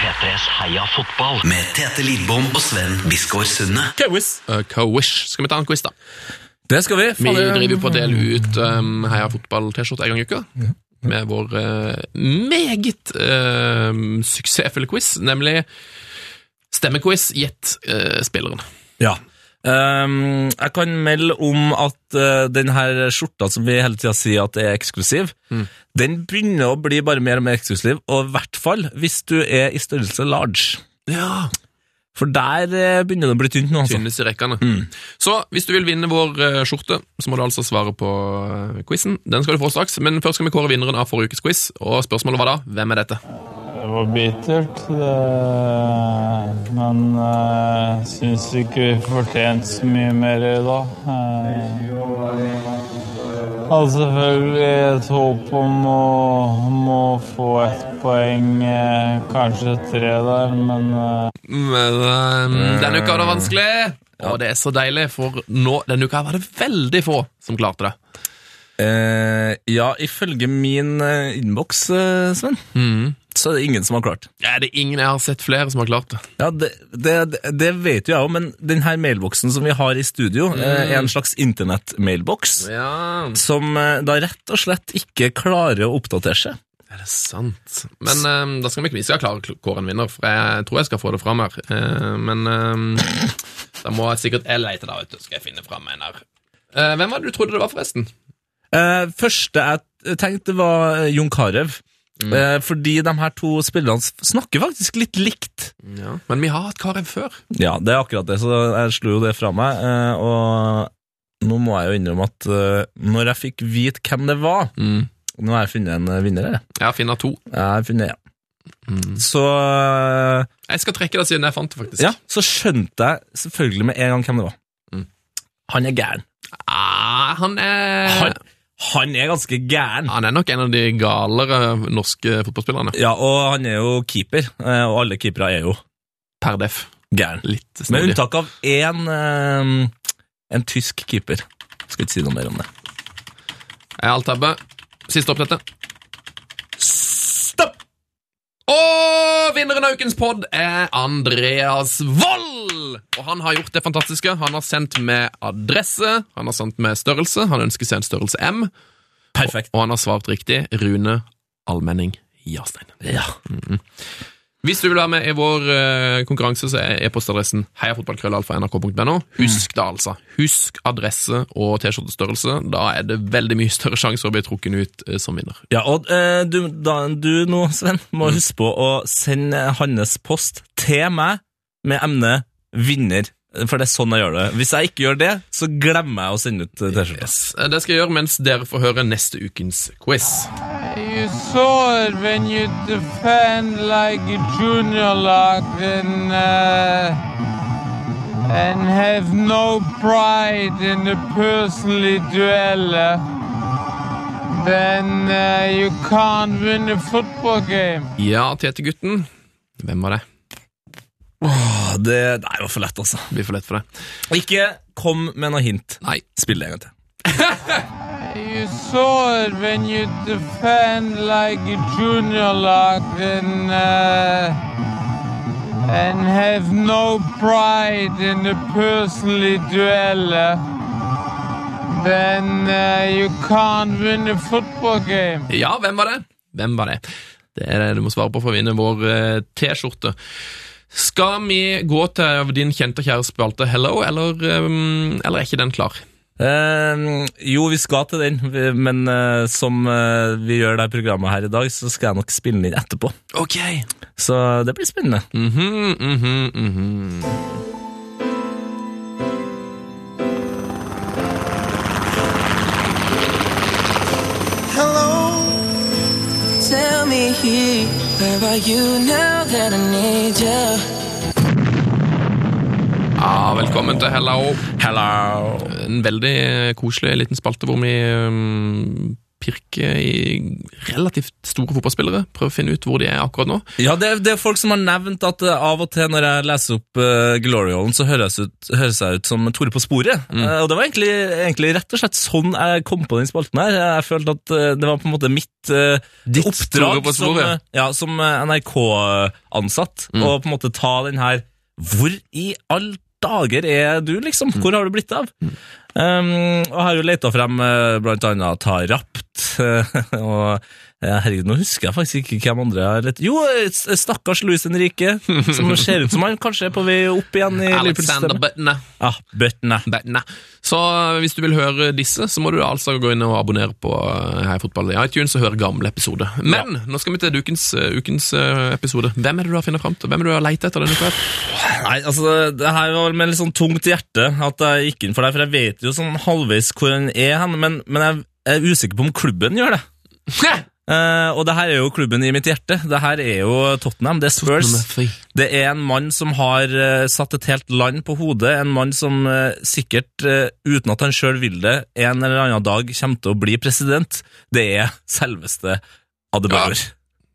Speaker 2: P3s Heia fotball med Tete Lidbom og Sven Biskår Sunne.
Speaker 4: Uh, Cowish. Skal vi ta en quiz, da?
Speaker 3: Det skal vi.
Speaker 4: Vi
Speaker 3: Fader.
Speaker 4: driver jo på å dele ut um, Heia fotball-T-skjorte en gang i uka. Med vår eh, meget eh, suksessfulle quiz, nemlig stemmequiz Gjett eh, spilleren.
Speaker 3: Ja. Ehm, jeg kan melde om at eh, den her skjorta som vi hele tida sier at er eksklusiv, den begynner å bli bare mer og mer eksklusiv, og i hvert fall hvis du er i størrelse large.
Speaker 4: Ja,
Speaker 3: For der eh, begynner det å bli tynt nå, altså.
Speaker 4: Tynnes i rekkene. Så hvis du vil vinne vår eh, skjorte, så må du altså svare på uh, quizen. Den skal du få straks, men først skal vi kåre vinneren av forrige ukes quiz. Og spørsmålet var da hvem er dette?
Speaker 9: Det var bittert, det, men jeg syns ikke vi fortjente så mye mer i dag. Jeg hadde selvfølgelig et håp om å, om å få ett poeng, eh, kanskje tre der, men eh,
Speaker 4: Men, Mm, eh, denne uka var det vanskelig, og det er så deilig, for nå, denne uka var det veldig få som klarte det.
Speaker 3: Eh, ja, ifølge min eh, innboks, eh, Sven, så er det ingen som har klart.
Speaker 4: Er det ingen jeg har sett flere som har klart det?
Speaker 3: Ja, Det, det, det vet jo jeg òg, men denne mailboksen som vi har i studio, eh, er en slags internett-mailboks
Speaker 4: Ja,
Speaker 3: som eh, da rett og slett ikke klarer å oppdatere seg.
Speaker 4: er det sant? Men eh, da skal vi ikke vi skal klare å kåre en vinner, for jeg tror jeg skal få det fram her. Eh, men eh, da må jeg sikkert jeg lete, da, vet du. Skal jeg finne fram en her. Eh, hvem var det du trodde det var, forresten?
Speaker 3: Eh, første jeg tenkte, var Jon Carew. Eh, fordi de her to spillerne s- snakker faktisk litt likt.
Speaker 4: Ja. Men vi har hatt Karev før.
Speaker 3: Ja, det er akkurat det, så jeg slo jo det fra meg. eh, Og nå må jeg jo innrømme at eh, når jeg fikk vite hvem det var Nå har jeg funnet en eh, vinner, jeg.
Speaker 4: Jeg har finner to.
Speaker 3: Jeg har funnet en.
Speaker 4: Mm.
Speaker 3: Så eh,
Speaker 4: Jeg skal trekke det siden jeg fant det, faktisk.
Speaker 3: Ja, så skjønte jeg selvfølgelig med en gang hvem det var.
Speaker 4: Mm.
Speaker 3: Han er gæren.
Speaker 4: Ah, han er
Speaker 3: Han,
Speaker 4: han.
Speaker 3: han er ganske gæren.
Speaker 4: er nok en av de galere norske fotballspillerne.
Speaker 3: Ja, og han er jo keeper, eh, og alle keepere er jo
Speaker 4: Per def.
Speaker 3: gæren.
Speaker 4: Litt
Speaker 3: Med
Speaker 4: snodig.
Speaker 3: unntak av én eh, en tysk keeper. Skal ikke si noe mer om det.
Speaker 4: Jeg har alt-tabbe. Siste oppsettet.
Speaker 3: Stopp!
Speaker 4: Og vinneren av ukens pod er Andreas Vold! Og han har gjort det fantastiske. Han har sendt med adresse, han har sendt med størrelse, han ønsker seg en størrelse M,
Speaker 3: Perfekt.
Speaker 4: og han har svart riktig. Rune Almenning Jarstein.
Speaker 3: Ja.
Speaker 4: Hvis du vil være med i vår eh, konkurranse, så er e-postadressen heiafotballkrøllalfa.nrk.no. Husk det, altså. Husk adresse og T-skjortestørrelse. Da er det veldig mye større sjanse for å bli trukket ut eh, som vinner.
Speaker 3: ja og eh, du, da, du nå, Sven, må huske på å sende hans post til meg med emnet 'vinner'. For det er sånn jeg gjør det. Hvis jeg ikke gjør det, så glemmer jeg å sende ut eh, T-skjorta.
Speaker 4: Eh, Det skal jeg gjøre mens dere får høre neste ukens quiz.
Speaker 9: You saw it when you defend like a junior lock and, uh, and have no pride in the personally duella. Then uh, you can't win a football game.
Speaker 4: Ja, Tete-gutten. Hvem var det?
Speaker 3: Ja, Det, det er jo for lett, altså.
Speaker 4: Det Blir for lett for deg.
Speaker 3: Ikke kom med noe hint.
Speaker 4: Nei.
Speaker 3: Spill det en gang til.
Speaker 9: You saw it when you defend like a junior lock and, uh, and have no pride in the personally duella. Then uh, you can't win a football game.
Speaker 4: Ja, hvem var det? Hvem var det? Det er det du må svare på for å vinne vår eh, T-skjorte. Skal vi gå til din kjente og kjære spalte Hello, eller, eh, eller er ikke den klar?
Speaker 3: Eh, jo, vi skal til den, vi- men eh, som eh, vi gjør det her programmet her i dag, så skal jeg nok spille den inn etterpå.
Speaker 4: Ok.
Speaker 3: Så det blir spennende.
Speaker 4: Mhm, mhm, mhm.
Speaker 10: Hello, tell me, where are you now that I need you?
Speaker 4: Ja, Ah, velkommen til Hello. Hello. En veldig eh, koselig liten spalte hvor vi eh, pirker i relativt store fotballspillere. Prøver å finne ut hvor de er akkurat nå.
Speaker 3: Ja, det, er- det er folk som har nevnt at eh, av og til når jeg leser opp uh, Glory Hallen, så høres, ut, høres jeg ut som Tore på sporet.
Speaker 4: Mm.
Speaker 3: Eh, og det var egentlig, egentlig rett og slett sånn jeg kom på den spalten her. Jeg følte at eh, det var på en måte mitt eh,
Speaker 4: Tore
Speaker 3: oppdrag
Speaker 4: på
Speaker 3: som,
Speaker 4: sporet.
Speaker 3: eh, ja, som eh, NRK-ansatt,
Speaker 4: Mm.
Speaker 3: å på en måte ta den her Hvor i all dager er du, liksom? Hvor har du blitt av? Um, og har jo leta frem eh, blant annet Ta Rapt, og eh, herregud, nå husker jeg faktisk ikke hvem andre jeg har lett Jo, eh, s- stakkars Luis Henrique, som ser ut som han kanskje er på vei opp igjen i
Speaker 4: Alexander
Speaker 3: Liverpool-systemet.
Speaker 4: Butner.
Speaker 3: Ja, Bøttene.
Speaker 4: Nei. Så eh, hvis du vil høre disse, så må du altså gå inn og abonnere på eh, Hei Fotball i iTunes og høre gamle episoder. Men nå skal vi til ukens, ukens eh, episode. Hvem er det du har funnet fram til? Hvem er det du har lett etter denne uka?
Speaker 3: Nei, altså, det her var med litt sånn tungt hjerte at jeg gikk inn for deg, for jeg vet jo sånn halvveis hvor han er hen, men, men jeg er usikker på om klubben gjør det.
Speaker 4: her?
Speaker 3: Eh, og det her er jo klubben i mitt hjerte. Det her er jo Tottenham, det er Spurs.
Speaker 4: Nummer tre.
Speaker 3: Det er en mann som har eh, satt et helt land på hodet, en mann som eh, sikkert, eh, uten at han sjøl vil det, en eller annen dag kommer til å bli president. Det er selveste Adebayor.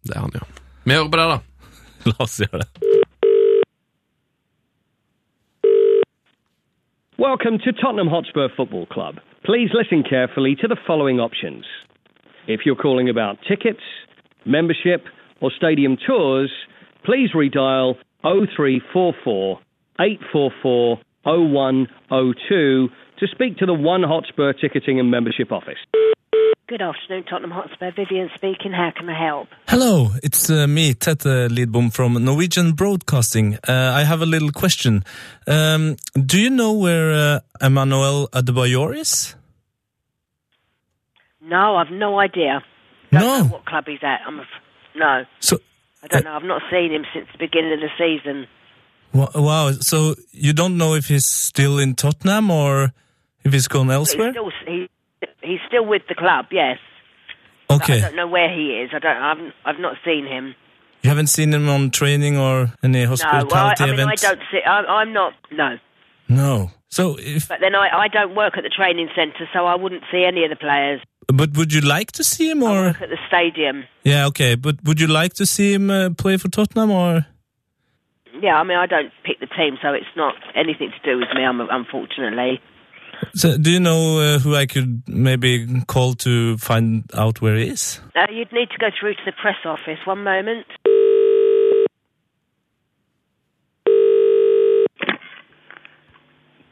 Speaker 4: Det er han, ja. Vi hører på det, da.
Speaker 3: La oss gjøre det.
Speaker 11: Welcome to Tottenham Hotspur Football Club. Please listen carefully to the following options. If you're calling about tickets, membership, or stadium tours, please redial 0344 844 0102 to speak to the One Hotspur Ticketing and Membership Office.
Speaker 12: Good afternoon, Tottenham Hotspur. Vivian speaking. How can I help?
Speaker 13: Hello, it's uh, me, Tete Lidbom from Norwegian Broadcasting. Uh, I have a little question. Um, do you know where uh, Emmanuel Adebayor is?
Speaker 12: No, I've no idea. Don't
Speaker 13: No.
Speaker 12: know what club he's at. I'm af- no.
Speaker 13: So,
Speaker 12: I don't know. I've not seen him since the beginning of the season.
Speaker 13: Wa- Wow, so you don't know if he's still in Tottenham or if he's gone elsewhere?
Speaker 12: He's still, he, he's still with the club. Yes. But I
Speaker 13: Okay,
Speaker 12: don't know where he is. I don't. I've, I've not seen him.
Speaker 13: you haven't seen him on training or any
Speaker 12: no. Well, I,
Speaker 13: hospitality
Speaker 12: I mean,
Speaker 13: events?
Speaker 12: I don't see. I, I'm not. No.
Speaker 13: No. So, if,
Speaker 12: But then I, I don't work at the training centre, so I wouldn't see any of the players
Speaker 13: but would you like to see him or?
Speaker 12: at the stadium.
Speaker 13: Yeah, okay, but would you like to see him uh, play for Tottenham or?
Speaker 12: Yeah, I mean, I don't pick the team, so it's not anything to do with me. I'm unfortunately.
Speaker 13: So, do you know uh, who I could maybe call to find out where he is?
Speaker 12: Uh, you'd need to go through to the press office. One moment.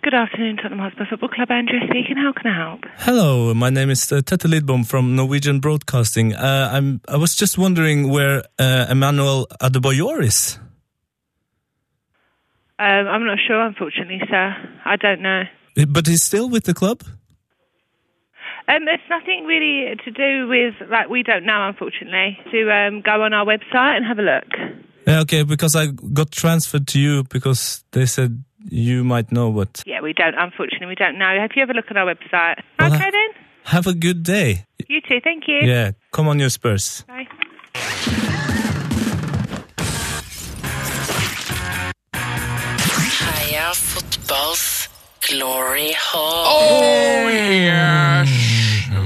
Speaker 14: Good afternoon, Tottenham Hotspur Football Club. Andrea speaking. How can I help?
Speaker 13: Hello, my name is uh, Tete Lidbom from Norwegian Broadcasting. Uh, I'm. I was just wondering where uh, Emmanuel Adebayor is.
Speaker 14: Um, I'm not sure, unfortunately, sir. I don't know.
Speaker 13: But he's still with the club.
Speaker 14: Um, it's nothing really to do with like we don't know, unfortunately. To um, go on our website and have a look.
Speaker 13: Yeah, okay, because I got transferred to you because they said you might know what.
Speaker 14: Yeah, we don't. Unfortunately, we don't know. Have you ever look at our website?
Speaker 13: Well,
Speaker 14: okay
Speaker 13: I-
Speaker 14: then.
Speaker 13: Have a good day.
Speaker 14: You too. Thank you.
Speaker 13: Yeah, come on, your Spurs.
Speaker 14: Bye.
Speaker 15: Heia fotballs glory hall.
Speaker 4: Oh, yes!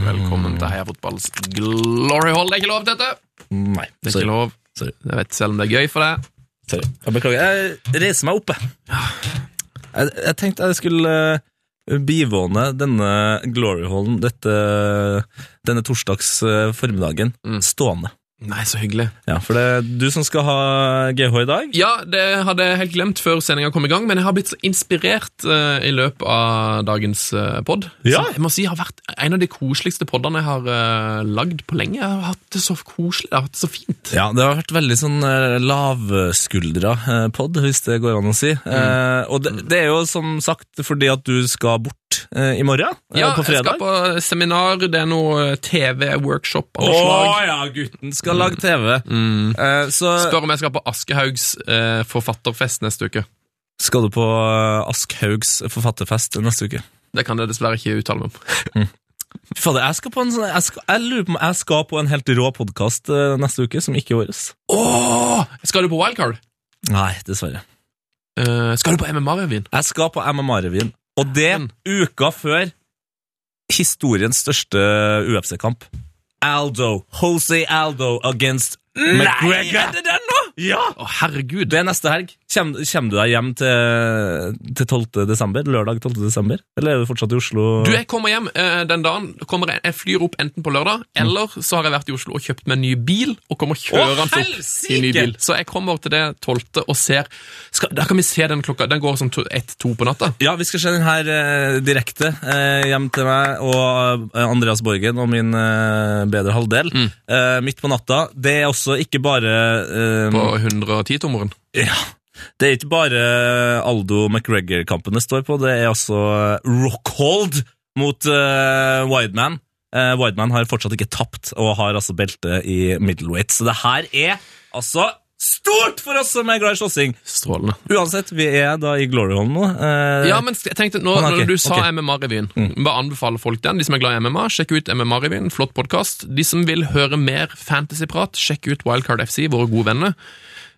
Speaker 4: Velkommen til Heia Fotballs Glory Hall. Det er ikke lov, dette!
Speaker 3: Nei,
Speaker 4: Det er ikke lov. Jeg vet selv om det er gøy for deg.
Speaker 3: Sorry. Jeg beklager. Jeg reiser meg opp, jeg. Jeg, jeg tenkte jeg skulle eh, bivåne denne gloryhallen dette, denne torsdags eh, formiddagen stående.
Speaker 4: Nei, så hyggelig.
Speaker 3: Ja, for det er du som skal ha GH i dag.
Speaker 4: Ja, det hadde jeg helt glemt før sendinga kom i gang, men jeg har blitt så inspirert eh, i løpet av dagens uh, pod.
Speaker 3: Ja.
Speaker 4: Som jeg må si har vært en av de koseligste podene jeg har eh, lagd på lenge. Jeg har hatt det så koselig, jeg har hatt det så fint.
Speaker 3: Ja, det har vært veldig sånn eh, lavskuldra eh, pod, hvis det går an å si. Eh, og det, det er jo som sagt fordi at du skal bort eh, i morgen, eh,
Speaker 4: Ja,
Speaker 3: på
Speaker 4: jeg
Speaker 3: fredag.
Speaker 4: skal på seminar, det er noe TV-workshop av noe
Speaker 3: Å,
Speaker 4: slag. Mm.
Speaker 3: ja, gutten skal lage TV. Eh.
Speaker 4: Spør om jeg skal på Aschehougs eh, forfatterfest neste uke.
Speaker 3: Skal du på eh, Askhaugs forfatterfest neste uke?
Speaker 4: Det kan jeg dessverre ikke uttale meg om.
Speaker 3: Fy Fader, jeg skal på en sånn jeg, skal, jeg lurer på om jeg skal på en helt rå podkast neste uke, som ikke er vår.
Speaker 4: Åh, skal du på Wildcard? Eh,
Speaker 3: Nei, dessverre.
Speaker 4: skal du på MMA-revyen?
Speaker 3: Jeg skal på MMA-revyen. Og det uka før historiens største eh, UFC-kamp. Aldo. Jose Aldo against McGregor.
Speaker 4: det den nå?!
Speaker 3: Ja!
Speaker 4: herregud.
Speaker 3: Det er neste helg. Kommer du deg hjem til, til 12. desember? Lørdag 12. desember? Eller er du fortsatt i Oslo?
Speaker 4: Du, jeg kommer hjem eh, den dagen. Kommer jeg, jeg flyr opp enten på lørdag, eller så har jeg vært i Oslo og kjøpt meg en ny bil, og kommer
Speaker 3: Å,
Speaker 4: kjørende opp i
Speaker 3: helsike!
Speaker 4: ny bil. Så jeg kommer til det tolvte og ser skal, Der kan vi se den klokka. Den går sånn to- ett-to på natta.
Speaker 3: Ja, vi skal se den her eh, direkte eh, hjem til meg og eh, Andreas Borgen og min eh, bedre halvdel.
Speaker 4: Mm.
Speaker 3: Eh, midt på natta. Det er også ikke bare eh,
Speaker 4: På 110-tommeren.
Speaker 3: Ja. Det er ikke bare Aldo McGregor-kampen det står på, det er også eh, Rockhold mot eh, Wideman. Eh, Wideman har fortsatt ikke tapt, og har altså belte i middleweight. Så det her er altså stort for oss som er glad i slåssing!
Speaker 4: Strålende.
Speaker 3: Uansett, vi er da i Gloryhallen nå. eh,
Speaker 4: Ja, men jeg tenkte, nå,
Speaker 3: Å, nei, ok,
Speaker 4: Når du sa
Speaker 3: ok. Mm.
Speaker 4: MMA-revyen, bare anbefale folk den. De som er glad i MMA, sjekk ut MMA-revyen. Flott podkast. De som vil høre mer fantasyprat, sjekk ut Wildcard FC, våre gode venner.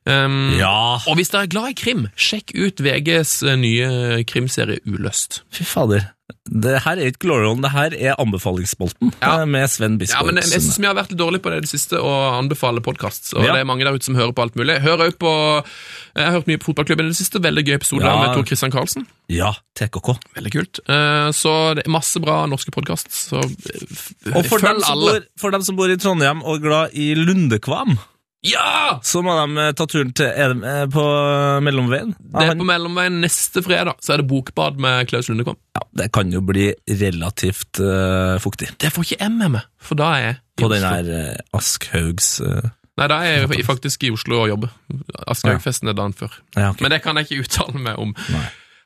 Speaker 4: Um, Og hvis dere er glad i krim, sjekk ut VGs nye krimserie Uløst.
Speaker 3: Fy fader. Det her er ikke Glorion, det her er anbefalingsspolten eh, med Sven
Speaker 4: Ja,
Speaker 3: Biskår.
Speaker 4: men jeg, jeg synes vi har vært litt dårlige på det i det siste, å anbefale podkast. Og
Speaker 3: Ja.
Speaker 4: det er mange der ute som hører på alt mulig. Hør også på, jeg har hørt mye på fotballklubben i det siste. Veldig gøy episode
Speaker 3: Ja.
Speaker 4: med Tor Christian Karlsen.
Speaker 3: ja, TKK.
Speaker 4: Veldig kult. Eh, Så det er masse bra norske podkast. Så eh, f-
Speaker 3: Og for
Speaker 4: følg
Speaker 3: dem, som
Speaker 4: alle.
Speaker 3: bor, for dem som bor i Trondheim og er glad i Lundekvam,
Speaker 4: Ja!
Speaker 3: Så må de eh, ta turen til er de, eh, på mellomveien.
Speaker 4: Det er på mellomveien neste fredag, så er det bokbad med Klaus Lundekvam.
Speaker 3: Ja, det kan jo bli relativt eh, fuktig
Speaker 4: Det får ikke jeg med meg, for da er jeg i
Speaker 3: på den
Speaker 4: Oslo.
Speaker 3: her eh, Askhaugs eh,
Speaker 4: Nei, da er jeg faktisk i Oslo og jobber. Aschehougfesten er dagen før.
Speaker 3: Ja, ok.
Speaker 4: Men det kan jeg ikke uttale meg om.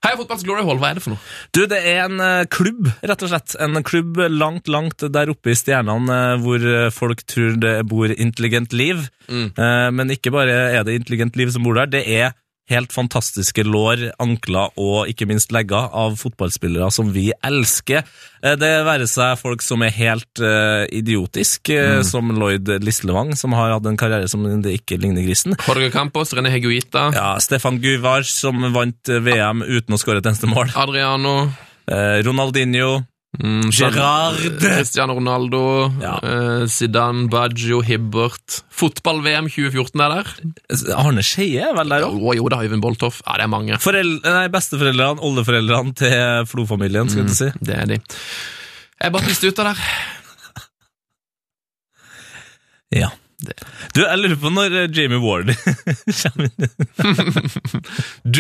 Speaker 4: Heia Fotballs Glory Hall, hva er det for noe?
Speaker 3: Du, det er en eh, klubb, rett og slett. En klubb langt, langt der oppe i stjernene eh, hvor eh, folk tror det bor intelligent liv. Eh, men ikke bare er det intelligent liv som bor der, det er helt fantastiske lår, ankler og ikke minst legger av fotballspillere som vi elsker. Eh, Det være seg folk som er helt eh, idiotisk, eh, som Lloyd Lislevang, som har hatt en karriere som det ikke ligner grisen.
Speaker 4: Jorge Campos, René Heguita,
Speaker 3: Ja, Stefan Guvars, som vant eh, VM uten å skåre et eneste mål.
Speaker 4: Adriano
Speaker 3: Eh, Ronaldinho. Mm, Gerard.
Speaker 4: Cristiano Ronaldo, eh, Zidane, Baggio, Hibbert Fotball-VM 2014 er der.
Speaker 3: Arne Skeie er vel der
Speaker 4: òg? Jo, da, Øyvind Boltoff. Ja, det er mange.
Speaker 3: Forel nei, besteforeldrene, oldeforeldrene til Flo-familien, skal jeg til å si.
Speaker 4: Det er de. Jeg bare piste ut av der.
Speaker 3: Ja. Du, jeg lurer på når eh, Jamie Ward kommer inn.
Speaker 4: Du,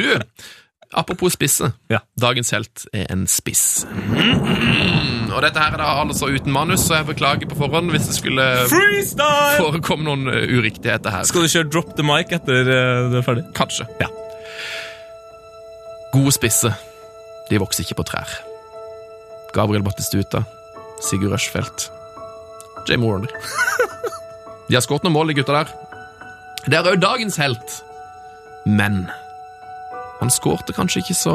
Speaker 4: apropos spisse.
Speaker 3: Ja.
Speaker 4: Dagens helt er en spiss. Mm. Og dette her er da altså uten manus, så jeg beklager på forhånd hvis det skulle
Speaker 3: Freestyle!
Speaker 4: forekomme noen eh, uriktigheter her.
Speaker 3: Skal du kjøre drop the mic etter eh, du er ferdig?
Speaker 4: Kanskje.
Speaker 3: Ja.
Speaker 4: Gode spisse. De vokser ikke på trær. Gabriel Battistuta, Sigurd Rushfeldt, Jamie Warner. De har skåret noen mål, de gutta der. Det er òg dagens helt. Men han skårte kanskje ikke så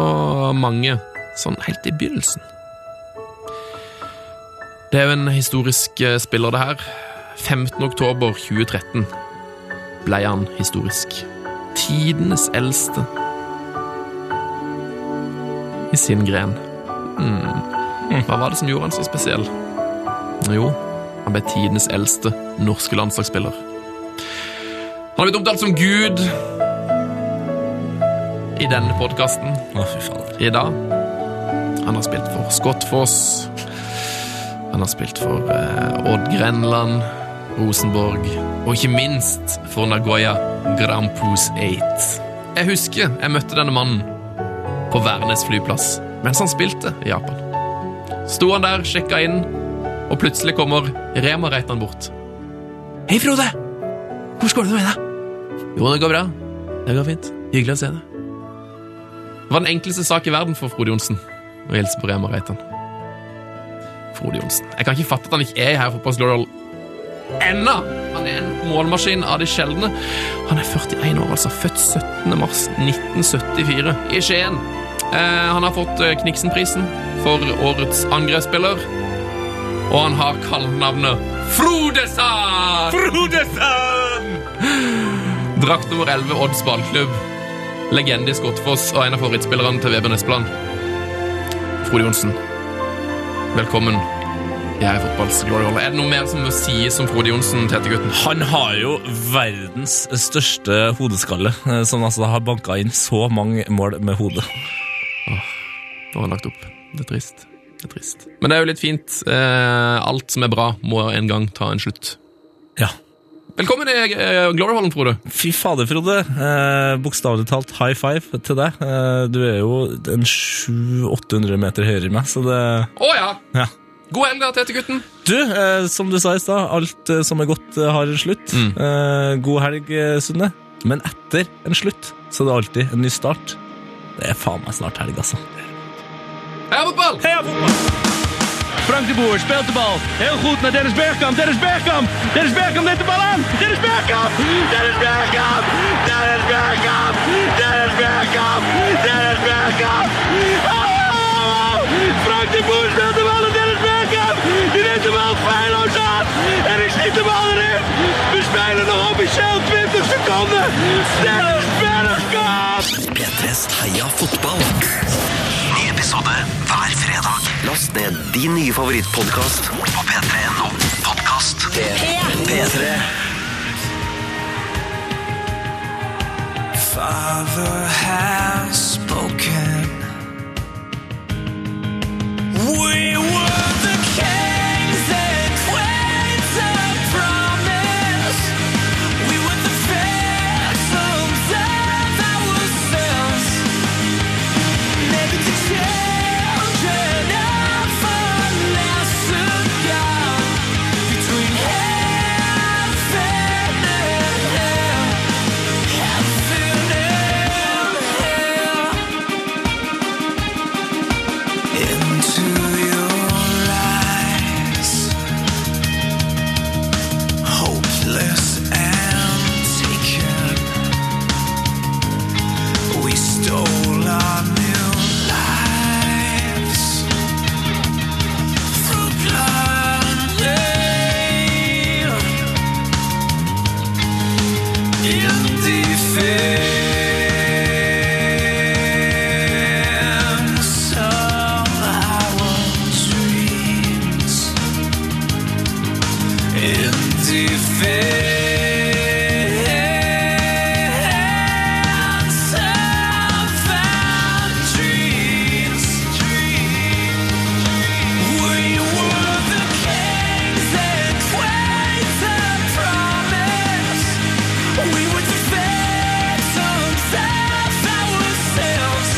Speaker 4: mange sånn helt i begynnelsen. Det er jo en historisk eh, spiller, det her. 15. oktober 2013 ble han historisk. Tidenes eldste i sin gren. Mm. Hva var det som gjorde han så spesiell? Jo, han ble tidenes eldste norske landslagsspiller. Han har blitt omtalt som Gud i denne podkasten
Speaker 3: Å, fy faen.
Speaker 4: i dag. Han har spilt for Skottfoss. Han har spilt for eh, Odd Grenland, Rosenborg og ikke minst for Nagoya Grand Prix 8. Jeg husker jeg møtte denne mannen på Værnes flyplass mens han spilte i Japan. Sto han der, sjekka inn, og plutselig kommer Rema Reitan bort. Hei, Frode! Hvordan går det med deg? Jo, det går bra. Det går fint. Hyggelig å se deg. Det var den enkleste sak i verden for Frode Johnsen å hilse på Rema Reitan. Frode Johnsen. Jeg kan ikke fatte at han ikke er her for Post Laurel ennå! Han er en målmaskin av de sjeldne. Han er 41 år, altså. Født 17. mars 1974 i Skien. Eh, han har fått eh, Kniksenprisen for årets angrepsspiller. Og han har kallenavnet Frodesand! Drakt nummer 11 Odds ballklubb. Legende i Skottfoss og en av favorittspillerne til Vebjørn Espeland. Frode Johnsen, velkommen. Jeg er fotballs glory hole. Er det noe mer som må sies om Frode Johnsen, Tete-gutten?
Speaker 3: Han har jo verdens største hodeskalle, eh, som altså har banka inn så mange mål med hodet.
Speaker 4: Nå har han lagt opp. Det er trist. Det er trist. Men det er jo litt fint. Eh, alt som er bra, må en gang ta en slutt.
Speaker 3: Ja.
Speaker 4: Velkommen i eh, Gloryhallen, Frode.
Speaker 3: Fy fader, Frode. Eh, Bokstavelig talt high five til deg. Eh, du er jo en 700-800 meter høyere enn meg, så det
Speaker 4: Å ja!
Speaker 3: Ja.
Speaker 4: God helg, da, Tete-gutten.
Speaker 3: Du, eh, som du sa i stad, alt eh, som er godt, eh, har en slutt. Eh, god helg, eh, Sunne. Men etter en slutt, så er det alltid en ny start. Det er faen meg snart helg, altså.
Speaker 4: Heia fotball!
Speaker 3: Heia fotball!
Speaker 1: Frank de Boer speelt de bal. Heel goed naar Dennis Bergkamp. Dennis Bergkamp. Dennis Bergkamp neemt de bal aan. Dennis Bergkamp. Dennis Bergkamp. Dennis Bergkamp. Dennis Bergkamp. Dennis Bergkamp. Oh! Frank de Boer speelt de bal aan Dennis Bergkamp. Die neemt de bal feilloos aan. En die schiet de bal erin. We spelen nog officieel 20 seconden. Dennis Bergkamp.
Speaker 2: P3s Heia fotball. Ny episode hver fredag. Last ned din nye favorittpodkast på p3.no podkast. P3.
Speaker 16: Father has spoken. We were the kings and queens of promise. We were the empty fields have found dreams. We were the kings that quaked the promise. We were the phantoms of ourselves.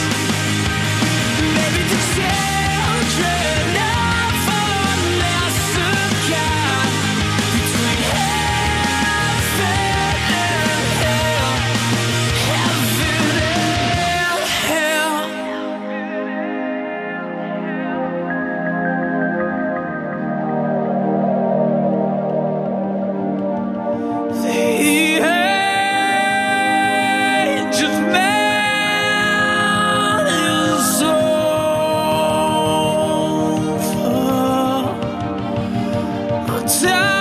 Speaker 16: Maybe the children of a lesser God between heaven and hell, heaven and hell. The age of man is over. Our time